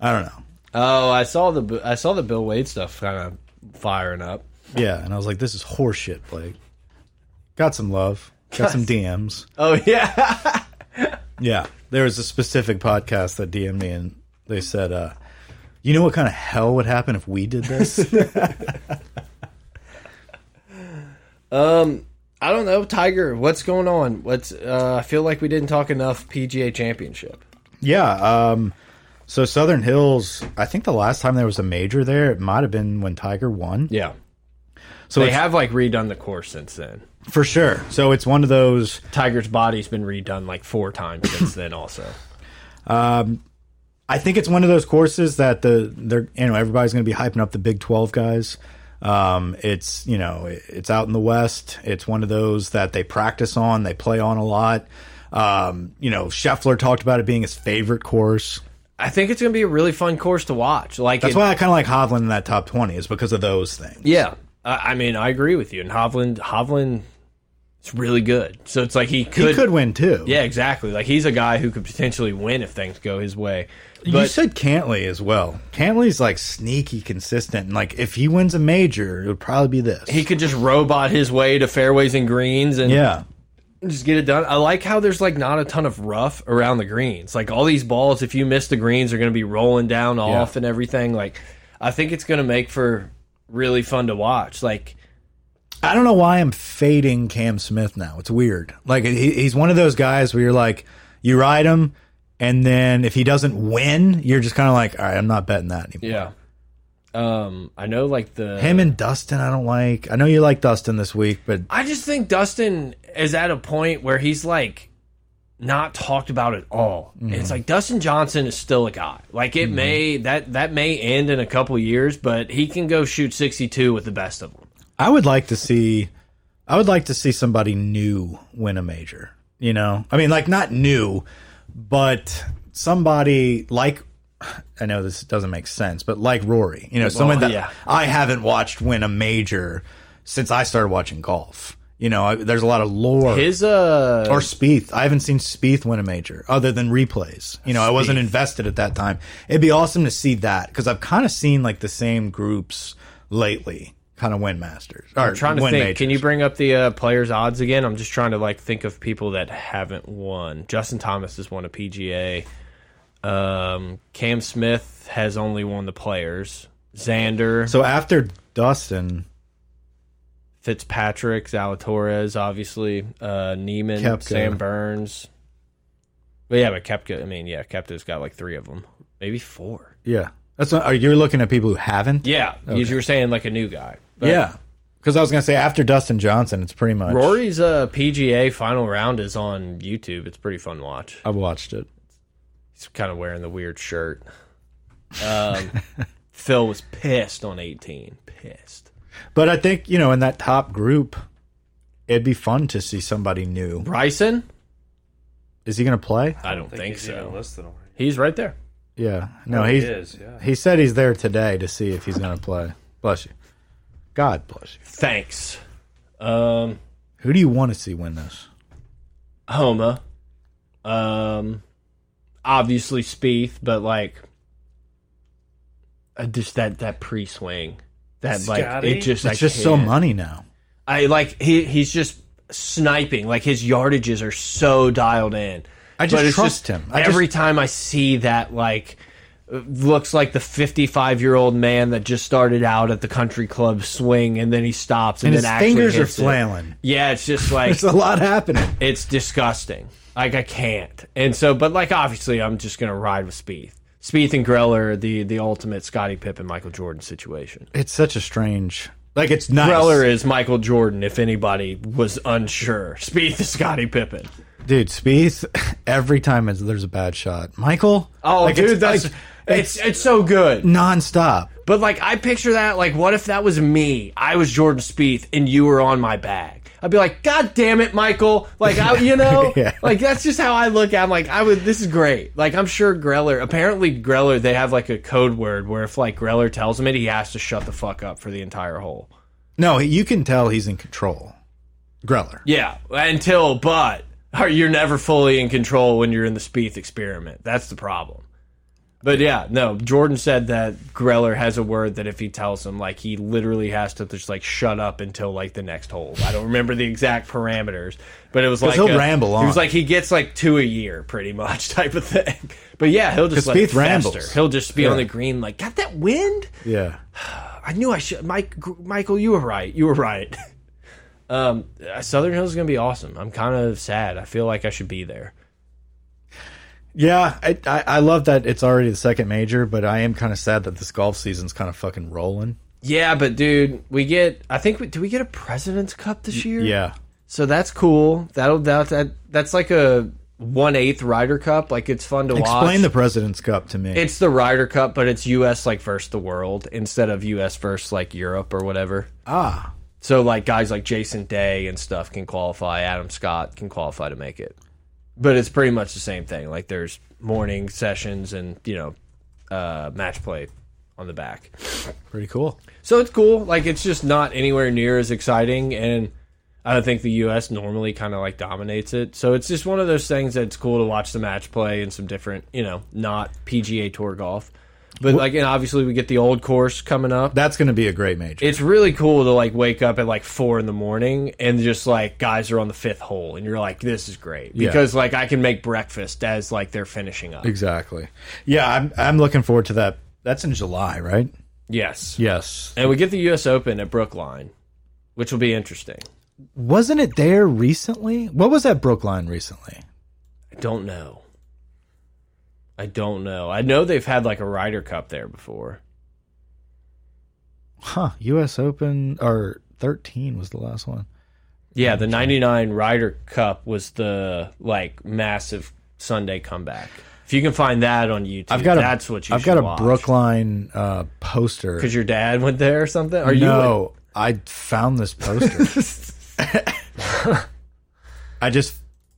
Speaker 1: I don't know.
Speaker 3: Oh, I saw the I saw the Bill Wade stuff kind of firing up.
Speaker 1: Yeah. And I was like, this is horse shit, Blake. Got some love, got some DMs.
Speaker 3: Oh yeah. *laughs*
Speaker 1: Yeah, there was a specific podcast that DM'd me, and they said, uh, "You know what kind of hell would happen
Speaker 3: *laughs*
Speaker 1: if we did this?"
Speaker 3: I don't know, Tiger. What's going on? What's uh, I feel like we didn't talk enough PGA Championship.
Speaker 1: Yeah. Um, so Southern Hills, I think the last time there was a major there, it might have been when Tiger won.
Speaker 3: Yeah,
Speaker 1: So
Speaker 3: they
Speaker 1: it's-
Speaker 3: have like redone the course since then.
Speaker 1: for sure. So it's one of those.
Speaker 3: Tiger's body's been redone like four times since then. Also,
Speaker 1: I think it's one of those courses that the they're you know everybody's going to be hyping up the Big Twelve guys. Um, it's you know it- it's out in the West. It's one of those that they practice on, they play on a lot. Um, you know, Scheffler talked about it being his favorite course.
Speaker 3: I think it's going to be a really fun course to watch. Like
Speaker 1: That's
Speaker 3: it-
Speaker 1: why I kind of like Hovland in that top twenty is because of those things.
Speaker 3: Yeah, I, I mean, I agree with you. And Hovland, Hovland, is really good. So it's like he could,
Speaker 1: He could win too.
Speaker 3: yeah, exactly. Like he's a guy who could potentially win if things go his way.
Speaker 1: you
Speaker 3: But
Speaker 1: said Cantley as well. Cantley's like sneaky consistent, and like if he wins a major, it would probably be this.
Speaker 3: he could just robot his way to fairways and greens and
Speaker 1: yeah,
Speaker 3: just get it done. I like how there's like not a ton of rough around the greens. Like all these balls, if you miss the greens, are going to be rolling down off and everything. Like I think it's going to make for really fun to watch. Like
Speaker 1: I don't know why I'm fading Cam Smith now. It's weird. Like he, he's one of those guys where you're like, you ride him, and then if he doesn't win, you're just kind of like, all right, I'm not betting that anymore.
Speaker 3: yeah. Um, I know, like the
Speaker 1: Him and Dustin, I don't like. I know you like Dustin this week, but
Speaker 3: I just think Dustin is at a point where he's like not talked about at all.
Speaker 1: Mm-hmm.
Speaker 3: And It's like Dustin Johnson is still a guy. Like it may that that may end in a couple years, but he can go shoot 62 with the best of them.
Speaker 1: I would like to see, I would like to see somebody new win a major. You know, I mean, like not new, but somebody like. I know this doesn't make sense, but like Rory, you know, someone that
Speaker 3: yeah.
Speaker 1: I haven't watched win a major since I started watching golf. You know, I, there's a lot of lore
Speaker 3: His uh
Speaker 1: or Spieth. I haven't seen Spieth win a major other than replays. You know, I wasn't invested at that time. It'd be awesome to see that because I've kind of seen like the same groups lately kind of win masters. Or
Speaker 3: I'm trying to
Speaker 1: win
Speaker 3: think.
Speaker 1: majors.
Speaker 3: Can you bring up the uh, players' odds again? I'm just trying to like think of people that haven't won. Justin Thomas has won a PGA. Um, Cam Smith has only won the players. Xander,
Speaker 1: So after Dustin,
Speaker 3: Fitzpatrick, Zalatoris, obviously, uh, Neiman,
Speaker 1: Koepka.
Speaker 3: Sam Burns. But yeah, but Kepka, I mean, yeah, Kepka's got like three of them, maybe four.
Speaker 1: yeah, that's what, are you looking at people who haven't?
Speaker 3: Yeah, you were saying like a new guy. But
Speaker 1: yeah. Because I was gonna say after Dustin Johnson, it's pretty much
Speaker 3: Rory's uh, PGA final round is on YouTube. It's pretty fun to watch.
Speaker 1: I've watched it.
Speaker 3: He's kind of wearing the weird shirt. Um,
Speaker 1: *laughs*
Speaker 3: Phil was pissed on 18. Pissed.
Speaker 1: But I think you know in that top group, it'd be fun to see somebody new.
Speaker 3: Bryson?
Speaker 1: Is he gonna play?
Speaker 3: I don't, think,
Speaker 4: he's even
Speaker 3: so.
Speaker 4: listed already.
Speaker 3: He's right there.
Speaker 1: Yeah.
Speaker 3: Oh,
Speaker 1: No, he's
Speaker 4: He is, yeah.
Speaker 1: He said he's there today to see if he's going to play. Bless you. God bless you.
Speaker 3: Thanks. Um,
Speaker 1: Who do you want to see win this?
Speaker 3: Homa. Um, obviously Spieth, but like, uh, just that that pre swing, that like
Speaker 4: Scotty?
Speaker 3: it just
Speaker 1: It's
Speaker 3: I
Speaker 1: just so
Speaker 3: can't.
Speaker 1: money now.
Speaker 3: I like he he's just sniping. Like his yardages are so dialed in.
Speaker 1: I just
Speaker 3: But it's
Speaker 1: trust him. I
Speaker 3: every time I see that, like looks like the 55 year old man that just started out at the country club swing and then he stops and,
Speaker 1: And his
Speaker 3: then actually
Speaker 1: fingers are
Speaker 3: hits it.
Speaker 1: flailing.
Speaker 3: Yeah, it's just
Speaker 1: *laughs*
Speaker 3: like
Speaker 1: It's a lot happening.
Speaker 3: it's disgusting. Like I can't. And so, but like obviously, I'm just gonna ride with Spieth. Spieth and Greller, are the the ultimate Scottie Pippen, Michael Jordan situation.
Speaker 1: It's such a strange. Like it's nice,
Speaker 3: Greller is Michael Jordan, if anybody was unsure. Spieth is Scottie Pippen.
Speaker 1: dude. Spieth. *laughs* Every time it's- there's a bad shot, Michael.
Speaker 3: Oh,
Speaker 1: like,
Speaker 3: dude,
Speaker 1: it's,
Speaker 3: that's
Speaker 1: like,
Speaker 3: it's, it's so good.
Speaker 1: nonstop.
Speaker 3: But like, I picture that. Like, what if that was me? I was Jordan Spieth, and you were on my bag. I'd be like, God damn it, Michael! Like, I, you know,
Speaker 1: Yeah.
Speaker 3: like that's just how I look. at. I'm like, I would. This is great. Like, I'm sure Greller. Apparently, Greller. They have like a code word where if like Greller tells him it, he has to shut the fuck up for the entire hole.
Speaker 1: No, you can tell he's in control. Greller.
Speaker 3: Yeah, until but or you're never fully in control when you're in the Spieth experiment. That's the problem. But yeah, no. Jordan said that Greller has a word that if he tells him, like he literally has to just like shut up until like the next hole. I don't remember the exact parameters, but it was like
Speaker 1: he'll
Speaker 3: a-
Speaker 1: ramble
Speaker 3: It
Speaker 1: on.
Speaker 3: was like he gets like two a year, pretty much *laughs* type of thing. But yeah, he'll
Speaker 1: 'Cause
Speaker 3: just like
Speaker 1: Spieth
Speaker 3: fester.
Speaker 1: rambles.
Speaker 3: He'll just be
Speaker 1: Yeah.
Speaker 3: on the green, like got that wind.
Speaker 1: Yeah.
Speaker 3: I knew I should. Mike, Michael, you were right. *laughs* You were right. Um, Southern Hills is going to be awesome. I'm kind of sad. I feel like I should be there.
Speaker 1: Yeah, I, I, I love that it's already the second major, but I am kind of sad that this golf season's kind of fucking rolling.
Speaker 3: Yeah, but dude, we get. I think we, do we get a President's Cup this year?
Speaker 1: Yeah,
Speaker 3: So that's cool. That'll that, that that's like a one eighth Ryder Cup. Like it's fun to watch.
Speaker 1: explain the President's Cup to me.
Speaker 3: It's the Ryder Cup, but it's U.S. like versus the world instead of U.S. versus like Europe or whatever.
Speaker 1: ah,
Speaker 3: So like guys like Jason Day and stuff can qualify. Adam Scott can qualify to make it, but it's pretty much the same thing. Like there's morning sessions and you know uh, match play on the back.
Speaker 1: pretty cool.
Speaker 3: So it's cool. Like it's just not anywhere near as exciting, and I don't think the U.S. normally kind of like dominates it. So it's just one of those things that's cool to watch the match play and some different, you know, not PGA Tour golf. But like, and obviously we get the old course coming up
Speaker 1: That's going to be a great major.
Speaker 3: it's really cool to like wake up at like four in the morning and just like guys are on the fifth hole and you're like this is great because like i can make breakfast as like they're finishing up
Speaker 1: exactly. Yeah, I'm I'm looking forward to that. That's in July, right?
Speaker 3: yes
Speaker 1: Yes.
Speaker 3: and we get the us open at brookline which will be interesting
Speaker 1: Wasn't it there recently? What was that Brookline recently?
Speaker 3: i don't know i don't know i know they've had like a Ryder cup there before
Speaker 1: Huh? U.S. Open or 13 was the last one.
Speaker 3: yeah the 99 Ryder cup was the like massive sunday comeback if you can find that on youtube
Speaker 1: I've got a
Speaker 3: that's what you
Speaker 1: I've got a
Speaker 3: watch.
Speaker 1: Brookline uh, poster.
Speaker 3: because your dad went there or something or you went-
Speaker 1: no, I found this
Speaker 3: *laughs*
Speaker 1: poster. I just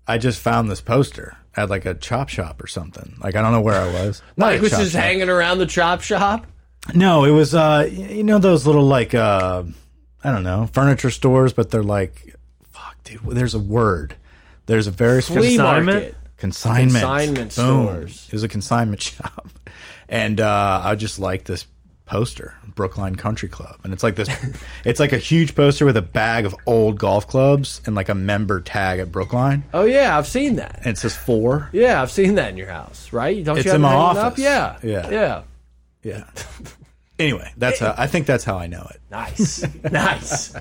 Speaker 1: I just found this poster at like a chop shop or something. Like I don't know where I was. Not
Speaker 3: Mike
Speaker 1: a
Speaker 3: was
Speaker 1: chop
Speaker 3: just
Speaker 1: shop.
Speaker 3: hanging around the chop shop.
Speaker 1: No, it was uh y- you know those little like uh I don't know, furniture stores, but they're like fuck dude, there's a word. There's a very
Speaker 3: Flea
Speaker 4: Consignment?
Speaker 3: market.
Speaker 1: consignment
Speaker 3: Consignment
Speaker 1: Boom.
Speaker 3: stores.
Speaker 1: It was a consignment *laughs* shop, and uh, I just like this poster, Brookline Country Club, and it's like
Speaker 3: *laughs*
Speaker 1: this, it's like a huge poster with a bag of old golf clubs and like a member tag at Brookline,
Speaker 3: Oh yeah, I've seen that.
Speaker 1: and it says four.
Speaker 3: Yeah, I've seen that in your house, right? Don't
Speaker 1: It's
Speaker 3: you have
Speaker 1: in
Speaker 3: it
Speaker 1: my
Speaker 3: hanging Up?
Speaker 1: office.
Speaker 3: Yeah,
Speaker 1: Yeah.
Speaker 3: yeah.
Speaker 1: Yeah. Anyway, that's how I think that's how I know it.
Speaker 3: Nice, *laughs* nice.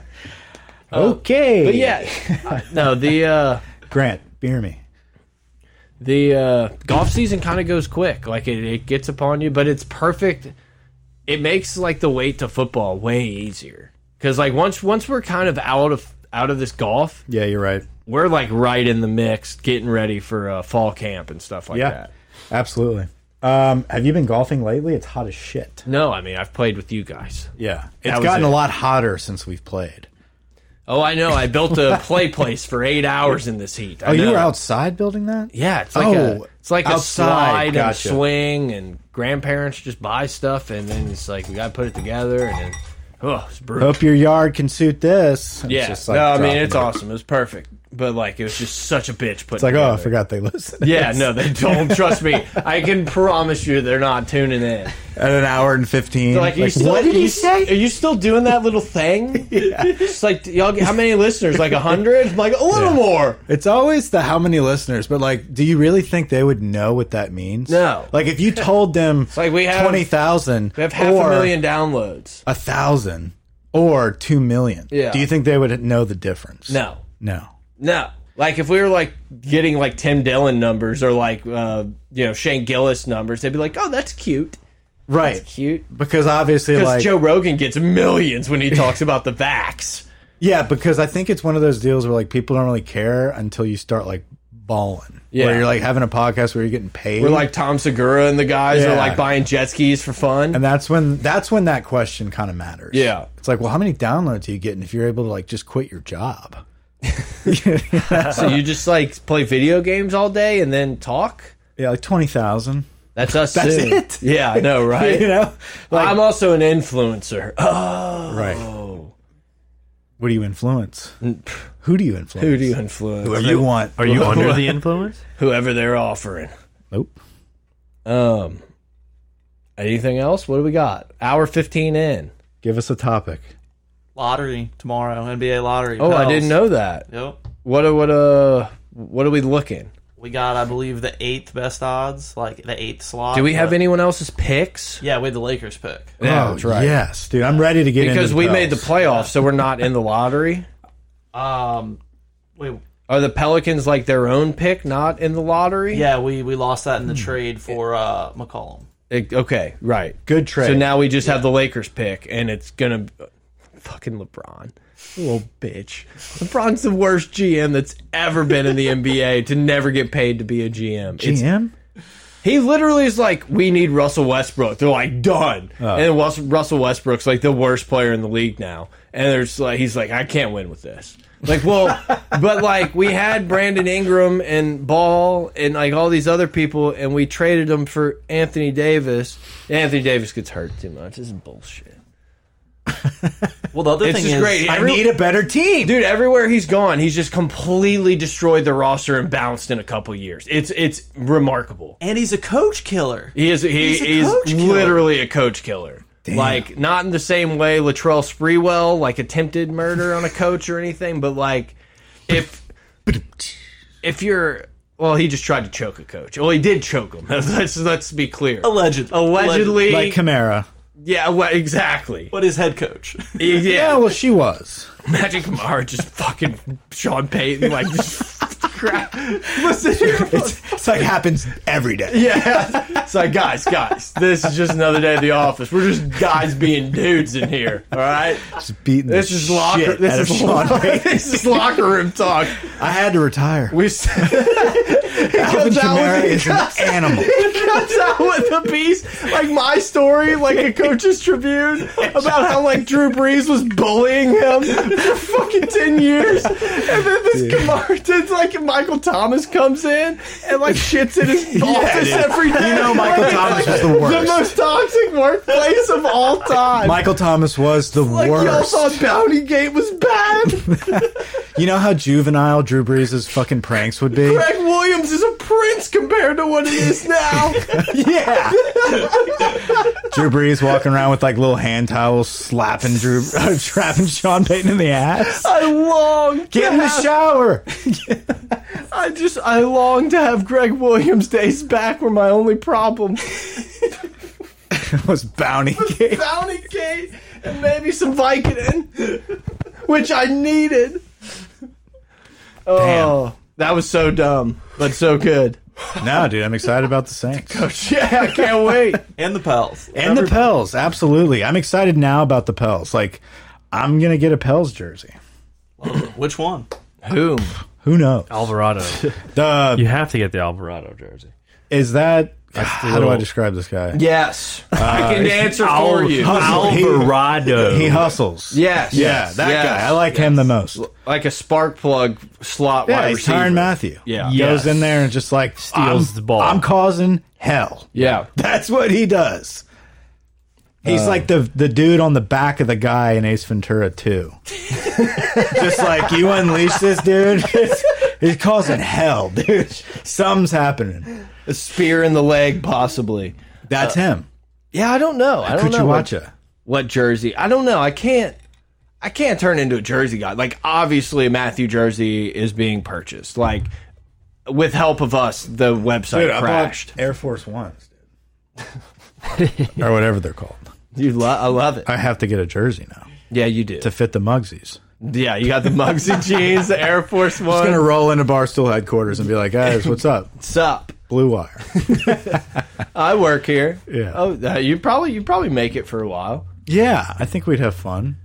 Speaker 3: Oh. Um,
Speaker 1: okay,
Speaker 3: But yeah, I- no the uh,
Speaker 1: Grant, beer me.
Speaker 3: the uh, golf season kind of goes quick. Like it, it gets upon you, but it's perfect. It makes like the wait to football way easier because like once once we're kind of out of out of this golf,
Speaker 1: Yeah, you're right.
Speaker 3: we're like right in the mix, getting ready for uh, fall camp and stuff like
Speaker 1: Yeah,
Speaker 3: that.
Speaker 1: absolutely. Um, have you been golfing lately? It's hot as shit.
Speaker 3: No, I mean I've played with you guys.
Speaker 1: Yeah,
Speaker 3: That
Speaker 1: it's
Speaker 3: was
Speaker 1: gotten
Speaker 3: it.
Speaker 1: a lot hotter since we've played.
Speaker 3: Oh, I know. I
Speaker 1: *laughs*
Speaker 3: built a play place for eight hours in this heat. I
Speaker 1: Oh, you
Speaker 3: know.
Speaker 1: were outside building that?
Speaker 3: Yeah, it's like
Speaker 1: Oh,
Speaker 3: a it's like
Speaker 1: outside,
Speaker 3: a slide
Speaker 1: gotcha.
Speaker 3: and swing, and grandparents just buy stuff, and then it's like we got to put it together, and then oh, it's brutal.
Speaker 1: Hope your yard can suit this. And it's
Speaker 3: yeah,
Speaker 1: just like
Speaker 3: no, I mean
Speaker 1: dropping
Speaker 3: it's
Speaker 1: it.
Speaker 3: awesome. It was perfect, but like it was just such a bitch. Putting
Speaker 1: It's like, oh, I
Speaker 3: together.
Speaker 1: forgot they listen.
Speaker 3: Yeah, no, they don't
Speaker 1: *laughs*
Speaker 3: trust me. I can promise you, they're not tuning in.
Speaker 1: At an hour and 15.
Speaker 3: They're like, are you still,
Speaker 1: what did
Speaker 3: you
Speaker 1: he
Speaker 3: s-
Speaker 1: say?
Speaker 3: Are you still doing that little thing?
Speaker 1: *laughs*
Speaker 3: yeah. It's like, y'all get how many listeners? Like a hundred? I'm like a little more.
Speaker 1: It's always the how many listeners, but like, do you really think they would know what that means?
Speaker 3: No.
Speaker 1: Like, if you told
Speaker 3: *laughs*
Speaker 1: them
Speaker 3: like we have-
Speaker 1: 20,000
Speaker 3: We have half
Speaker 1: or
Speaker 3: a million downloads.
Speaker 1: a thousand or 2 million,
Speaker 3: Yeah.
Speaker 1: do you think they would know the difference?
Speaker 3: No,
Speaker 1: No.
Speaker 3: no. Like if we were like getting like Tim Dillon numbers or like uh, you know Shane Gillis numbers, they'd be like, "Oh, that's cute,
Speaker 1: Right.
Speaker 3: cute."
Speaker 1: Because obviously,
Speaker 3: Because
Speaker 1: like,
Speaker 3: Joe Rogan gets
Speaker 1: *laughs*
Speaker 3: millions when he talks about the vax.
Speaker 1: yeah, because I think it's one of those deals where like people don't really care until you start like balling.
Speaker 3: Yeah.
Speaker 1: Where you're like having a podcast where you're getting paid.
Speaker 3: We're like Tom Segura and the guys
Speaker 1: Yeah.
Speaker 3: are like buying jet skis for fun.
Speaker 1: And that's when that's when that question kind of matters.
Speaker 3: Yeah.
Speaker 1: It's like, well, how many downloads are you getting if you're able to like just quit your
Speaker 3: *laughs*
Speaker 1: job? *laughs*
Speaker 3: so you just like play video games all day and then talk.
Speaker 1: Yeah, like twenty
Speaker 3: *laughs*
Speaker 1: thousand.
Speaker 3: That's us.
Speaker 1: That's
Speaker 3: soon.
Speaker 1: it?
Speaker 3: Yeah, I know, right?
Speaker 1: *laughs* You know?
Speaker 3: I'm also an influencer. Oh.
Speaker 1: Right. What do you influence? Who do you influence?
Speaker 3: Who do you influence?
Speaker 1: Whoever you want.
Speaker 4: Are you under the influence?
Speaker 3: Whoever they're offering.
Speaker 1: Nope.
Speaker 3: Um, anything else? What do we got? Hour fifteen in.
Speaker 1: Give us a topic.
Speaker 2: Lottery tomorrow, NBA lottery.
Speaker 3: Oh, I
Speaker 2: Pels.
Speaker 3: didn't know that.
Speaker 2: Yep.
Speaker 3: What are what uh what are we looking?
Speaker 2: We got, I believe, the eighth best odds, like the eighth slot.
Speaker 3: Do we have
Speaker 2: but-
Speaker 3: anyone else's picks?
Speaker 2: Yeah, we had the Lakers pick.
Speaker 3: Uh, Yeah,
Speaker 1: oh, Yes, dude. I'm ready to get into
Speaker 3: Because
Speaker 1: the
Speaker 3: we made the
Speaker 1: Pels.
Speaker 3: playoffs, so we're not in the lottery.
Speaker 2: Um, wait,
Speaker 3: Are the Pelicans like their own pick, not in the lottery?
Speaker 2: yeah, we we lost that in
Speaker 3: Hmm.
Speaker 2: the trade for uh, McCollum.
Speaker 3: It- okay, right.
Speaker 1: Good trade.
Speaker 3: So now we just have the Lakers pick, and it's gonna fucking LeBron, little bitch. LeBron's the worst GM that's ever been in the *laughs* NBA to never get paid to be a GM. It's-
Speaker 1: GM?
Speaker 3: he literally is like, we need Russell Westbrook. They're like, done. And then Wes- Russell Westbrook's like the worst player in the league now, and there's like, he's like, I can't win with this. Like, well, but like we had Brandon Ingram and Ball and like all these other people, and we traded them for Anthony Davis. Anthony Davis gets hurt too much. This is bullshit.
Speaker 2: Well, the other
Speaker 3: It's
Speaker 2: thing
Speaker 3: just
Speaker 2: is,
Speaker 3: great.
Speaker 1: I
Speaker 3: Every-
Speaker 1: need a better team.
Speaker 3: Dude, everywhere he's gone, he's just completely destroyed the roster and bounced in a couple years. It's it's remarkable.
Speaker 2: and he's a coach killer.
Speaker 3: He is he
Speaker 2: He's a
Speaker 3: is
Speaker 2: coach killer.
Speaker 3: literally a coach killer. Like not in the same way Latrell Sprewell like attempted murder on a coach or anything, but like if if you're well, he just tried to choke a coach. Well, he did choke him. *laughs* Let's let's be clear.
Speaker 2: Allegedly.
Speaker 3: allegedly,
Speaker 1: Like Kamara.
Speaker 3: yeah, well, exactly.
Speaker 2: But his head *laughs* coach.
Speaker 3: Yeah,
Speaker 1: Yeah, well, she was.
Speaker 3: Magic Kamara just fucking Sean Payton like just crap. Listen here,
Speaker 1: It's
Speaker 3: *laughs*
Speaker 1: like happens every day.
Speaker 3: Yeah. It's like, guys, guys, this is just another day at the office. We're just guys being dudes in here. All right.
Speaker 1: Just beating the
Speaker 3: This is
Speaker 1: shit
Speaker 3: locker. This
Speaker 1: out of
Speaker 3: is,
Speaker 1: Sean
Speaker 3: locker
Speaker 1: Payton.
Speaker 3: *laughs* this is locker room talk.
Speaker 1: I had to retire.
Speaker 3: We *laughs* s- he
Speaker 1: Alvin
Speaker 3: comes
Speaker 1: Kamara
Speaker 3: out with
Speaker 1: is an animal.
Speaker 3: he comes out with a piece like my story, like a Coach's Tribune, about how like Drew Brees was bullying him for fucking ten years, and then this Kamara, it's like Michael Thomas comes in and like shits
Speaker 1: *laughs*
Speaker 3: in his office
Speaker 1: dude.
Speaker 3: every day.
Speaker 1: You know Michael
Speaker 3: Like,
Speaker 1: Thomas
Speaker 3: it's
Speaker 1: was the worst.
Speaker 3: most toxic workplace of all time.
Speaker 1: Michael Thomas was the
Speaker 3: like y'all
Speaker 1: worst.
Speaker 3: thought Bounty Gate was bad.
Speaker 1: You know how juvenile Drew Brees' fucking pranks would be?
Speaker 3: Greg Williams is a prince compared to what he is
Speaker 1: *laughs*
Speaker 3: now.
Speaker 1: Yeah. Drew Brees walking around with like little hand towels, slapping Drew, *laughs* uh, trapping Sean Payton in the ass.
Speaker 3: I long
Speaker 1: Get in the shower. *laughs*
Speaker 3: I just I long to have Greg Williams days back were my only problem.
Speaker 1: It was bounty. Gate.
Speaker 3: *laughs* Bounty Gate and maybe some Vicodin, which I needed. Oh, that was so dumb, but so good.
Speaker 1: No, dude, I'm excited about the Saints
Speaker 3: *laughs* Yeah, I can't wait.
Speaker 2: and the Pels.
Speaker 1: and the Pels. Absolutely, I'm excited now about the Pels. Like, I'm gonna get a Pels jersey.
Speaker 2: Which one?
Speaker 3: Whom?
Speaker 1: Who knows?
Speaker 4: Alvarado.
Speaker 1: The
Speaker 4: you have to get the Alvarado jersey.
Speaker 1: is that. How do I
Speaker 4: little-
Speaker 1: describe this guy?
Speaker 3: Yes, I
Speaker 1: Uh,
Speaker 3: can answer for you.
Speaker 1: Hustle. He-
Speaker 4: Alvarado.
Speaker 1: He hustles.
Speaker 3: Yes,
Speaker 1: Yeah, that
Speaker 3: yes,
Speaker 1: guy. I like him the most.
Speaker 3: like a spark plug slot
Speaker 1: Yeah,
Speaker 3: wide
Speaker 1: he's
Speaker 3: receiver.
Speaker 1: Tyron Matthew.
Speaker 3: Yeah.
Speaker 1: Goes
Speaker 4: Yes.
Speaker 1: in there and just like
Speaker 4: Steals
Speaker 1: I'm-
Speaker 4: the ball.
Speaker 1: I'm causing hell.
Speaker 3: Yeah,
Speaker 1: *laughs* That's what he does. He's
Speaker 3: Uh.
Speaker 1: like the the dude on the back of the guy in Ace Ventura 2. *laughs* Just like you unleash this dude, *laughs* it's- he's causing hell, dude. Something's happening.
Speaker 3: a spear in the leg, possibly.
Speaker 1: That's him.
Speaker 3: Yeah, I don't know. I don't
Speaker 1: Could
Speaker 3: know.
Speaker 1: you
Speaker 3: what-
Speaker 1: watch it?
Speaker 3: what jersey. I don't know. I can't. I can't turn into a jersey guy. Like obviously, a Matthew jersey is being purchased. Like with help of us, the website crashed.
Speaker 1: Air Force Ones, dude. *laughs* or whatever they're called.
Speaker 3: You lo I love it.
Speaker 1: I have to get a jersey now
Speaker 3: Yeah, you do.
Speaker 1: to fit the Mugsies.
Speaker 3: Yeah, you got the Muggsy jeans, the
Speaker 1: *laughs*
Speaker 3: Air Force
Speaker 1: I'm
Speaker 3: One.
Speaker 1: gonna roll into Barstool headquarters and be like, guys, what's up?
Speaker 3: What's up?
Speaker 1: Blue Wire.
Speaker 3: I work here.
Speaker 1: Yeah.
Speaker 3: Oh, uh, you probably you probably make it for a while.
Speaker 1: Yeah, I think we'd have fun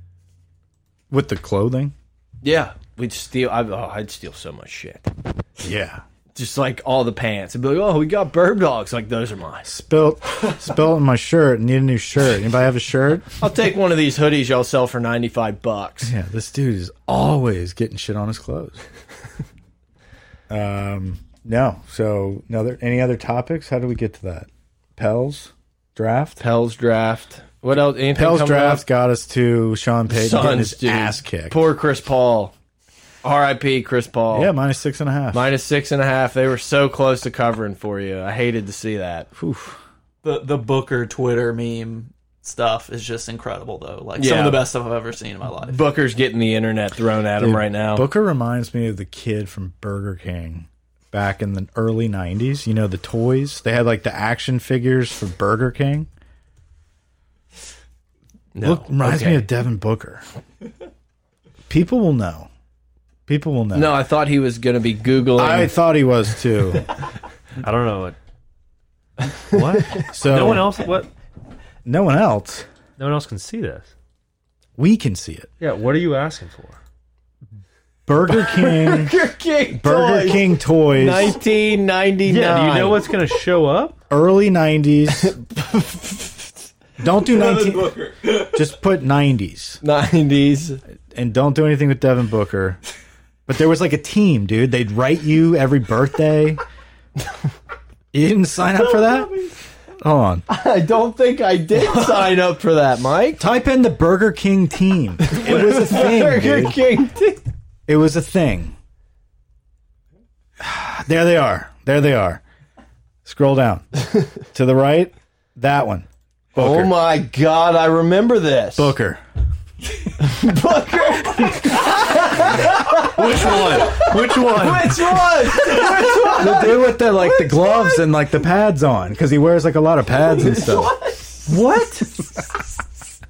Speaker 1: with the clothing.
Speaker 3: Yeah. We'd steal. I, oh, I'd steal so much shit.
Speaker 1: Yeah.
Speaker 3: Just like all the pants. I'd be like, oh, we got bird dogs. Like those are mine.
Speaker 1: Spilt, spilt in my shirt. Need a new shirt. Anybody have a shirt?
Speaker 3: I'll take one of these hoodies y'all sell for ninety five bucks.
Speaker 1: Yeah, this dude is always getting shit on his clothes. um, no. So, no, there, any other topics? How do we get to that? Pels draft.
Speaker 3: Pell's draft. What else? Anything
Speaker 1: Pels
Speaker 3: coming
Speaker 1: draft
Speaker 3: up?
Speaker 1: got us to Sean Payton getting
Speaker 3: Suns,
Speaker 1: his
Speaker 3: dude.
Speaker 1: ass kicked.
Speaker 3: Poor Chris Paul. R.I.P. Chris Paul.
Speaker 1: yeah, minus six and a half.
Speaker 3: Minus six and a half. They were so close to covering for you. I hated to see that.
Speaker 2: The the Booker Twitter meme stuff is just incredible though. Like some
Speaker 3: Yeah.
Speaker 2: of the best stuff I've ever seen in my life.
Speaker 3: Booker's getting the internet thrown at him right now.
Speaker 1: Booker reminds me of the kid from Burger King back in the early 90s. You know, the toys? They had like the action figures for Burger King.
Speaker 3: no.
Speaker 1: Look, reminds
Speaker 3: Okay.
Speaker 1: me of Devin Booker. People will know. People will know.
Speaker 3: No, I thought he was going to be Googling.
Speaker 1: I thought he was too.
Speaker 3: *laughs*
Speaker 4: I don't know what.
Speaker 1: what? So
Speaker 4: No one else. *laughs* What?
Speaker 1: No one else.
Speaker 4: No one else can see this.
Speaker 1: We can see it.
Speaker 4: Yeah. What are you asking for?
Speaker 1: Burger
Speaker 3: *laughs*
Speaker 1: King.
Speaker 3: Burger King.
Speaker 1: Burger
Speaker 3: toys.
Speaker 1: King toys.
Speaker 3: 1999.
Speaker 4: Yeah. Do you know what's going to show up?
Speaker 1: early
Speaker 3: *laughs*
Speaker 1: 90s. don't do 19
Speaker 3: Booker.
Speaker 1: just put 90s
Speaker 3: 90s.
Speaker 1: and don't do anything with Devin Booker. But there was like a team, dude. They'd write you every birthday. You didn't sign up for that? Hold on.
Speaker 3: I don't think I *laughs* did sign up for that, Mike.
Speaker 1: Type in the Burger King team. It was a thing,
Speaker 3: Burger
Speaker 1: dude.
Speaker 3: King.
Speaker 1: It was a thing. There they are. There they are. Scroll down. to the right, that one. Booker.
Speaker 3: Oh my God, I remember this.
Speaker 1: Booker.
Speaker 3: Booker.
Speaker 6: Which one? Which one?
Speaker 3: Which one?
Speaker 1: the dude with the like the gloves and like the pads on because he wears like a lot of pads and stuff.
Speaker 2: *laughs*
Speaker 1: What?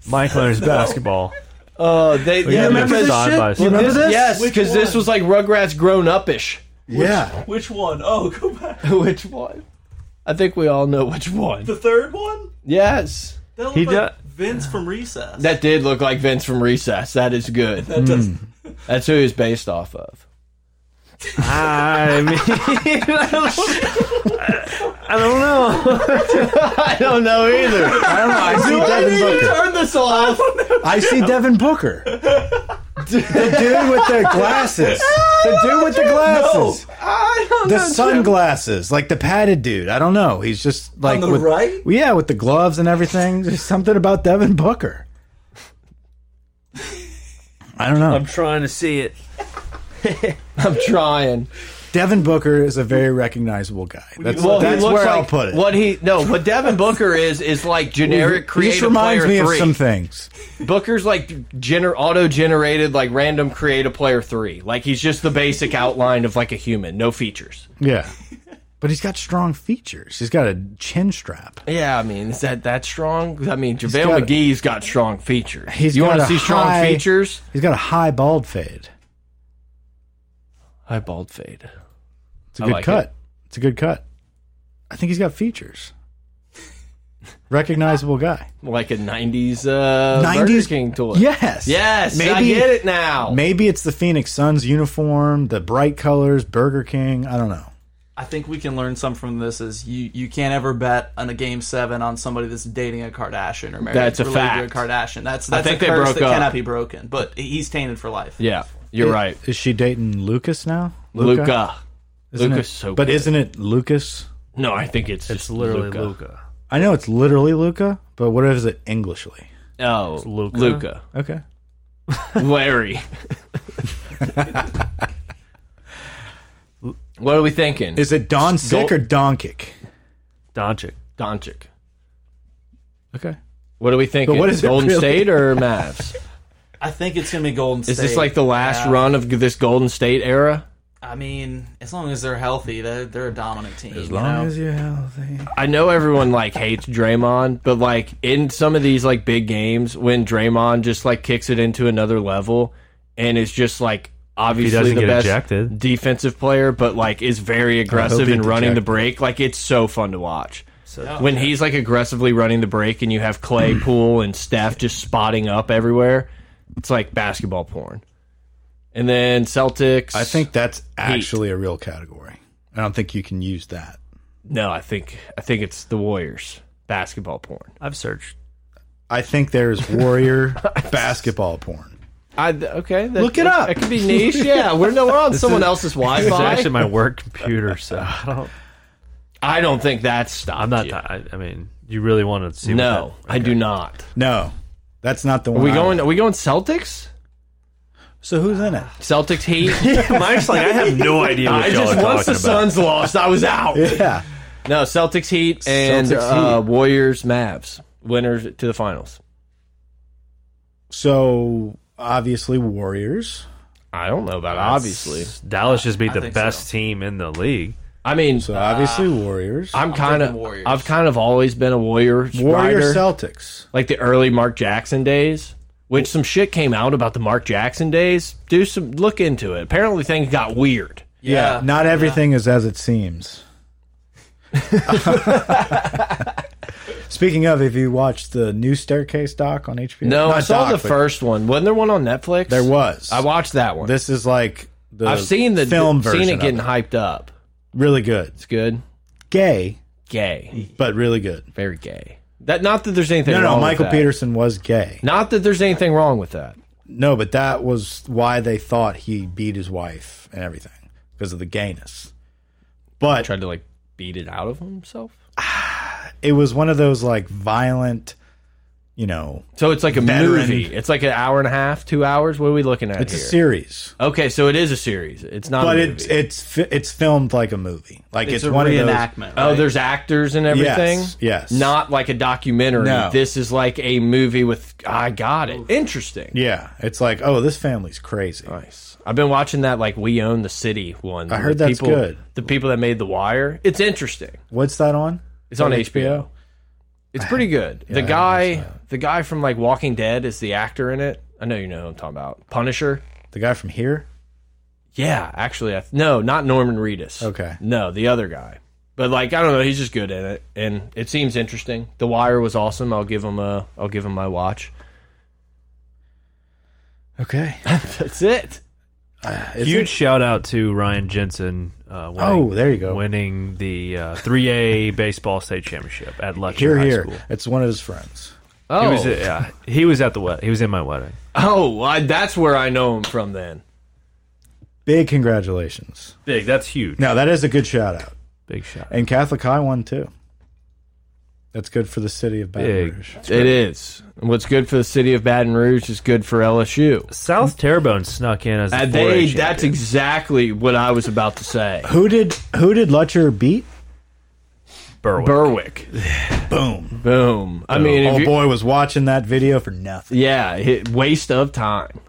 Speaker 4: Mike Leonard's basketball.
Speaker 3: Oh, they.
Speaker 4: We
Speaker 3: yeah,
Speaker 4: have
Speaker 1: remember
Speaker 4: it
Speaker 1: this
Speaker 4: side
Speaker 1: shit?
Speaker 4: by
Speaker 1: You
Speaker 4: side.
Speaker 1: remember this?
Speaker 3: Yes, because this was like Rugrats grown upish.
Speaker 1: Yeah.
Speaker 10: Which one? Oh, go back.
Speaker 3: *laughs* Which one? I think we all know which one.
Speaker 10: The third one?
Speaker 3: Yes.
Speaker 10: That looked
Speaker 4: He
Speaker 10: like
Speaker 4: do-
Speaker 10: Vince from Recess.
Speaker 3: That did look like Vince from Recess. That is good.
Speaker 10: That does-
Speaker 1: Hmm.
Speaker 3: That's who he was based off of.
Speaker 4: I mean, *laughs* I don't, I don't know.
Speaker 3: I don't know *laughs* either.
Speaker 1: I don't know. I see
Speaker 3: Why
Speaker 1: Devin
Speaker 3: did you
Speaker 1: Booker.
Speaker 3: turn this off?
Speaker 1: I see Devin Booker. the dude with
Speaker 3: *laughs*
Speaker 1: the glasses. The dude with the glasses.
Speaker 3: I don't
Speaker 1: The
Speaker 3: know.
Speaker 1: sunglasses, like the padded dude. I don't know. He's just like
Speaker 10: the
Speaker 1: with,
Speaker 10: right?
Speaker 1: Yeah, with the gloves and everything. There's something about Devin Booker. I don't know.
Speaker 4: trying to see it.
Speaker 3: *laughs* I'm trying.
Speaker 1: Devin Booker is a very recognizable guy. That's,
Speaker 3: Well, he
Speaker 1: that's
Speaker 3: looks
Speaker 1: where
Speaker 3: like
Speaker 1: I'll put it.
Speaker 3: What he no, what Devin Booker is is like generic
Speaker 1: He
Speaker 3: creative
Speaker 1: just reminds
Speaker 3: player
Speaker 1: me
Speaker 3: three.
Speaker 1: of some things.
Speaker 3: Booker's like gener auto generated like random creative player three. Like he's just the basic outline of like a human, no features. *laughs*
Speaker 1: Yeah. But he's got strong features. He's got a chin strap.
Speaker 3: Yeah, I mean, is that that strong? I mean, JaVale
Speaker 1: got a-
Speaker 3: McGee's got strong features.
Speaker 1: He's
Speaker 3: you
Speaker 1: got
Speaker 3: want
Speaker 1: a
Speaker 3: to see strong
Speaker 1: high-
Speaker 3: features?
Speaker 1: He's got a high bald fade.
Speaker 3: High bald fade.
Speaker 1: It's a
Speaker 3: I
Speaker 1: good
Speaker 3: like
Speaker 1: cut.
Speaker 3: it.
Speaker 1: It's a good cut. I think he's got features. Recognizable guy.
Speaker 3: Like a '90s uh, 90s
Speaker 1: 90s
Speaker 3: King toy.
Speaker 1: Yes.
Speaker 3: yes.
Speaker 1: Maybe
Speaker 3: I get it now.
Speaker 1: Maybe it's the Phoenix Suns uniform, the bright colors, Burger King. I don't know.
Speaker 2: I think we can learn some from this. Is you you can't ever bet on a game seven on somebody that's dating a Kardashian or married.
Speaker 3: That's a
Speaker 2: related
Speaker 3: fact.
Speaker 2: To a Kardashian. That's that's
Speaker 3: think
Speaker 2: a
Speaker 3: they
Speaker 2: curse
Speaker 3: broke
Speaker 2: that
Speaker 3: up.
Speaker 2: cannot be broken. But he's tainted for life.
Speaker 3: Yeah, you're right.
Speaker 1: Is she dating Lucas now?
Speaker 3: Luca.
Speaker 1: Isn't
Speaker 3: Luca's
Speaker 1: it-
Speaker 3: so
Speaker 1: But
Speaker 3: good.
Speaker 1: isn't it Lucas?
Speaker 3: No, I think it's
Speaker 4: It's literally Luca.
Speaker 1: I know it's literally Luca, but what is it Englishly?
Speaker 3: Oh, *laughs*
Speaker 4: Luca.
Speaker 3: Luca.
Speaker 1: Okay.
Speaker 3: *laughs* Larry. what are we thinking?
Speaker 1: Is it Don Sick
Speaker 3: Dol-
Speaker 1: or Donkick?
Speaker 4: Doncic.
Speaker 3: Doncic?
Speaker 1: Okay.
Speaker 3: What are we thinking?
Speaker 1: But what is it
Speaker 3: Golden
Speaker 1: really?
Speaker 3: State or
Speaker 2: *laughs*
Speaker 3: Mavs?
Speaker 2: I think it's gonna be Golden State.
Speaker 3: Is this like the last
Speaker 2: Yeah.
Speaker 3: run of this Golden State era?
Speaker 2: I mean, as long as they're healthy, they're they're a dominant team.
Speaker 1: As
Speaker 2: you
Speaker 1: long
Speaker 2: know?
Speaker 1: as you're healthy.
Speaker 3: I know everyone like hates Draymond, but like in some of these like big games when Draymond just like kicks it into another level and is just like obviously
Speaker 4: doesn't
Speaker 3: the
Speaker 4: get
Speaker 3: best
Speaker 4: ejected.
Speaker 3: defensive player, but like is very aggressive
Speaker 1: he
Speaker 3: in running the
Speaker 1: ejected.
Speaker 3: break. Like it's so fun to watch. when he's like aggressively running the break and you have Clay, Poole, and Steph just spotting up everywhere, it's like basketball porn. And then Celtics.
Speaker 1: I think that's actually a real category. I don't think you can use that.
Speaker 3: no, I think I think it's the Warriors basketball porn.
Speaker 4: I've searched.
Speaker 1: I think there's
Speaker 3: *laughs*
Speaker 1: warrior basketball porn.
Speaker 3: I okay. That,
Speaker 1: Look it
Speaker 3: that-
Speaker 1: up.
Speaker 3: That could be niche. Yeah, we're no, we're on someone else's
Speaker 4: It's actually
Speaker 3: Wi-Fi.
Speaker 4: my work computer, so I don't.
Speaker 3: I don't think that's stopped.
Speaker 4: I'm not.
Speaker 3: you.
Speaker 4: I, I mean, you really want to see? what
Speaker 3: No,
Speaker 4: that-
Speaker 3: I do not.
Speaker 1: No, that's not the
Speaker 3: Are
Speaker 1: one.
Speaker 3: we
Speaker 1: I-
Speaker 3: going? Are we going Celtics?
Speaker 1: So who's in
Speaker 3: *laughs*
Speaker 1: it?
Speaker 3: Celtics Heat.
Speaker 4: Mike's like, I have no
Speaker 3: *laughs*
Speaker 4: idea what
Speaker 3: I
Speaker 4: y'all
Speaker 3: just
Speaker 4: are
Speaker 3: once
Speaker 4: talking
Speaker 3: the
Speaker 4: about.
Speaker 3: Suns lost, I was out.
Speaker 1: Yeah.
Speaker 3: No, Celtics Heat and
Speaker 1: Celtics,
Speaker 3: uh,
Speaker 1: Heat.
Speaker 3: Warriors Mavs winners to the finals.
Speaker 1: So obviously warriors.
Speaker 3: I don't know about obviously.
Speaker 4: Dallas just beat
Speaker 2: I
Speaker 4: the
Speaker 2: think
Speaker 4: best team in the league.
Speaker 3: I mean,
Speaker 1: So obviously warriors.
Speaker 3: I'm kind of
Speaker 2: thinking Warriors.
Speaker 3: I've kind of always been a Warriors
Speaker 1: Warrior
Speaker 3: rider.
Speaker 1: Celtics.
Speaker 3: like the early Mark Jackson days. which some shit came out about the Mark Jackson days. Do some look into it. Apparently things got weird.
Speaker 1: Yeah, not everything is as it
Speaker 3: *laughs*
Speaker 1: seems. Speaking of, if you watched the new Staircase doc on HBO,
Speaker 3: No,
Speaker 1: Not
Speaker 3: I saw
Speaker 1: doc, but
Speaker 3: the first one. Wasn't there one on Netflix?
Speaker 1: There was.
Speaker 3: I watched that one.
Speaker 1: This is like the
Speaker 3: I've seen the
Speaker 1: film version.
Speaker 3: seen it getting
Speaker 1: of
Speaker 3: hyped up.
Speaker 1: it. really good. It's
Speaker 3: It's good.
Speaker 1: gay,
Speaker 3: Gay,
Speaker 1: but really good.
Speaker 3: very gay. That not that there's anything.
Speaker 1: No,
Speaker 3: wrong
Speaker 1: no,
Speaker 3: with
Speaker 1: Michael
Speaker 3: that.
Speaker 1: Peterson was gay.
Speaker 3: Not that there's anything wrong with that.
Speaker 1: No, but that was why they thought he beat his wife and everything because of the gayness. But
Speaker 3: Tried to like beat it out of himself.
Speaker 1: it was one of those like violent, you know,
Speaker 3: So it's like a
Speaker 1: Veteran.
Speaker 3: movie. It's like an hour and a half, two hours. What are we looking at
Speaker 1: it's a
Speaker 3: here?
Speaker 1: series.
Speaker 3: okay, so it is a series. It's not.
Speaker 1: but
Speaker 3: a
Speaker 1: it's
Speaker 3: movie.
Speaker 1: it's fi- it's filmed like a movie. Like it's,
Speaker 2: It's, a
Speaker 1: one
Speaker 2: reenactment.
Speaker 3: oh,
Speaker 2: right?
Speaker 3: there's actors and everything.
Speaker 1: Yes, yes.
Speaker 3: Not like a documentary.
Speaker 1: No.
Speaker 3: This is like a movie with. I got it. Interesting.
Speaker 1: of those. Yeah, it's like oh, this family's crazy.
Speaker 3: Nice. I've been watching that like We Own the City one.
Speaker 1: I heard
Speaker 3: The
Speaker 1: that's
Speaker 3: people,
Speaker 1: good.
Speaker 3: The people that made The Wire. It's interesting.
Speaker 1: What's that on?
Speaker 3: It's on
Speaker 1: On
Speaker 3: HBO.
Speaker 1: HBO?
Speaker 3: It's pretty good. the guy, the guy from like Walking Dead is the actor in it. I know you know who I'm talking about. Punisher.
Speaker 1: The guy from here.
Speaker 3: Yeah, actually, I th no, not Norman Reedus.
Speaker 1: Okay.
Speaker 3: no, the other guy. But like, I don't know, he's just good in it, and it seems interesting. The Wire was awesome. I'll give him a, I'll give him my watch.
Speaker 1: *laughs* Okay.
Speaker 3: That's it.
Speaker 4: Huge shout out to Ryan Jensen. Uh, winning,
Speaker 1: Oh, there you go.
Speaker 4: Winning the
Speaker 3: *laughs*
Speaker 4: uh, 3A baseball state championship at Letcher
Speaker 1: Here,
Speaker 4: High
Speaker 1: here.
Speaker 4: School.
Speaker 1: It's one of his friends.
Speaker 3: Oh,
Speaker 4: He was, yeah, he was at the wedding. He was in my wedding.
Speaker 3: oh, I, that's where I know him from. Then
Speaker 1: Big congratulations.
Speaker 4: Big. That's huge.
Speaker 1: Now that is a good shout out.
Speaker 4: Big shot.
Speaker 1: And Catholic High won too. That's good for the city of Baton
Speaker 4: Big.
Speaker 1: Rouge.
Speaker 3: it is. What's good for the city of Baton Rouge is good for LSU.
Speaker 4: South Terrebonne snuck in as a
Speaker 3: Uh, they. That's exactly what I was about to say.
Speaker 1: Who did who did Lutcher beat?
Speaker 3: *laughs*
Speaker 4: Berwick.
Speaker 3: Berwick. Uh,
Speaker 1: Boom.
Speaker 3: Boom. I mean, if
Speaker 1: oh
Speaker 3: you-
Speaker 1: boy, was watching that video for nothing.
Speaker 3: yeah, hit, waste of time.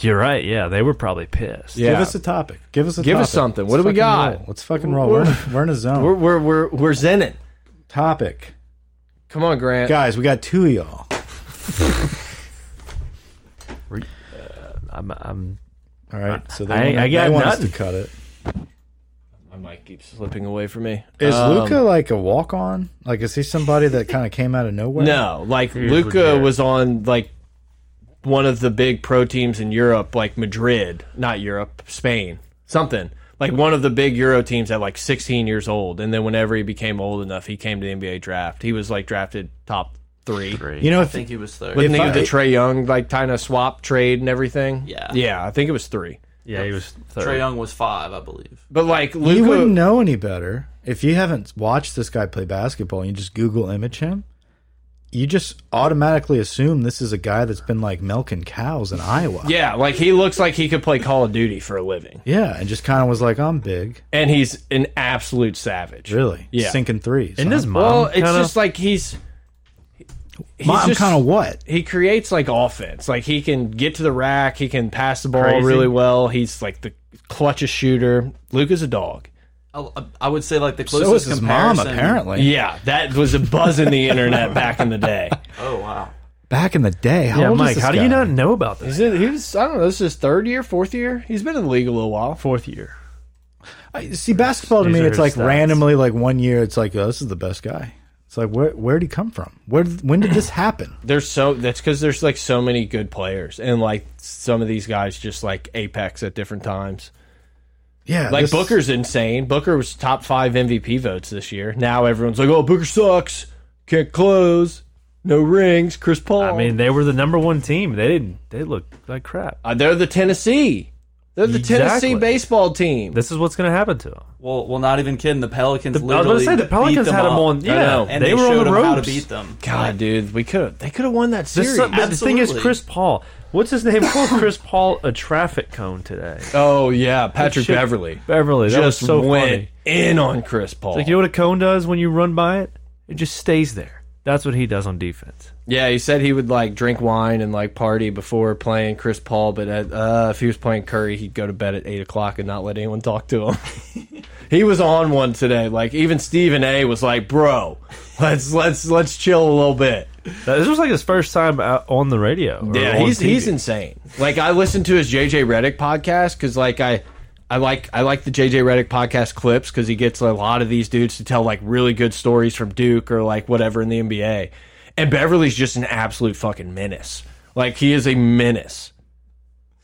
Speaker 4: You're right. Yeah, they were probably pissed.
Speaker 3: Yeah.
Speaker 1: Give us a topic. Give us a
Speaker 3: Give us
Speaker 1: topic.
Speaker 3: something. What do we
Speaker 1: fucking
Speaker 3: got?
Speaker 1: roll. Let's fucking roll. We're, in, we're in a zone.
Speaker 3: We're we're we're we're zenning.
Speaker 1: topic.
Speaker 3: Come on, Grant.
Speaker 1: Guys, we got two of y'all.
Speaker 4: I'm, I'm
Speaker 1: All right, so
Speaker 4: I-
Speaker 1: they, want,
Speaker 4: I got
Speaker 1: they want us
Speaker 4: nothing.
Speaker 1: to cut it.
Speaker 3: My mic keeps slipping away from me.
Speaker 1: Is
Speaker 3: Um,
Speaker 1: Luca like a walk on? Like, is he somebody that kind of came out of nowhere?
Speaker 3: No, like
Speaker 4: what
Speaker 3: Luca
Speaker 4: Jared-
Speaker 3: was on like one of the big pro teams in Europe, like Madrid, not Europe, Spain, something like one of the big Euro teams at like 16 years old. And then whenever he became old enough, he came to the NBA draft. He was like drafted top three.
Speaker 1: You know,
Speaker 2: I
Speaker 1: if,
Speaker 2: think he was third.
Speaker 3: With
Speaker 1: If
Speaker 3: the,
Speaker 1: I-
Speaker 3: the Trey Young like kind of swap trade and everything.
Speaker 2: Yeah.
Speaker 3: yeah, I think it was three.
Speaker 4: Yeah, he was third.
Speaker 2: Trey Young was five, I believe.
Speaker 3: But like Luca,
Speaker 1: you wouldn't know any better if you haven't watched this guy play basketball and you just Google image him. You just automatically assume this is a guy that's been like milking cows in Iowa.
Speaker 3: yeah, like he looks like he could play Call of Duty for a living.
Speaker 1: Yeah, and just kind of was like, I'm big.
Speaker 3: and he's an absolute savage.
Speaker 1: Really?
Speaker 3: Yeah.
Speaker 1: Sinking threes.
Speaker 4: And
Speaker 1: huh?
Speaker 4: his mom.
Speaker 3: Well, it's
Speaker 4: kinda-
Speaker 3: just like he's. He's
Speaker 1: Mom,
Speaker 3: just-
Speaker 1: kind of what?
Speaker 3: he creates like offense. Like he can get to the rack. He can pass the ball
Speaker 4: Crazy.
Speaker 3: really well. He's like the clutchest shooter. Luke is a dog.
Speaker 2: I, I would say like the closest
Speaker 1: So was his mom,
Speaker 2: comparison.
Speaker 1: apparently.
Speaker 3: Yeah, that was a buzz in the internet *laughs* back in the day.
Speaker 2: Oh wow.
Speaker 1: Back in the day. How
Speaker 4: yeah,
Speaker 1: old is
Speaker 4: Mike.
Speaker 1: this
Speaker 4: How do
Speaker 1: guy?
Speaker 4: you not know about this?
Speaker 3: He's in, he was I don't know. This is his third year, fourth year. He's been in the league a little while.
Speaker 4: Fourth year.
Speaker 1: I- See, basketball to
Speaker 4: These
Speaker 1: me,
Speaker 4: are
Speaker 1: it's
Speaker 4: his
Speaker 1: like
Speaker 4: stats.
Speaker 1: randomly, like one year, it's like, oh, this is the best guy. It's like, where where did he come from? Where did- when did this happen?
Speaker 3: There's so that's because there's like so many good players, and like some of these guys just like apex at different times.
Speaker 1: Yeah,
Speaker 3: Like
Speaker 1: this-
Speaker 3: Booker's insane. Booker was top five MVP votes this year. Now everyone's like, "Oh, Booker sucks. Can't close. No rings. Chris Paul."
Speaker 4: I mean, they were the number one team. They didn't. They looked like crap.
Speaker 3: Uh, they're the Tennessee. They're the Tennessee
Speaker 4: Exactly.
Speaker 3: baseball team.
Speaker 4: This is what's going to happen to them.
Speaker 2: Well, well, not even kidding. The Pelicans.
Speaker 4: I was
Speaker 2: literally
Speaker 4: going to say the
Speaker 2: beat
Speaker 4: Pelicans
Speaker 2: them
Speaker 4: had them
Speaker 2: up,
Speaker 4: on.
Speaker 3: I
Speaker 4: Yeah,
Speaker 3: know.
Speaker 2: and they,
Speaker 4: were
Speaker 2: showed
Speaker 4: on the
Speaker 2: them
Speaker 4: ropes.
Speaker 2: how to beat them.
Speaker 3: God, dude, we could have. They could have won that
Speaker 4: This-
Speaker 3: series.
Speaker 4: but the thing is,
Speaker 2: Absolutely.
Speaker 4: Chris Paul. What's his name? Called Chris Paul a traffic cone today.
Speaker 3: oh yeah, Patrick
Speaker 4: Shit.
Speaker 3: Beverly
Speaker 4: Beverly. That
Speaker 3: just
Speaker 4: was so
Speaker 3: went
Speaker 4: funny.
Speaker 3: in on Chris Paul.
Speaker 4: Like you know what a cone does when you run by it? It just stays there. That's what he does on defense.
Speaker 3: yeah, he said he would like drink wine and like party before playing Chris Paul, but at, uh, if he was playing Curry, he'd go to bed at eight o'clock and not let anyone talk to him. He was on one today. Like even Stephen A. was like, "Bro, let's let's let's chill a little bit."
Speaker 4: That- This was like his first time out on the radio. or
Speaker 3: Yeah,
Speaker 4: on
Speaker 3: he's
Speaker 4: TV.
Speaker 3: he's insane. Like I listened to his JJ Reddick podcast because like I I like I like the JJ Reddick podcast clips because he gets a lot of these dudes to tell like really good stories from Duke or like whatever in the NBA. And Beverly's just an absolute fucking menace. Like he is a menace.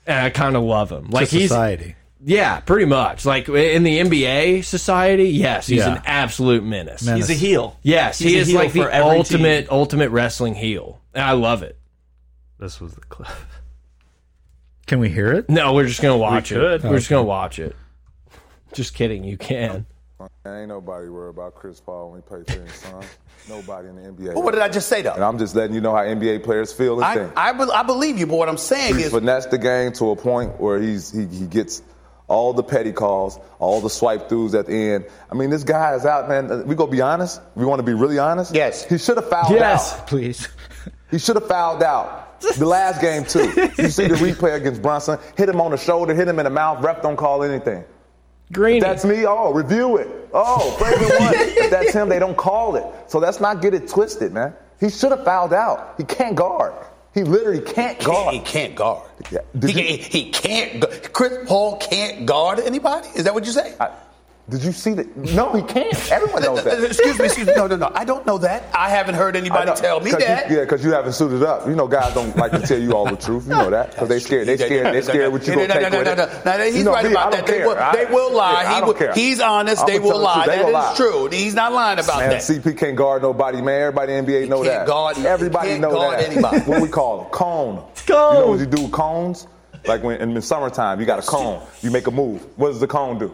Speaker 3: And I kind of love him. Like
Speaker 1: Like
Speaker 3: he's
Speaker 1: society.
Speaker 3: yeah, pretty much. Like in the NBA society, yes, he's
Speaker 1: Yeah.
Speaker 3: an absolute menace.
Speaker 1: Man,
Speaker 2: He's a heel.
Speaker 3: Yes,
Speaker 2: He's
Speaker 3: he
Speaker 2: a
Speaker 3: is
Speaker 2: heel
Speaker 3: like
Speaker 2: for
Speaker 3: the
Speaker 2: every team.
Speaker 3: ultimate ultimate wrestling heel. And I love it.
Speaker 4: This was the clip.
Speaker 1: Can we hear it?
Speaker 3: No, we're just gonna watch it.
Speaker 4: could.
Speaker 3: We're just gonna watch it. Just kidding. You can.
Speaker 11: Ain't nobody worried about Chris Paul when he plays for
Speaker 12: *laughs*
Speaker 11: his son. Nobody in the NBA.
Speaker 12: But what did I just say,
Speaker 11: and
Speaker 12: though?
Speaker 11: I'm just letting you know how NBA players feel and
Speaker 12: I,
Speaker 11: think.
Speaker 12: I, be- I believe you, but what I'm saying
Speaker 11: He's
Speaker 12: is,
Speaker 11: finessed the game to a point where he's he, he gets all the petty calls, all the swipe throughs at the end. I mean, this guy is out, man. We gonna be honest. We want to be really honest.
Speaker 12: Yes.
Speaker 11: He should have fouled
Speaker 3: Yes.
Speaker 11: out.
Speaker 1: Please.
Speaker 11: He should have fouled out. The last game too.
Speaker 12: *laughs*
Speaker 11: You see the replay against Brunson. Hit him on the shoulder. Hit him in the mouth. Ref don't call anything.
Speaker 3: Green.
Speaker 11: That's me. Oh, review it.
Speaker 12: *laughs*
Speaker 11: Oh, favorite one. if that's him, they don't call it. So let's not get it twisted, man. He should have fouled out. He can't guard. He literally can't guard.
Speaker 12: he can't guard.
Speaker 11: Yeah. Did
Speaker 12: He,
Speaker 11: you-
Speaker 12: can't, he can't. gu- Chris Paul can't guard anybody. Is that what you say?
Speaker 11: I- did you see that? No, he can't. Everyone knows that.
Speaker 12: excuse me, excuse me. No, no, no. I don't know that. I haven't heard anybody
Speaker 11: I know,
Speaker 12: tell me
Speaker 11: 'cause you-
Speaker 12: that.
Speaker 11: yeah, because you haven't suited up. You know, guys don't like to tell you all the truth. You know that because they scared. They scared. They scared what
Speaker 12: No,
Speaker 11: you gonna
Speaker 12: no,
Speaker 11: take
Speaker 12: no, no,
Speaker 11: with
Speaker 12: no,
Speaker 11: it.
Speaker 12: no. Now, he's
Speaker 11: You know
Speaker 12: right
Speaker 11: me,
Speaker 12: about
Speaker 11: I
Speaker 12: that.
Speaker 11: don't
Speaker 12: They
Speaker 11: care.
Speaker 12: will-
Speaker 11: I-
Speaker 12: they will lie.
Speaker 11: Yeah,
Speaker 12: He
Speaker 11: I
Speaker 12: will-
Speaker 11: don't care.
Speaker 12: he's honest.
Speaker 11: I'm
Speaker 12: They
Speaker 11: gonna
Speaker 12: will
Speaker 11: tell the truth.
Speaker 12: lie.
Speaker 11: They
Speaker 12: That
Speaker 11: gonna
Speaker 12: is
Speaker 11: lie.
Speaker 12: true. He's not lying about
Speaker 11: Man,
Speaker 12: that.
Speaker 11: CP can't guard nobody, man. Everybody in the NBA know
Speaker 12: can't
Speaker 11: that.
Speaker 12: guard- he
Speaker 11: Everybody
Speaker 12: can't
Speaker 11: know
Speaker 12: guard
Speaker 11: that.
Speaker 12: anybody.
Speaker 11: What we call
Speaker 12: *laughs*
Speaker 11: it? Cone.
Speaker 3: Cone.
Speaker 11: You know what you do with cones? Like when in the summertime, you got a cone. You make a move. What does the cone do?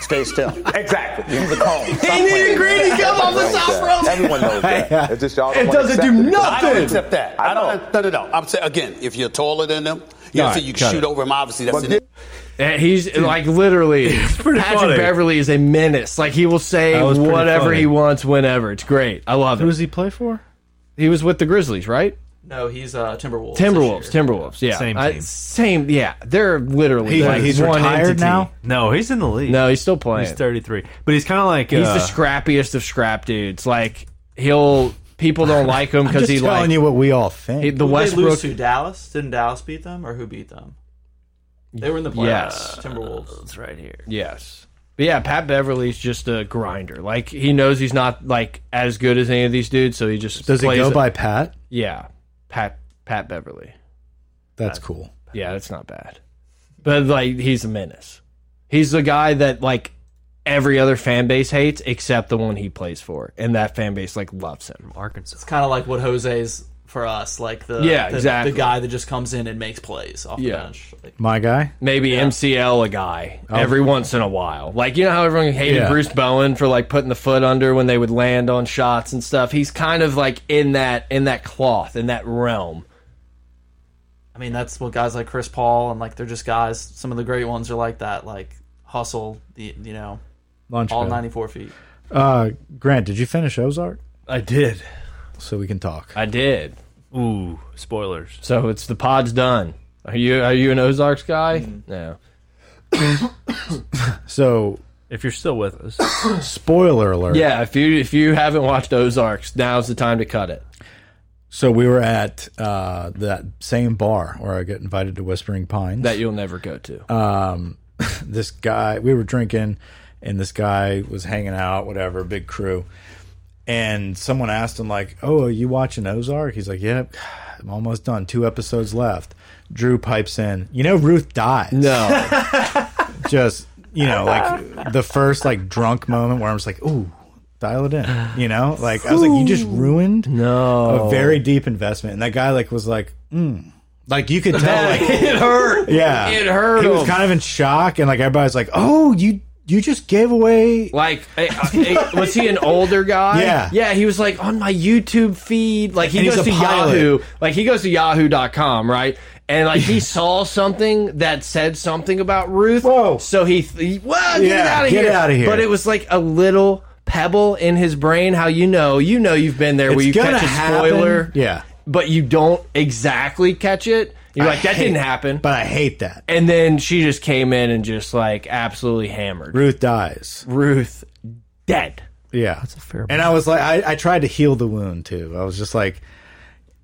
Speaker 12: Stay still.
Speaker 11: Exactly. He's a
Speaker 12: *laughs*
Speaker 11: cone. Stop
Speaker 12: He
Speaker 11: playing.
Speaker 12: needed greedy come off the
Speaker 11: Everyone knows
Speaker 12: top
Speaker 11: that.
Speaker 12: rope.
Speaker 11: Everyone knows that. It's just y'all. don't
Speaker 3: It
Speaker 11: wanna
Speaker 3: doesn't
Speaker 11: accept
Speaker 3: do
Speaker 11: it because-
Speaker 12: I don't
Speaker 3: nothing.
Speaker 12: accept that.
Speaker 11: I
Speaker 12: I
Speaker 11: know.
Speaker 12: don't. No, no, no. I'm saying again, if you're taller than them, you know,
Speaker 1: All
Speaker 12: so
Speaker 1: right,
Speaker 12: you can
Speaker 1: cut
Speaker 12: shoot
Speaker 1: it.
Speaker 12: over him. Obviously, that's
Speaker 11: But
Speaker 12: an
Speaker 11: this-
Speaker 3: And Uh, he's like literally.
Speaker 4: pretty
Speaker 3: Patrick
Speaker 4: funny.
Speaker 3: Beverly is a menace. Like he will say
Speaker 4: That was pretty
Speaker 3: whatever
Speaker 4: funny.
Speaker 3: he wants, whenever. It's great. I love
Speaker 4: Who
Speaker 3: it.
Speaker 4: does he play for?
Speaker 3: He was with the Grizzlies, right?
Speaker 2: No, he's uh, Timberwolves. this
Speaker 3: Timberwolves.
Speaker 2: year.
Speaker 3: Timberwolves. Yeah.
Speaker 4: Same
Speaker 3: I-
Speaker 4: team.
Speaker 3: same. Yeah. They're literally.
Speaker 1: He-
Speaker 3: like
Speaker 1: he's
Speaker 3: one
Speaker 1: retired
Speaker 3: entity.
Speaker 1: now?
Speaker 4: No, he's in the league.
Speaker 3: No, he's still playing.
Speaker 4: he's 33. But he's kind of like
Speaker 3: He's
Speaker 4: uh,
Speaker 3: the scrappiest of scrap dudes. Like he'll. People don't like him
Speaker 1: I'm
Speaker 3: because
Speaker 1: just
Speaker 3: he
Speaker 1: telling
Speaker 3: like
Speaker 1: you what we all
Speaker 3: he-
Speaker 1: think.
Speaker 3: the
Speaker 2: Who'd They
Speaker 3: Westbrook.
Speaker 2: lose to Dallas. Didn't Dallas beat them, or who beat them? They were in the playoffs. uh,
Speaker 3: Yes.
Speaker 2: Timberwolves.
Speaker 4: It's right here.
Speaker 3: Yes. But yeah, Pat Beverly's just a grinder. Like he knows he's not like as good as any of these dudes, so he just
Speaker 1: Does it
Speaker 3: plays
Speaker 1: go by Pat?
Speaker 3: Yeah, Pat Pat Beverly.
Speaker 1: That's cool.
Speaker 3: Yeah, that's not bad. But like he's a menace. He's the guy that like every other fan base hates except the one he plays for, and that fan base like loves him.
Speaker 4: Arkansas.
Speaker 2: It's kind of like what Jose's for us, like the
Speaker 3: Yeah,
Speaker 2: the,
Speaker 3: exactly.
Speaker 2: the guy that just comes in and makes plays off
Speaker 3: Yeah.
Speaker 2: the bench. Like,
Speaker 1: My guy?
Speaker 3: Maybe MCL a guy
Speaker 4: Oh.
Speaker 3: every once in a while. Like you know how everyone hated
Speaker 1: Yeah.
Speaker 3: Bruce Bowen for like putting the foot under when they would land on shots and stuff. He's kind of like in that in that cloth in that realm.
Speaker 2: I mean, that's what guys like Chris Paul and like they're just guys. Some of the great ones are like that, like hustle. The you know
Speaker 1: Lunch
Speaker 2: all
Speaker 1: bell.
Speaker 2: ninety four feet.
Speaker 1: Uh, Grant, did you finish Ozark?
Speaker 4: I did.
Speaker 1: So we can talk.
Speaker 3: I did.
Speaker 4: Ooh, spoilers.
Speaker 3: So it's the pod's done. Are you are you an Ozarks guy? No.
Speaker 1: So,
Speaker 4: If you're still with us,
Speaker 1: spoiler alert.
Speaker 3: Yeah, if you if you haven't watched Ozarks, now's the time to cut it.
Speaker 1: So we were at uh, that same bar where I got invited to Whispering Pines.
Speaker 3: That you'll never go to.
Speaker 4: Uh,
Speaker 1: um, *laughs* this guy we were drinking and this guy was hanging out whatever big crew and someone asked him like oh are you watching ozark he's like yep *sighs* i'm almost done two episodes left drew pipes in you know ruth died
Speaker 3: no.
Speaker 1: just you know like the first like drunk moment where i'm just like ooh dial it in you know like i was like you just ruined
Speaker 3: No.
Speaker 1: a very deep investment and that guy like was like mm. like you could tell like
Speaker 3: *laughs* *laughs* it hurt.
Speaker 1: yeah,
Speaker 3: It hurt
Speaker 1: He was
Speaker 3: him.
Speaker 1: kind of in shock, and like everybody's like, "Oh, you you just gave away."
Speaker 3: Like, I- I- I- was he an older guy?
Speaker 1: Yeah.
Speaker 3: Yeah, he was like on my YouTube feed. Like, he
Speaker 1: And he's
Speaker 3: goes
Speaker 1: a
Speaker 3: to
Speaker 1: pilot.
Speaker 3: Yahoo. Like, he goes to yahoo.com, right? And, like, he saw something that said something about Ruth.
Speaker 1: Whoa.
Speaker 3: So he, he whoa, get it
Speaker 1: Yeah,
Speaker 3: out of
Speaker 1: get
Speaker 3: here.
Speaker 1: it outta here.
Speaker 3: But it was like a little pebble in his brain. How you know, you know, you've been there where you catch a spoiler.
Speaker 1: Yeah,
Speaker 3: but you don't exactly catch it. You're like, that didn't happen.
Speaker 1: But I hate that.
Speaker 3: and then she just came in and just like absolutely hammered
Speaker 1: Ruth dies.
Speaker 3: Ruth dead.
Speaker 1: Yeah.
Speaker 4: That's a fair.
Speaker 1: And I was like, I, I tried to heal the wound too. I was just like,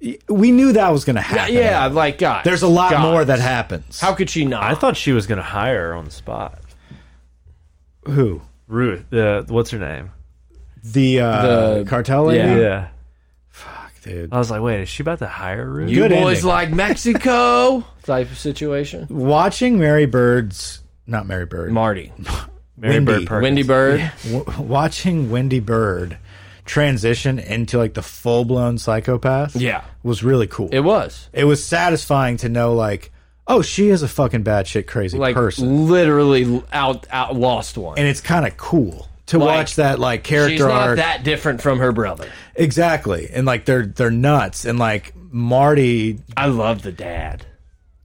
Speaker 1: y- we knew that was going to happen.
Speaker 3: Yeah, like God.
Speaker 1: There's a lot
Speaker 3: God.
Speaker 1: more that happens.
Speaker 3: How could she not?
Speaker 4: I thought she was going to hire her on the spot.
Speaker 1: Who?
Speaker 4: Ruth, uh, what's her name?
Speaker 1: The, uh,
Speaker 3: The-
Speaker 1: cartel lady?
Speaker 3: Yeah.
Speaker 4: Yeah.
Speaker 1: Dude.
Speaker 4: I was like, wait, is she about to hire Ruth?
Speaker 3: you
Speaker 1: good
Speaker 3: boys
Speaker 1: ending. *laughs*
Speaker 3: like Mexico type of situation.
Speaker 1: Watching Mary Bird's, not Mary Bird,
Speaker 3: Marty,
Speaker 4: Mary
Speaker 1: Wendy.
Speaker 4: Bird Perkins.
Speaker 3: Wendy Bird.
Speaker 1: w- watching Wendy Bird transition into like the full blown psychopath
Speaker 3: Yeah.
Speaker 1: was really cool.
Speaker 3: It was
Speaker 1: It was satisfying to know, like, oh, she is a fucking batshit crazy
Speaker 3: like
Speaker 1: person.
Speaker 3: literally out out lost one.
Speaker 1: and it's kind of cool to
Speaker 3: Like,
Speaker 1: watch that like
Speaker 3: She's
Speaker 1: character
Speaker 3: not
Speaker 1: arc
Speaker 3: that different from her brother.
Speaker 1: exactly and like they're they're nuts and like marty
Speaker 3: I love the dad,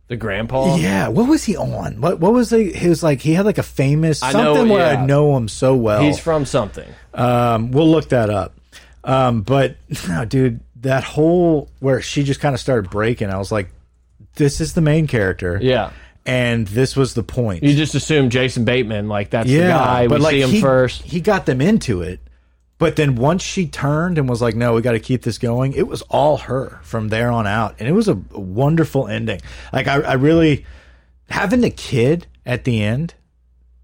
Speaker 3: the grandpa.
Speaker 1: yeah what was he on what what was the, his like he had like a famous
Speaker 3: I know,
Speaker 1: something where
Speaker 3: yeah.
Speaker 1: i know him so well
Speaker 3: He's from something.
Speaker 1: um we'll look that up um but *laughs* no dude that whole where she just kind of started breaking i was like this is the main character
Speaker 3: Yeah.
Speaker 1: and this was the point
Speaker 3: You just assume Jason Bateman, like that's the
Speaker 1: yeah,
Speaker 3: guy.
Speaker 1: but
Speaker 3: we
Speaker 1: like
Speaker 3: see him
Speaker 1: he,
Speaker 3: first.
Speaker 1: He got them into it, but then once she turned and was like, "No, we got to keep this going," it was all her from there on out, and it was a wonderful ending. Like I, I really having the kid at the end,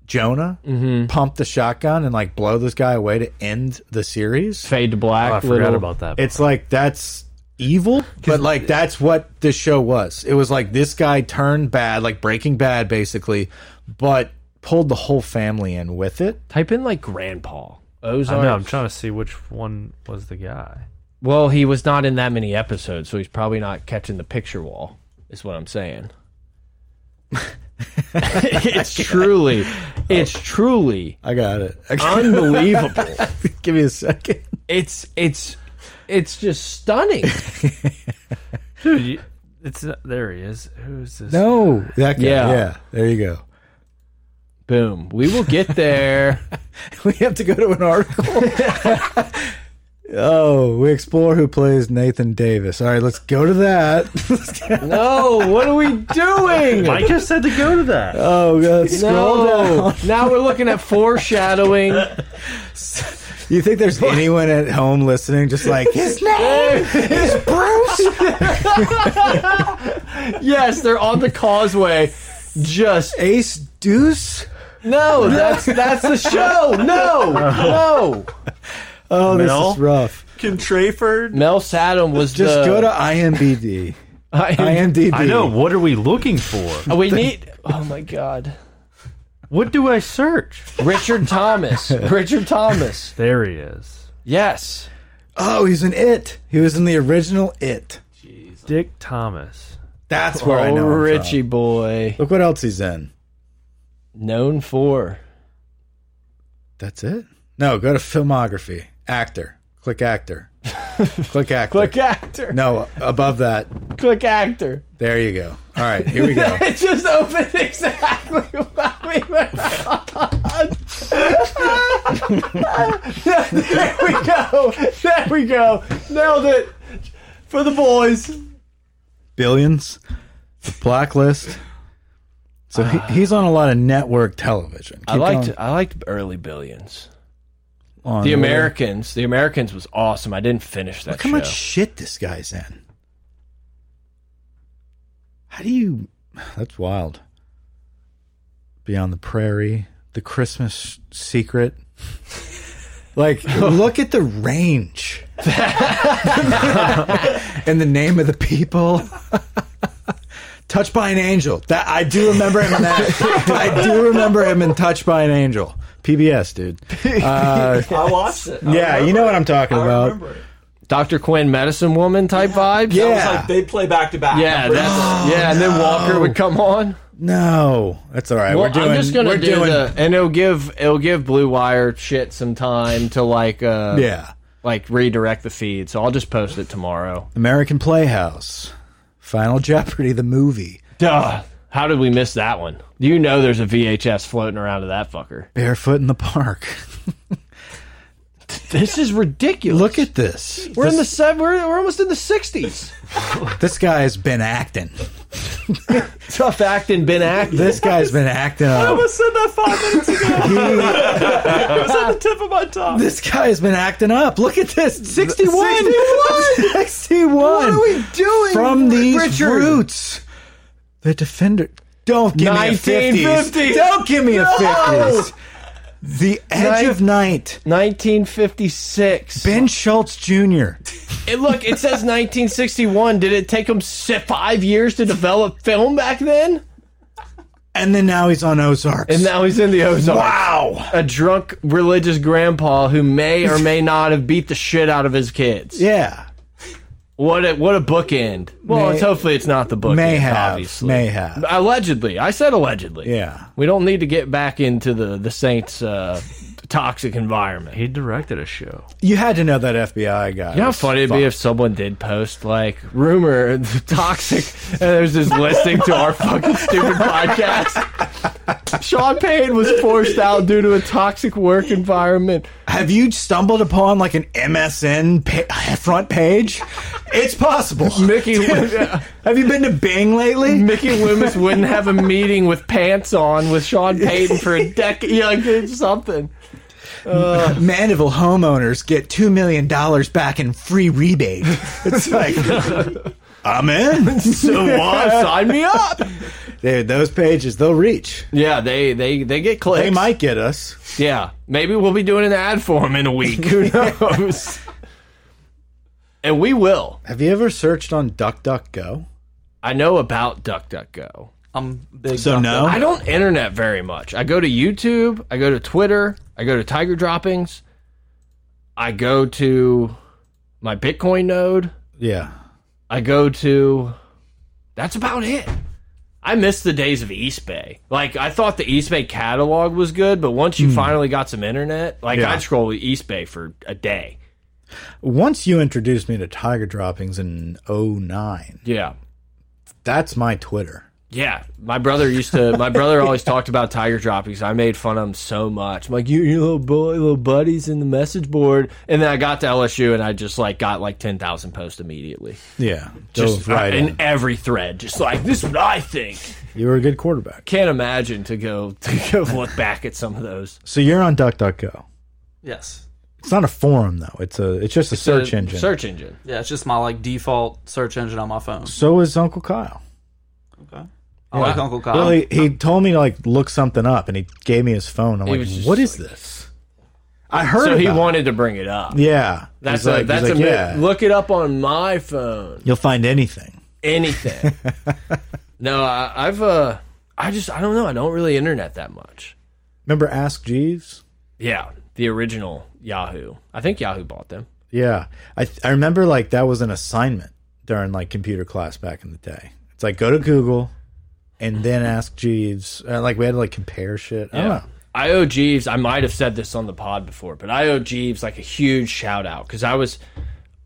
Speaker 1: Jonah,
Speaker 3: Mm-hmm.
Speaker 1: pump the shotgun and like blow this guy away to end the series.
Speaker 3: Fade to black.
Speaker 4: Oh, I forgot
Speaker 3: little-
Speaker 4: about that.
Speaker 1: It's like that's evil but like that's what this show was it was like this guy turned bad like breaking bad basically but pulled the whole family in with it
Speaker 3: Type in like grandpa.
Speaker 4: I
Speaker 3: Ozark.
Speaker 4: know. I'm trying to see which one was the guy.
Speaker 3: Well, he was not in that many episodes, so he's probably not catching the picture wall. Is what I'm *laughs* saying. it's truly, it's truly
Speaker 1: I got it. *laughs*
Speaker 3: unbelievable.
Speaker 1: Give me a second.
Speaker 3: It's it's it's just stunning.
Speaker 4: Dude, you, it's not- there. He is. Who's this?
Speaker 1: No, that guy.
Speaker 3: Yeah.
Speaker 1: Yeah. there you go.
Speaker 3: Boom. We will get there.
Speaker 1: *laughs* We have to go to an article. *laughs* oh, we explore who plays Nathan Davis. All right, let's go to *laughs* that.
Speaker 3: *laughs* No, what are we doing?
Speaker 4: Mike just said to go to that.
Speaker 3: Uh,
Speaker 1: oh, let's scroll down.
Speaker 3: No. Now we're looking at foreshadowing.
Speaker 1: You think there's anyone at home listening just *laughs* like his name is Bruce?
Speaker 3: *laughs* yes, they're on the causeway.
Speaker 1: *laughs*
Speaker 3: Just
Speaker 1: Ace Deuce?
Speaker 3: no. That's that's the show. No, no.
Speaker 1: Oh,
Speaker 4: Mel?
Speaker 1: this is rough.
Speaker 2: Can Trayford?
Speaker 3: Mel Saddam was
Speaker 1: Just
Speaker 3: the,
Speaker 1: go to IMBD.
Speaker 3: *laughs* I am-
Speaker 1: IMDb.
Speaker 4: I know. What are we looking for?
Speaker 3: *laughs* we need. Oh my God.
Speaker 4: what do I search?
Speaker 3: Richard *laughs* Thomas. Richard Thomas.
Speaker 4: There he is.
Speaker 3: Yes.
Speaker 1: Oh, he's in It. He was in the original It.
Speaker 4: Dick Thomas.
Speaker 1: That's where I
Speaker 3: oh,
Speaker 1: know him from.
Speaker 3: Richie boy,
Speaker 1: Look what else he's in.
Speaker 3: known for.
Speaker 1: That's it. No, go to filmography, actor, click
Speaker 3: *laughs*
Speaker 1: actor, click actor.
Speaker 3: Click actor.
Speaker 1: No, above that.
Speaker 3: Click actor.
Speaker 1: There you go. All right, here we go.
Speaker 3: *laughs* It just opened exactly *laughs* what we were on. there we go. There we go. Nailed it. For the boys.
Speaker 1: Billions, The Blacklist. So he, he's on a lot of network television.
Speaker 3: Uh, I
Speaker 1: Keep
Speaker 3: liked
Speaker 1: going.
Speaker 3: I liked early billions.
Speaker 1: On
Speaker 3: The
Speaker 1: what-
Speaker 3: Americans. The Americans was awesome. I didn't finish that
Speaker 1: Look how
Speaker 3: show.
Speaker 1: much shit this guy's in. How do you? That's wild. Beyond the Prairie, The Christmas Secret. Like, look at the range. and the name of the people. Touched by an Angel. That I do remember him in that. I do remember him in Touched by an Angel. PBS, dude. Uh,
Speaker 2: I watched it. I
Speaker 1: yeah, you know what I'm talking
Speaker 2: I
Speaker 1: about.
Speaker 2: remember it.
Speaker 3: Dr. Quinn medicine woman type vibes.
Speaker 1: Yeah.
Speaker 2: It was like they play back to back.
Speaker 3: Yeah, that's, yeah, and then Walker would come on.
Speaker 1: No, that's all right.
Speaker 3: Well,
Speaker 1: we're doing.
Speaker 3: I'm just gonna
Speaker 1: we're
Speaker 3: do
Speaker 1: doing.
Speaker 3: the, and it'll give it'll give Blue Wire shit some time to like uh
Speaker 1: yeah,
Speaker 3: like redirect the feed. So I'll just post it tomorrow.
Speaker 1: American Playhouse, Final *laughs* Jeopardy, the movie,
Speaker 3: Duh. How did we miss that one? You know, there's a VHS floating around of that fucker.
Speaker 1: Barefoot in the Park,
Speaker 3: This is ridiculous.
Speaker 1: Look at this.
Speaker 3: we're in the seven. We're, we're almost in the sixties.
Speaker 1: This guy's been acting.
Speaker 3: Tough acting, Ben acting.
Speaker 1: This guy's been acting up.
Speaker 2: almost said that five
Speaker 1: *laughs*
Speaker 2: minutes ago. it was at the tip of my tongue.
Speaker 1: This guy's been acting up. Look at this. 61. *laughs*
Speaker 3: 61.
Speaker 1: 61.
Speaker 3: What are we doing,
Speaker 1: From these
Speaker 3: Richard?
Speaker 1: roots. The defender. Don't give me a 50s.
Speaker 3: 1950s.
Speaker 1: Don't give me a
Speaker 3: No.
Speaker 1: 50s. The Edge of Night.
Speaker 3: 1956.
Speaker 1: Ben Schultz Jr.
Speaker 3: And look, it says 1961. Did it take them five years to develop film back then?
Speaker 1: And then now he's on Ozarks.
Speaker 3: And now he's in the Ozarks.
Speaker 1: wow.
Speaker 3: A drunk religious grandpa who may or may not have beat the shit out of his kids.
Speaker 1: Yeah.
Speaker 3: What a what a bookend. Well,
Speaker 1: May-
Speaker 3: it's, hopefully it's not the bookend.
Speaker 1: may have.
Speaker 3: obviously.
Speaker 1: May have.
Speaker 3: Allegedly, I said allegedly.
Speaker 1: Yeah.
Speaker 3: We don't need to get back into the the Saints' uh, toxic environment.
Speaker 4: He directed a show.
Speaker 1: You had to know that FBI guy.
Speaker 3: You know how
Speaker 1: was
Speaker 3: funny it'd be if someone did post like rumor *laughs* toxic, and there's this listening to our fucking stupid podcast. Sean Payne was forced out due to a toxic work environment.
Speaker 1: Have you stumbled upon like an MSN pa front page? It's possible.
Speaker 3: *laughs* Mickey
Speaker 1: Have you been to Bing lately?
Speaker 3: Mickey Loomis wouldn't have a meeting with pants on with Sean Payton for a decade. Yeah, like, it's something.
Speaker 1: *laughs* Mandeville homeowners get two million dollars back in free rebate. It's
Speaker 3: *laughs*
Speaker 1: like, I'm in.
Speaker 3: So what? *laughs* Sign me up.
Speaker 1: Dude, those pages they'll reach.
Speaker 3: Yeah, they they they get clicks.
Speaker 1: They might get us.
Speaker 3: Yeah, maybe we'll be doing an ad for him in a week. *laughs* Who knows? and we will.
Speaker 1: Have you ever searched on DuckDuckGo?
Speaker 3: I know about DuckDuckGo.
Speaker 2: I'm big.
Speaker 1: So
Speaker 2: dumb.
Speaker 1: no.
Speaker 3: I don't internet very much. I go to YouTube. I go to Twitter. I go to Tiger Droppings. I go to my Bitcoin node.
Speaker 1: yeah.
Speaker 3: I go to. That's about it. I miss the days of East Bay. Like I thought the East Bay catalog was good, but once you finally got some internet, like
Speaker 1: Yeah.
Speaker 3: I'd scroll East Bay for a day.
Speaker 1: Once you introduced me to Tiger Droppings in 09,
Speaker 3: Yeah.
Speaker 1: that's my Twitter.
Speaker 3: Yeah, my brother used to. My brother always talked about Tiger Droppings. I made fun of him so much. I'm like, you, you little boy, little buddies in the message board. And then I got to LSU, and I just like got like ten thousand posts immediately.
Speaker 1: Yeah.
Speaker 3: Just
Speaker 1: Just right.
Speaker 3: uh,
Speaker 1: in.
Speaker 3: in every thread, just like this is what I think.
Speaker 1: you were a good quarterback.
Speaker 3: Can't imagine to go *laughs* to go look back at some of those
Speaker 1: So you're on DuckDuckGo.
Speaker 2: Yes.
Speaker 1: It's not a forum though. It's a it's just a search
Speaker 3: Uh,
Speaker 1: engine.
Speaker 3: Search engine.
Speaker 2: Yeah, it's just my like default search engine on my phone.
Speaker 1: So is Uncle Kyle.
Speaker 2: I like Uncle
Speaker 3: Uh,
Speaker 2: Kyle.
Speaker 1: Really, he told me to like look something up, and he gave me his phone. I'm
Speaker 3: He
Speaker 1: like,
Speaker 3: was just
Speaker 1: what is this? I heard.
Speaker 3: So he
Speaker 1: about it.
Speaker 3: wanted to bring it up.
Speaker 1: Yeah,
Speaker 3: That's
Speaker 1: He's
Speaker 3: a
Speaker 1: like- he's
Speaker 3: that's
Speaker 1: like,
Speaker 3: a
Speaker 1: yeah.
Speaker 3: look it up on my phone.
Speaker 1: You'll find anything. *laughs*
Speaker 3: anything. no, I, I've uh, I just I don't know. I don't really internet that much.
Speaker 1: Remember Ask Jeeves?
Speaker 3: Yeah, the original Yahoo. I think Yahoo bought them.
Speaker 1: Yeah, I I remember like that was an assignment during like computer class back in the day. It's like go to Google, and then ask Jeeves. Uh, like we had to like compare shit. I don't know.
Speaker 3: I owe Jeeves. I might have said this on the pod before, but I owe Jeeves like a huge shout out because I was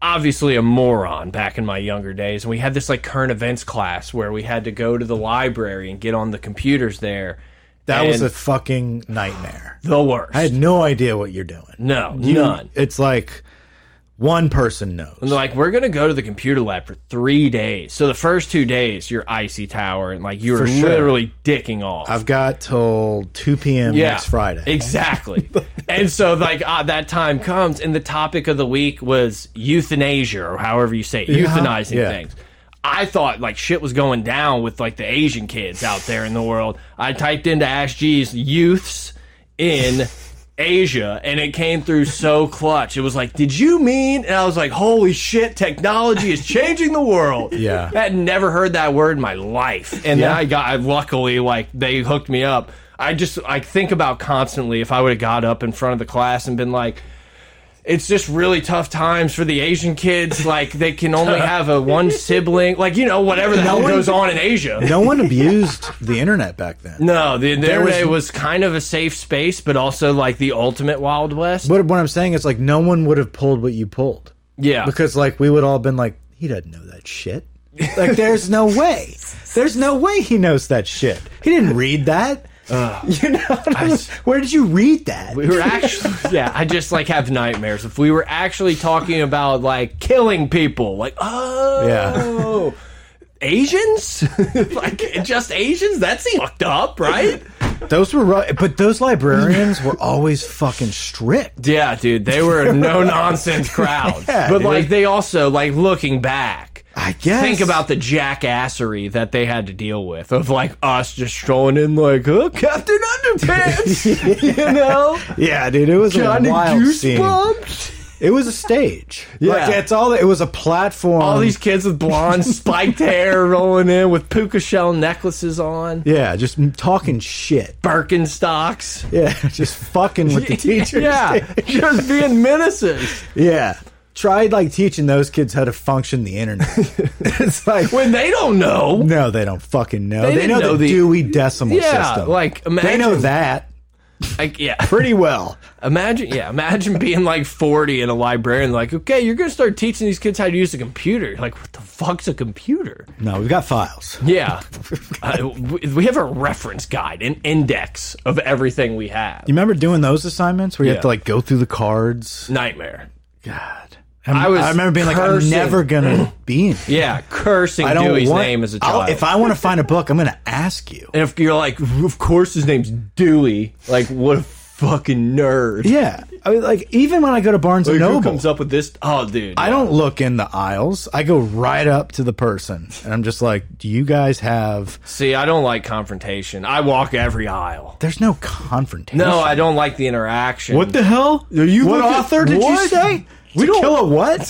Speaker 3: obviously a moron back in my younger days, and we had this like current events class where we had to go to the library and get on the computers there.
Speaker 1: That was a
Speaker 3: And
Speaker 1: fucking nightmare.
Speaker 3: the worst.
Speaker 1: I had no idea what you're doing.
Speaker 3: no,
Speaker 1: You-
Speaker 3: none.
Speaker 1: It's like one person knows.
Speaker 3: And they're like, we're gonna go to the computer lab for three days. So the first two days, you're icy tower and like you're
Speaker 1: For sure.
Speaker 3: literally dicking off.
Speaker 1: I've got till 2 p.m. next Friday.
Speaker 3: exactly. and so like ah, that time comes, and the topic of the week was euthanasia or however you say it, euthanizing
Speaker 1: yeah.
Speaker 3: things. I thought like shit was going down with like the Asian kids out there in the world. I typed into Ash G's youths in Asia and it came through so clutch. It was like, did you mean? And I was like, holy shit, technology is changing the *laughs* world.
Speaker 1: Yeah.
Speaker 3: I had never heard that word in my life. And then
Speaker 1: Yeah.
Speaker 3: I got, I luckily, like, they hooked me up. I just, I think about constantly if I would have got up in front of the class and been like, it's just really tough times for the Asian kids. Like, they can *laughs* only have a one sibling. Like, you know, whatever the hell goes on in Asia.
Speaker 1: No one abused the internet back then.
Speaker 3: No, the, the
Speaker 1: There was-
Speaker 3: internet was kind of a safe space, but also like the ultimate Wild West.
Speaker 1: But what I'm saying is, like, no one would have pulled what you pulled.
Speaker 3: yeah.
Speaker 1: Because, like, we would all been like, he doesn't know that shit. Like, there's no way. There's no way he knows that shit. He didn't read that. *laughs*
Speaker 13: you know, what I mean? where did you read that?
Speaker 3: We were actually, *laughs* yeah, I just like have nightmares. If we were actually talking about like killing people, like, oh, Asians? *laughs* like, just Asians? That's fucked up, right?
Speaker 1: Those were, ru- but those librarians were always fucking strict.
Speaker 3: Yeah, dude, they were
Speaker 1: *laughs*
Speaker 3: a no nonsense crowd.
Speaker 1: Yeah,
Speaker 3: but
Speaker 1: dude.
Speaker 3: like, they also, like, looking back,
Speaker 1: I guess.
Speaker 3: think about the jackassery that they had to deal with of like us just strolling in, like, oh, Captain
Speaker 1: *laughs*
Speaker 3: Underpants, you know?
Speaker 1: yeah, dude. It was
Speaker 3: Johnny
Speaker 1: a wild scene.
Speaker 3: Goosebumped.
Speaker 1: It was a stage.
Speaker 3: Yeah.
Speaker 1: like, it's all. It was a platform.
Speaker 3: All these kids with
Speaker 1: *laughs*
Speaker 3: blonde spiked hair rolling in with puka shell necklaces on,
Speaker 1: yeah, just talking shit.
Speaker 3: Birkenstocks.
Speaker 1: Yeah, *laughs* just fucking *laughs* with the teachers.
Speaker 3: Yeah, just being menaces.
Speaker 1: yeah. Tried like teaching those kids how to function the *laughs* internet. it's like
Speaker 3: When they don't know.
Speaker 1: no, they don't fucking know.
Speaker 3: They
Speaker 1: They,
Speaker 3: didn't
Speaker 1: know,
Speaker 3: know
Speaker 1: the,
Speaker 3: the-
Speaker 1: Dewey Decimal
Speaker 3: Yeah,
Speaker 1: System.
Speaker 3: like,
Speaker 1: they
Speaker 3: imagine-
Speaker 1: know that
Speaker 3: Like, yeah.
Speaker 1: pretty well.
Speaker 3: Imagine, yeah, imagine *laughs* being like 40 and a librarian, like, okay, you're going to start teaching these kids how to use a computer. Like, what the fuck's a computer?
Speaker 1: No, we've got files.
Speaker 3: Yeah. *laughs* Uh, w- we have a reference guide, an index of everything we have.
Speaker 1: You remember doing those assignments where you
Speaker 3: Yeah.
Speaker 1: have to like go through the cards?
Speaker 3: Nightmare.
Speaker 1: God. I'm-
Speaker 3: I was
Speaker 1: I remember being
Speaker 3: cursing.
Speaker 1: like, I'm never gonna be in. here. *laughs*
Speaker 3: Yeah, cursing
Speaker 1: I don't
Speaker 3: Dewey's
Speaker 1: want-
Speaker 3: name as a
Speaker 1: I'll-
Speaker 3: child.
Speaker 1: if I want to find a book, I'm gonna ask you.
Speaker 3: and if you're like, of course his name's Dewey, like, what a fucking nerd.
Speaker 1: Yeah, I mean, like even when I go to Barnes
Speaker 3: Like,
Speaker 1: and
Speaker 3: who
Speaker 1: Noble,
Speaker 3: comes up with this? Oh, dude.
Speaker 1: I don't look in the aisles. I go right up to the person, and I'm just like, "Do you guys have?"
Speaker 3: See, I don't like confrontation. I walk every aisle.
Speaker 1: There's no confrontation.
Speaker 3: No, I don't like the interaction.
Speaker 1: What the hell? Are you what
Speaker 3: looking-
Speaker 1: author did you
Speaker 3: What?
Speaker 1: say? We to kill a *laughs* what?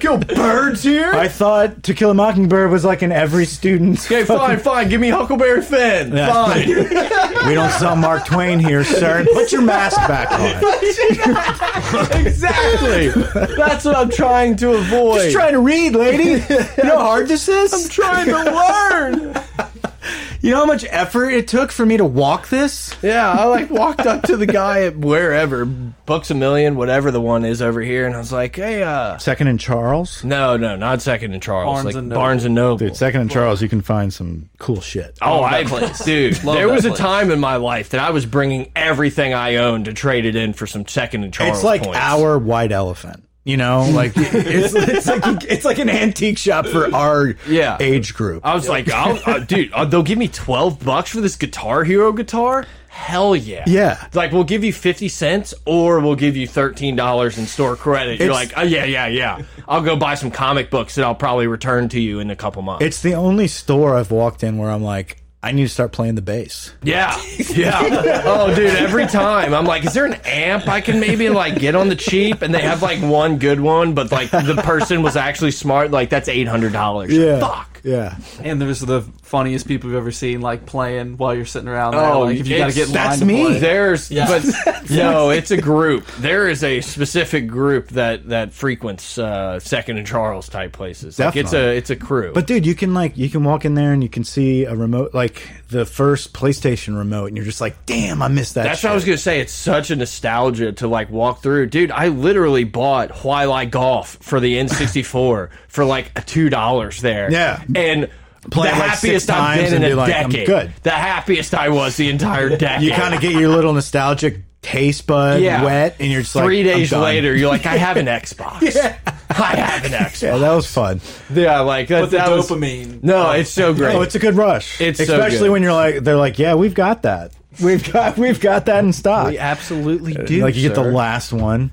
Speaker 3: kill birds here?
Speaker 1: I thought To Kill a Mockingbird was like in every student's.
Speaker 3: okay, fine, fine. Give me Huckleberry Finn.
Speaker 1: Yeah.
Speaker 3: Fine. *laughs*
Speaker 1: We don't sell Mark Twain here, *laughs* sir. Put your mask back on.
Speaker 3: exactly. That's what I'm trying to avoid.
Speaker 1: Just trying to read, lady. *laughs* You know how hard this is? I'm
Speaker 3: trying to learn. *laughs*
Speaker 1: You know how much effort it took for me to walk this?
Speaker 3: Yeah, I like walked up to the guy at wherever, Books a Million, whatever the one is over here, and I was like, hey, uh.
Speaker 1: Second and Charles?
Speaker 3: No, no, not Second and Charles.
Speaker 2: Barnes
Speaker 3: like
Speaker 2: and Noble.
Speaker 3: Barnes and Noble.
Speaker 1: Dude, Second and Charles, you can find some cool shit.
Speaker 3: Oh, I *laughs* dude. there
Speaker 2: that
Speaker 3: was a
Speaker 2: place.
Speaker 3: time in my life that I was bringing everything I owned to trade it in for some second and Charles.
Speaker 1: It's like
Speaker 3: points.
Speaker 1: our white elephant. You know,
Speaker 3: *laughs*
Speaker 1: like it's, it's like it's like an antique shop for our
Speaker 3: Yeah.
Speaker 1: age group.
Speaker 3: I was like, I'll, uh, dude, uh, they'll give me twelve bucks for this Guitar Hero guitar. Hell yeah,
Speaker 1: Yeah.
Speaker 3: Like, we'll give you fifty cents, or we'll give you thirteen dollars in store credit. You're
Speaker 1: It's-
Speaker 3: like, oh yeah, yeah, yeah. I'll go buy some comic books that I'll probably return to you in a couple months.
Speaker 1: It's the only store I've walked in where I'm like, I need to start playing the bass.
Speaker 3: Yeah,
Speaker 1: *laughs*
Speaker 3: yeah. Oh, dude, every time I'm like, is there an amp I can maybe like get on the cheap? And they have like one good one, but like the person was actually smart. Like that's eight hundred dollars. Fuck.
Speaker 1: Yeah.
Speaker 2: And there's the funniest people you've ever seen, like playing while you're sitting around. There,
Speaker 3: Oh,
Speaker 2: like, if you gotta
Speaker 3: it's-
Speaker 2: get in line
Speaker 1: that's
Speaker 2: to
Speaker 1: me.
Speaker 2: play.
Speaker 3: There's,
Speaker 2: Yeah.
Speaker 1: *laughs*
Speaker 3: but no, it's a group. There is a specific group that that frequents uh, Second and Charles type places. Like it's a
Speaker 1: Definitely.
Speaker 3: it's a crew.
Speaker 1: But dude, you can like you can walk in there and you can see a remote like the first PlayStation remote and you're just like, damn, I missed that.
Speaker 3: That's what I was gonna say. It's such a nostalgia to like walk through, dude. I literally bought Twilight Golf for the N64 for like two dollars there.
Speaker 1: Yeah.
Speaker 3: and
Speaker 1: Play
Speaker 3: the
Speaker 1: it, like, six
Speaker 3: happiest I've
Speaker 1: times
Speaker 3: been in
Speaker 1: and
Speaker 3: a
Speaker 1: be like, I'm
Speaker 3: decade.
Speaker 1: good.
Speaker 3: The happiest I was the entire decade.
Speaker 1: *laughs* You kind of get your little nostalgic taste bud
Speaker 3: Yeah.
Speaker 1: wet and you're just like
Speaker 3: Three
Speaker 1: "I'm
Speaker 3: days
Speaker 1: done."
Speaker 3: later, you're like, I
Speaker 1: *laughs*
Speaker 3: have an Xbox. I have an
Speaker 1: Yeah,
Speaker 3: Xbox.
Speaker 1: that was fun.
Speaker 3: Yeah, like that,
Speaker 2: But the
Speaker 3: that was-
Speaker 2: dopamine.
Speaker 3: no, it's so great.
Speaker 1: Oh, it's a good rush.
Speaker 3: It's so
Speaker 1: especially
Speaker 3: good.
Speaker 1: when you're like they're like, yeah, we've got that. We've got we've got that in stock.
Speaker 3: we absolutely do.
Speaker 1: like you get the
Speaker 3: sir.
Speaker 1: last one.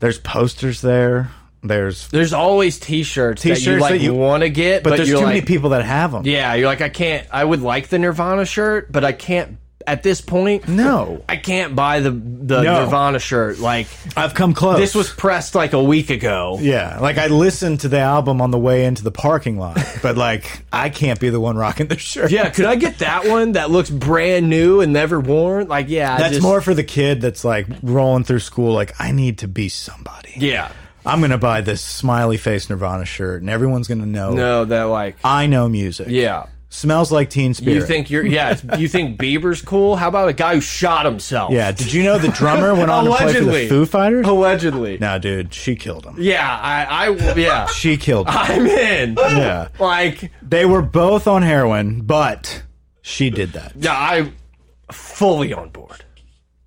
Speaker 1: There's posters there. There's
Speaker 3: There's always T-shirts, that you
Speaker 1: T-shirts
Speaker 3: like
Speaker 1: that you-
Speaker 3: want to get,
Speaker 1: but,
Speaker 3: but,
Speaker 1: there's too
Speaker 3: you're
Speaker 1: many
Speaker 3: like-
Speaker 1: people that have them.
Speaker 3: Yeah, you're like, I can't. I would like the Nirvana shirt, but I can't at this point.
Speaker 1: No.
Speaker 3: I can't buy the the
Speaker 1: No.
Speaker 3: Nirvana shirt. Like
Speaker 1: I've come close.
Speaker 3: this was pressed like a week ago.
Speaker 1: Yeah, like I listened to the album on the way into the parking
Speaker 3: *laughs*
Speaker 1: lot, but like I can't be the one rocking the shirt.
Speaker 3: Yeah, could I get that one that looks brand new and never worn? Like, yeah, I
Speaker 1: that's
Speaker 3: just-
Speaker 1: more for the kid that's like rolling through school. Like I need to be somebody.
Speaker 3: Yeah,
Speaker 1: I'm gonna buy this smiley face Nirvana shirt, and everyone's gonna know
Speaker 3: no, that like,
Speaker 1: I know music.
Speaker 3: yeah,
Speaker 1: Smells like Teen Spirit.
Speaker 3: You think you're yeah? You think Bieber's cool? How about a guy who shot himself?
Speaker 1: Yeah. Did you know the drummer went on to play for the
Speaker 3: Allegedly.
Speaker 1: Foo Fighters?
Speaker 3: allegedly.
Speaker 1: No, dude, she killed him.
Speaker 3: Yeah, Ah. I, I yeah,
Speaker 1: She killed him.
Speaker 3: *laughs* I'm in.
Speaker 1: Yeah.
Speaker 3: Like,
Speaker 1: They were both on heroin, but she did that.
Speaker 3: yeah, I'm fully on board.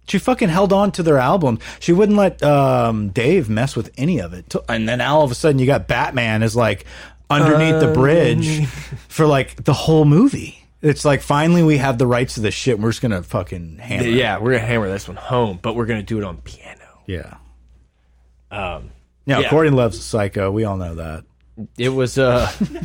Speaker 1: She fucking held on to their album. She wouldn't let um, Dave mess with any of it. Till- And then all of a sudden, you got Batman is like underneath the
Speaker 3: Um.
Speaker 1: bridge for like the whole movie. It's like finally we have the rights to this shit. And we're just gonna fucking hammer. it.
Speaker 3: Yeah, we're gonna hammer this one home, but we're gonna do it on piano.
Speaker 1: yeah. Um. Yeah,
Speaker 3: Um, yeah.
Speaker 1: Courtney loves a psycho. We all know that.
Speaker 3: It was uh,
Speaker 1: It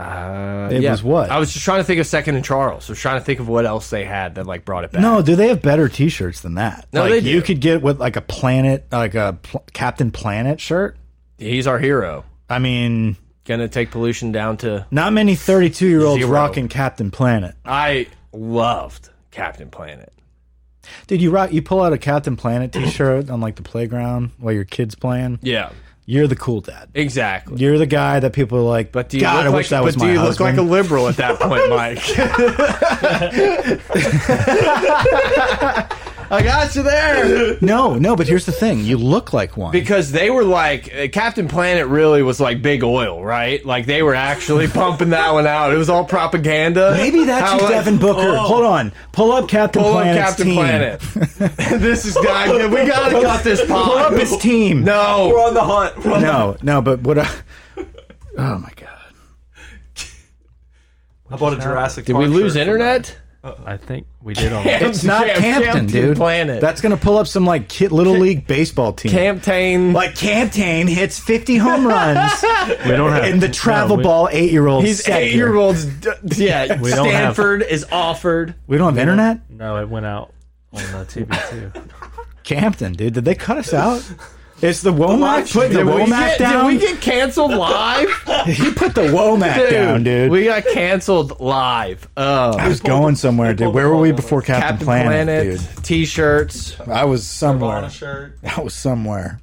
Speaker 3: Uh, yeah.
Speaker 1: was what?
Speaker 3: I was just trying to think of Second and Charles. I was trying to think of what else they had that like brought it back.
Speaker 1: no, do they have better T-shirts than that?
Speaker 3: No,
Speaker 1: like,
Speaker 3: they do.
Speaker 1: You could get with like a planet, like a pl Captain Planet shirt.
Speaker 3: he's our hero.
Speaker 1: I mean,
Speaker 3: Gonna take pollution down to.
Speaker 1: not many thirty-two-year-olds
Speaker 3: Zero.
Speaker 1: rocking Captain Planet.
Speaker 3: I loved Captain Planet.
Speaker 1: Dude, you rock. You pull out a Captain Planet T-shirt on like the playground while your kids playing.
Speaker 3: Yeah,
Speaker 1: You're the cool dad.
Speaker 3: exactly.
Speaker 1: You're the guy that people are like.
Speaker 3: But do you
Speaker 1: God,
Speaker 3: look
Speaker 1: I
Speaker 3: like,
Speaker 1: wish that was
Speaker 3: but
Speaker 1: my
Speaker 3: do you
Speaker 1: husband.
Speaker 3: look like a liberal at that
Speaker 1: *laughs*
Speaker 3: point, Mike? I got you there.
Speaker 1: no, no. But here's the thing: you look like one.
Speaker 3: Because they were like uh, Captain Planet really was like big oil, right? Like they were actually pumping that one out. It was all propaganda.
Speaker 1: Maybe that's
Speaker 3: How,
Speaker 1: you,
Speaker 3: like,
Speaker 1: Devin Booker.
Speaker 3: oh,
Speaker 1: Hold on, pull up Captain
Speaker 3: Pull up
Speaker 1: Planet's
Speaker 3: Captain
Speaker 1: team. *laughs*
Speaker 3: Planet. *laughs* this is guy. We gotta cut this pod.
Speaker 1: Pull up his team.
Speaker 3: No.
Speaker 10: on the hunt. We're on the-
Speaker 1: no, no. But what? I, oh my god.
Speaker 2: I bought a Jurassic
Speaker 3: Did
Speaker 2: Park
Speaker 3: we lose
Speaker 2: shirt from
Speaker 3: internet?
Speaker 4: I think we did
Speaker 3: *laughs*
Speaker 4: on
Speaker 1: It's not
Speaker 3: Cap-
Speaker 1: Campton, dude.
Speaker 3: Planet.
Speaker 1: That's gonna pull up some like kid, little league baseball team.
Speaker 3: Camptain.
Speaker 1: like Camptain hits 50 home
Speaker 3: *laughs*
Speaker 1: runs
Speaker 4: We don't have
Speaker 1: and the travel
Speaker 4: no, we-
Speaker 1: ball eight year old.
Speaker 3: He's eight year olds. d- Yeah,
Speaker 4: We don't have-
Speaker 3: Stanford is offered.
Speaker 1: We don't have internet.
Speaker 4: No, it went out on the TV *laughs* too.
Speaker 1: Campton, dude, did they cut us out? It's the Womack putting the
Speaker 3: Did we,
Speaker 1: Womack
Speaker 3: get, did
Speaker 1: down.
Speaker 3: we get canceled live?
Speaker 1: *laughs* he put the Womack down, dude.
Speaker 3: We got canceled live.
Speaker 1: I
Speaker 3: Oh,
Speaker 1: was going somewhere, dude. Where were we before Captain,
Speaker 3: Captain
Speaker 1: Planet,
Speaker 3: Planet, t-shirts.
Speaker 1: dude? I was
Speaker 2: Bought
Speaker 1: somewhere.
Speaker 2: a
Speaker 3: *laughs*
Speaker 2: shirt.
Speaker 1: *laughs* I was somewhere.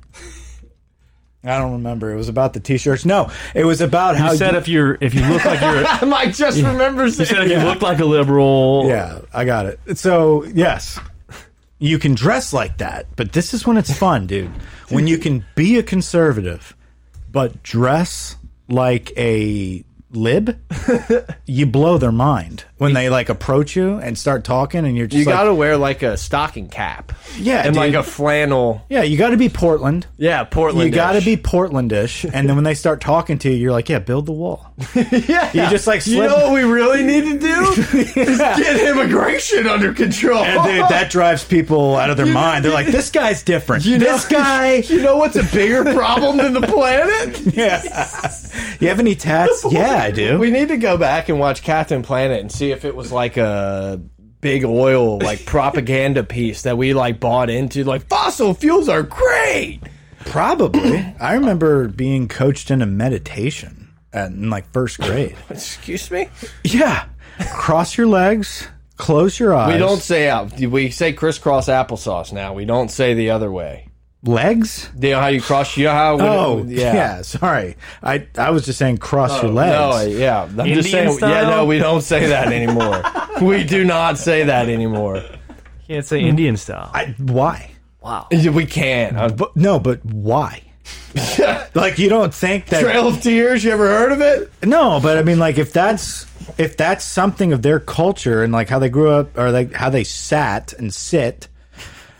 Speaker 1: I don't remember. It was about the t-shirts. No, it was about how
Speaker 4: You said if you're if you look like *laughs* you're
Speaker 3: Mike just remembers
Speaker 4: you said if
Speaker 3: it.
Speaker 4: you look like a liberal.
Speaker 1: Yeah, I got it. So, yes, you can dress like that, but this is when it's fun, dude. When you can be a conservative, but dress like a lib, *laughs* you blow their mind when they like approach you and start talking, and you're just
Speaker 3: You
Speaker 1: like,
Speaker 3: gotta wear like a stocking cap.
Speaker 1: yeah,
Speaker 3: and like
Speaker 1: dude.
Speaker 3: a flannel.
Speaker 1: yeah, you got to be Portland.
Speaker 3: Yeah, Portland.
Speaker 1: You got to be Portlandish, and then when they start talking to you, you're like, "Yeah, build the wall."
Speaker 3: *laughs* Yeah,
Speaker 1: You just, like,
Speaker 3: You
Speaker 1: slip-
Speaker 3: know what we really need
Speaker 1: *laughs*
Speaker 3: to do? Get immigration under control.
Speaker 1: And dude, that drives people out of their mind. They're like, "This guy's different. this *laughs* guy."
Speaker 3: *laughs* You know what's a bigger problem than
Speaker 1: *laughs*
Speaker 3: the planet?
Speaker 1: Yeah. you have any *laughs*
Speaker 3: *laughs*
Speaker 1: tats? Yeah, I do.
Speaker 3: We need to go back and watch Captain Planet and see if it was like a big oil like propaganda piece that we like bought into. Like fossil fuels are great.
Speaker 1: Probably. I remember being coached in a meditation at, in like first grade.
Speaker 3: Excuse me.
Speaker 1: *laughs* yeah. Cross your legs, close your eyes.
Speaker 3: We don't say out. We say crisscross applesauce now. We don't say the other way.
Speaker 1: legs.
Speaker 3: You know how you cross. You know how. when-
Speaker 1: Oh, yeah. Sorry, I I was just saying cross your
Speaker 3: Oh, No,
Speaker 1: legs.
Speaker 3: yeah. I'm just
Speaker 4: Indian
Speaker 3: saying. Yeah,
Speaker 4: style?
Speaker 3: no, we don't say that
Speaker 1: *laughs*
Speaker 3: anymore. we do not say that anymore.
Speaker 4: Can't say Indian style.
Speaker 1: I, why?
Speaker 3: We can. Uh, but-
Speaker 1: No, but
Speaker 3: *laughs*
Speaker 1: why? like you don't think that?
Speaker 3: Trail of Tears. You ever heard of it?
Speaker 1: No, but I mean, like if that's if that's something of their culture and like how they grew up or like how they sat and sit.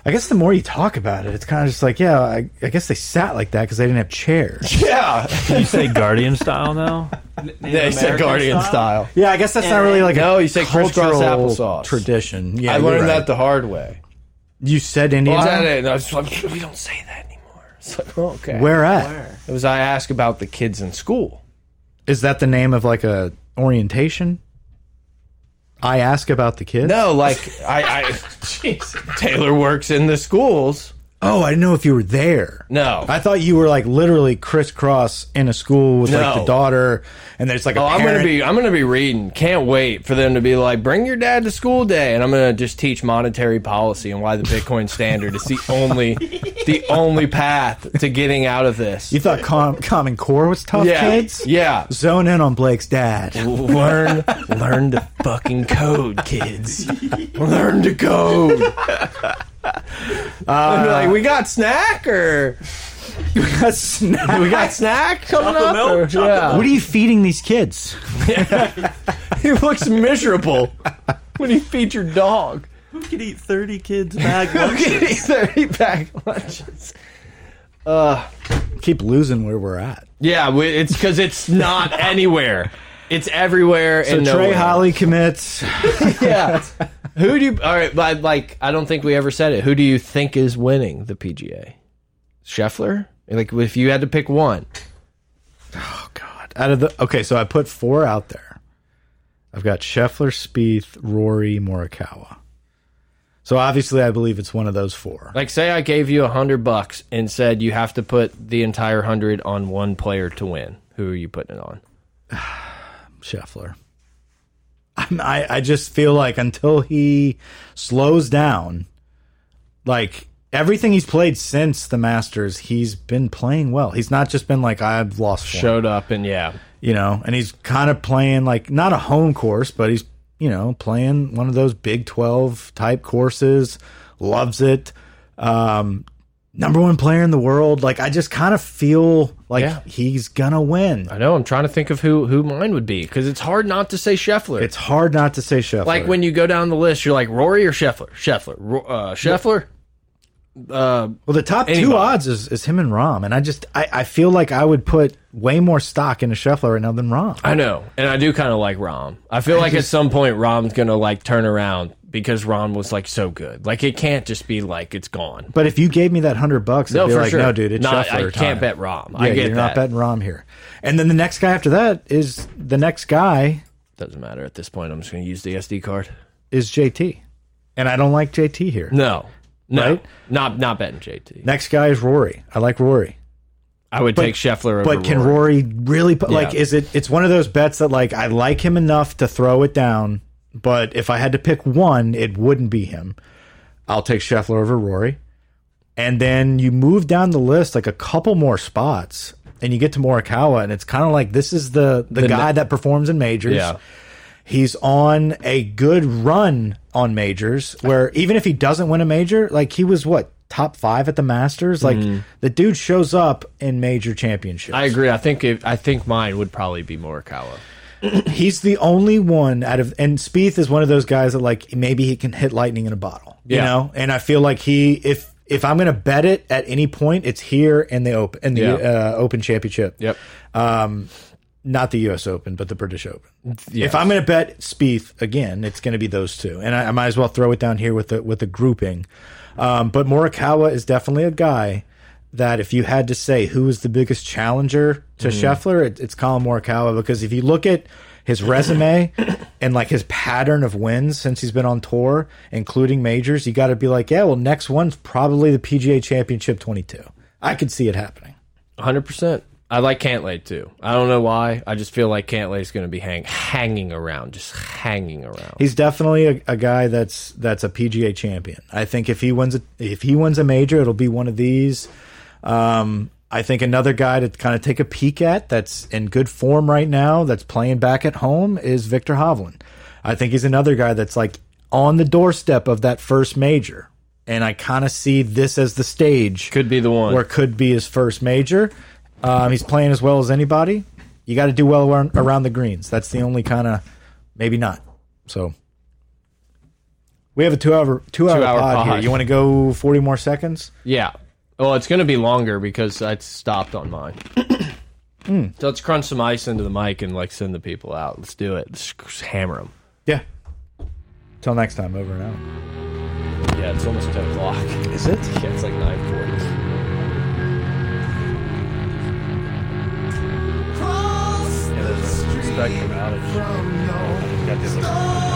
Speaker 1: I guess the more you talk about it, it's kind of just like, yeah, I, I guess they sat like that because they didn't have chairs.
Speaker 3: *laughs* Yeah.
Speaker 4: you say Guardian style now?
Speaker 3: They said Guardian style.
Speaker 1: Yeah, I guess that's not really like
Speaker 3: No,
Speaker 1: a
Speaker 3: you say crisscross
Speaker 1: cultural
Speaker 3: applesauce.
Speaker 1: tradition. Yeah,
Speaker 3: I
Speaker 1: you're
Speaker 3: learned
Speaker 1: right.
Speaker 3: that the hard way.
Speaker 1: you said Indian.
Speaker 3: I
Speaker 1: time?
Speaker 3: didn't- I was like, we don't say that anymore. It's like, oh, okay.
Speaker 1: Where at? Is
Speaker 3: It was I asked about the kids in school.
Speaker 1: that the name of like a orientation? I ask about the kids.
Speaker 3: No, like I, I
Speaker 1: *laughs*
Speaker 3: Taylor works in the schools.
Speaker 1: Oh, I didn't know if you were there.
Speaker 3: No.
Speaker 1: I thought you were like literally crisscross in a school with like
Speaker 3: No.
Speaker 1: the daughter, and there's like a
Speaker 3: Oh, I'm
Speaker 1: parent.
Speaker 3: gonna be I'm gonna be reading. Can't wait for them to be like, bring your dad to school day, and I'm gonna just teach monetary policy and why the Bitcoin standard is the only the only path to getting out of this.
Speaker 1: You thought com Common Core was tough,
Speaker 3: yeah, *laughs*
Speaker 1: kids?
Speaker 3: yeah.
Speaker 1: Zone in on Blake's dad.
Speaker 3: Learn, learn to fucking code, *laughs* kids. Learn to *laughs* code. I'd be like, we got snack or we got snack coming up.
Speaker 14: milk,
Speaker 3: or-
Speaker 14: chocolate
Speaker 3: yeah.
Speaker 1: What are you feeding these kids?
Speaker 3: he looks miserable *laughs* when he feeds your dog.
Speaker 2: Who could eat 30 kids bag
Speaker 1: *laughs*
Speaker 2: lunch?
Speaker 3: *laughs* Getting thirty pack lunches.
Speaker 1: Keep losing where we're at.
Speaker 3: Yeah, we, it's because it's not *laughs* anywhere. It's everywhere
Speaker 1: So
Speaker 3: and
Speaker 1: Trey
Speaker 3: nowhere.
Speaker 1: Holly commits.
Speaker 3: *laughs* yeah. Who do you, all right, but like I don't think we ever said it. Who do you think is winning the PGA? Scheffler? Like if you had to pick one.
Speaker 1: out of the okay, so I put four out there. I've got Scheffler, Spieth, Rory, Morikawa. So obviously, I believe it's one of those four.
Speaker 3: Like say I gave you a hundred bucks and said you have to put the entire hundred on one player to win. Who are you putting it on?
Speaker 1: Scheffler. I'm, I I just feel like until he slows down, like everything he's played since the Masters, he's been playing well. He's not just been like I've lost form,
Speaker 3: Showed up and yeah.
Speaker 1: you know. And he's kind of playing like not a home course, but he's you know playing one of those Big Twelve type courses. Loves it. Um, number one player in the world. Like I just kind of feel like
Speaker 3: Yeah.
Speaker 1: he's gonna win.
Speaker 3: I know. I'm trying to think of who who mine would be because it's hard not to say Scheffler.
Speaker 1: It's hard not to say Scheffler.
Speaker 3: like when you go down the list, you're like Rory or Scheffler, Scheffler, Ro- uh, Scheffler. Uh,
Speaker 1: Well, the top
Speaker 3: Anybody.
Speaker 1: two odds is, is him and Rom, and I just I, I feel like I would put way more stock into Scheffler right now than Rom.
Speaker 3: I know, and I do kind of like Rom. I feel like at some point Rom's gonna like turn around because Rom was like so good. Like it can't just be like it's gone.
Speaker 1: But if you gave me that hundred bucks,
Speaker 3: No,
Speaker 1: I'd be
Speaker 3: for
Speaker 1: like,
Speaker 3: sure.
Speaker 1: no, dude, it's
Speaker 3: Not-
Speaker 1: Scheffler.
Speaker 3: I can't
Speaker 1: time.
Speaker 3: bet Rom.
Speaker 1: Yeah,
Speaker 3: I get
Speaker 1: you're not
Speaker 3: that.
Speaker 1: betting Rom here. And then the next guy after that is the next guy
Speaker 3: Doesn't matter at this point. I'm just gonna use the SD card.
Speaker 1: is JT, and I don't like JT here.
Speaker 3: No, no,
Speaker 1: Right?
Speaker 3: not not betting JT.
Speaker 1: Next guy is Rory. I like Rory,
Speaker 3: I would take Scheffler over.
Speaker 1: but can
Speaker 3: Rory.
Speaker 1: Rory, really put, like?
Speaker 3: Yeah.
Speaker 1: Is it? It's one of those bets that like I like him enough to throw it down, but if I had to pick one, it wouldn't be him. I'll take Scheffler over Rory. And then you move down the list like a couple more spots and you get to Morikawa and it's kind of like this is the the,
Speaker 3: The
Speaker 1: guy
Speaker 3: ne-
Speaker 1: that performs in majors.
Speaker 3: Yeah.
Speaker 1: He's on a good run on majors where even if he doesn't win a major, like he was what top 5 at the Masters, like
Speaker 3: Mm-hmm.
Speaker 1: the dude shows up in major championships.
Speaker 3: I agree. I think if, I think mine would probably be Morikawa.
Speaker 1: He's the only one out of, and Spieth is one of those guys that like maybe he can hit lightning in a bottle, you
Speaker 3: Yeah.
Speaker 1: know. And I feel like he, if if I'm going to bet it at any point, it's here in the open in the
Speaker 3: Yeah.
Speaker 1: uh, Open Championship,
Speaker 3: Yep.
Speaker 1: not the U.S. Open, but the British Open. If I'm going to bet Spieth again, it's going to be those two, and I, I might as well throw it down here with the with the grouping. Um, but Morikawa is definitely a guy that if you had to say who is the biggest challenger to Scheffler, it, it's Colin Morikawa because if you look at his resume and like his pattern of wins since he's been on tour, including majors, you got to be like, yeah, well, next one's probably the PGA Championship 22. I could see it happening.
Speaker 3: Hundred percent. I like Cantlay too. I don't know why. I just feel like Cantlay's going to be hang hanging around, just hanging around.
Speaker 1: He's definitely a, a guy that's that's a PGA champion. I think if he wins a, if he wins a major, it'll be one of these. Um, I think another guy to kind of take a peek at that's in good form right now, that's playing back at home, is Victor Hovland. I think he's another guy that's like on the doorstep of that first major, and I kind of see this as the stage
Speaker 3: Could be the one.
Speaker 1: where it could be his first major. Um, he's playing as well as anybody. You got to do well around, around the greens. That's the only kind of maybe not. So we have a two hour two, hour,
Speaker 3: Two-hour
Speaker 1: pod, here.
Speaker 3: pod.
Speaker 1: You want to go forty more seconds?
Speaker 3: Yeah. Well, it's going to be longer because I stopped on mine. *coughs* So let's crunch some ice into the mic and like send the people out. Let's do it. Let's just hammer them.
Speaker 1: Yeah. Till next time. Over and out.
Speaker 3: Yeah, it's almost ten o'clock.
Speaker 1: Is it?
Speaker 3: Yeah, it's like nine forty.
Speaker 4: Spectrum outage. Got the other one.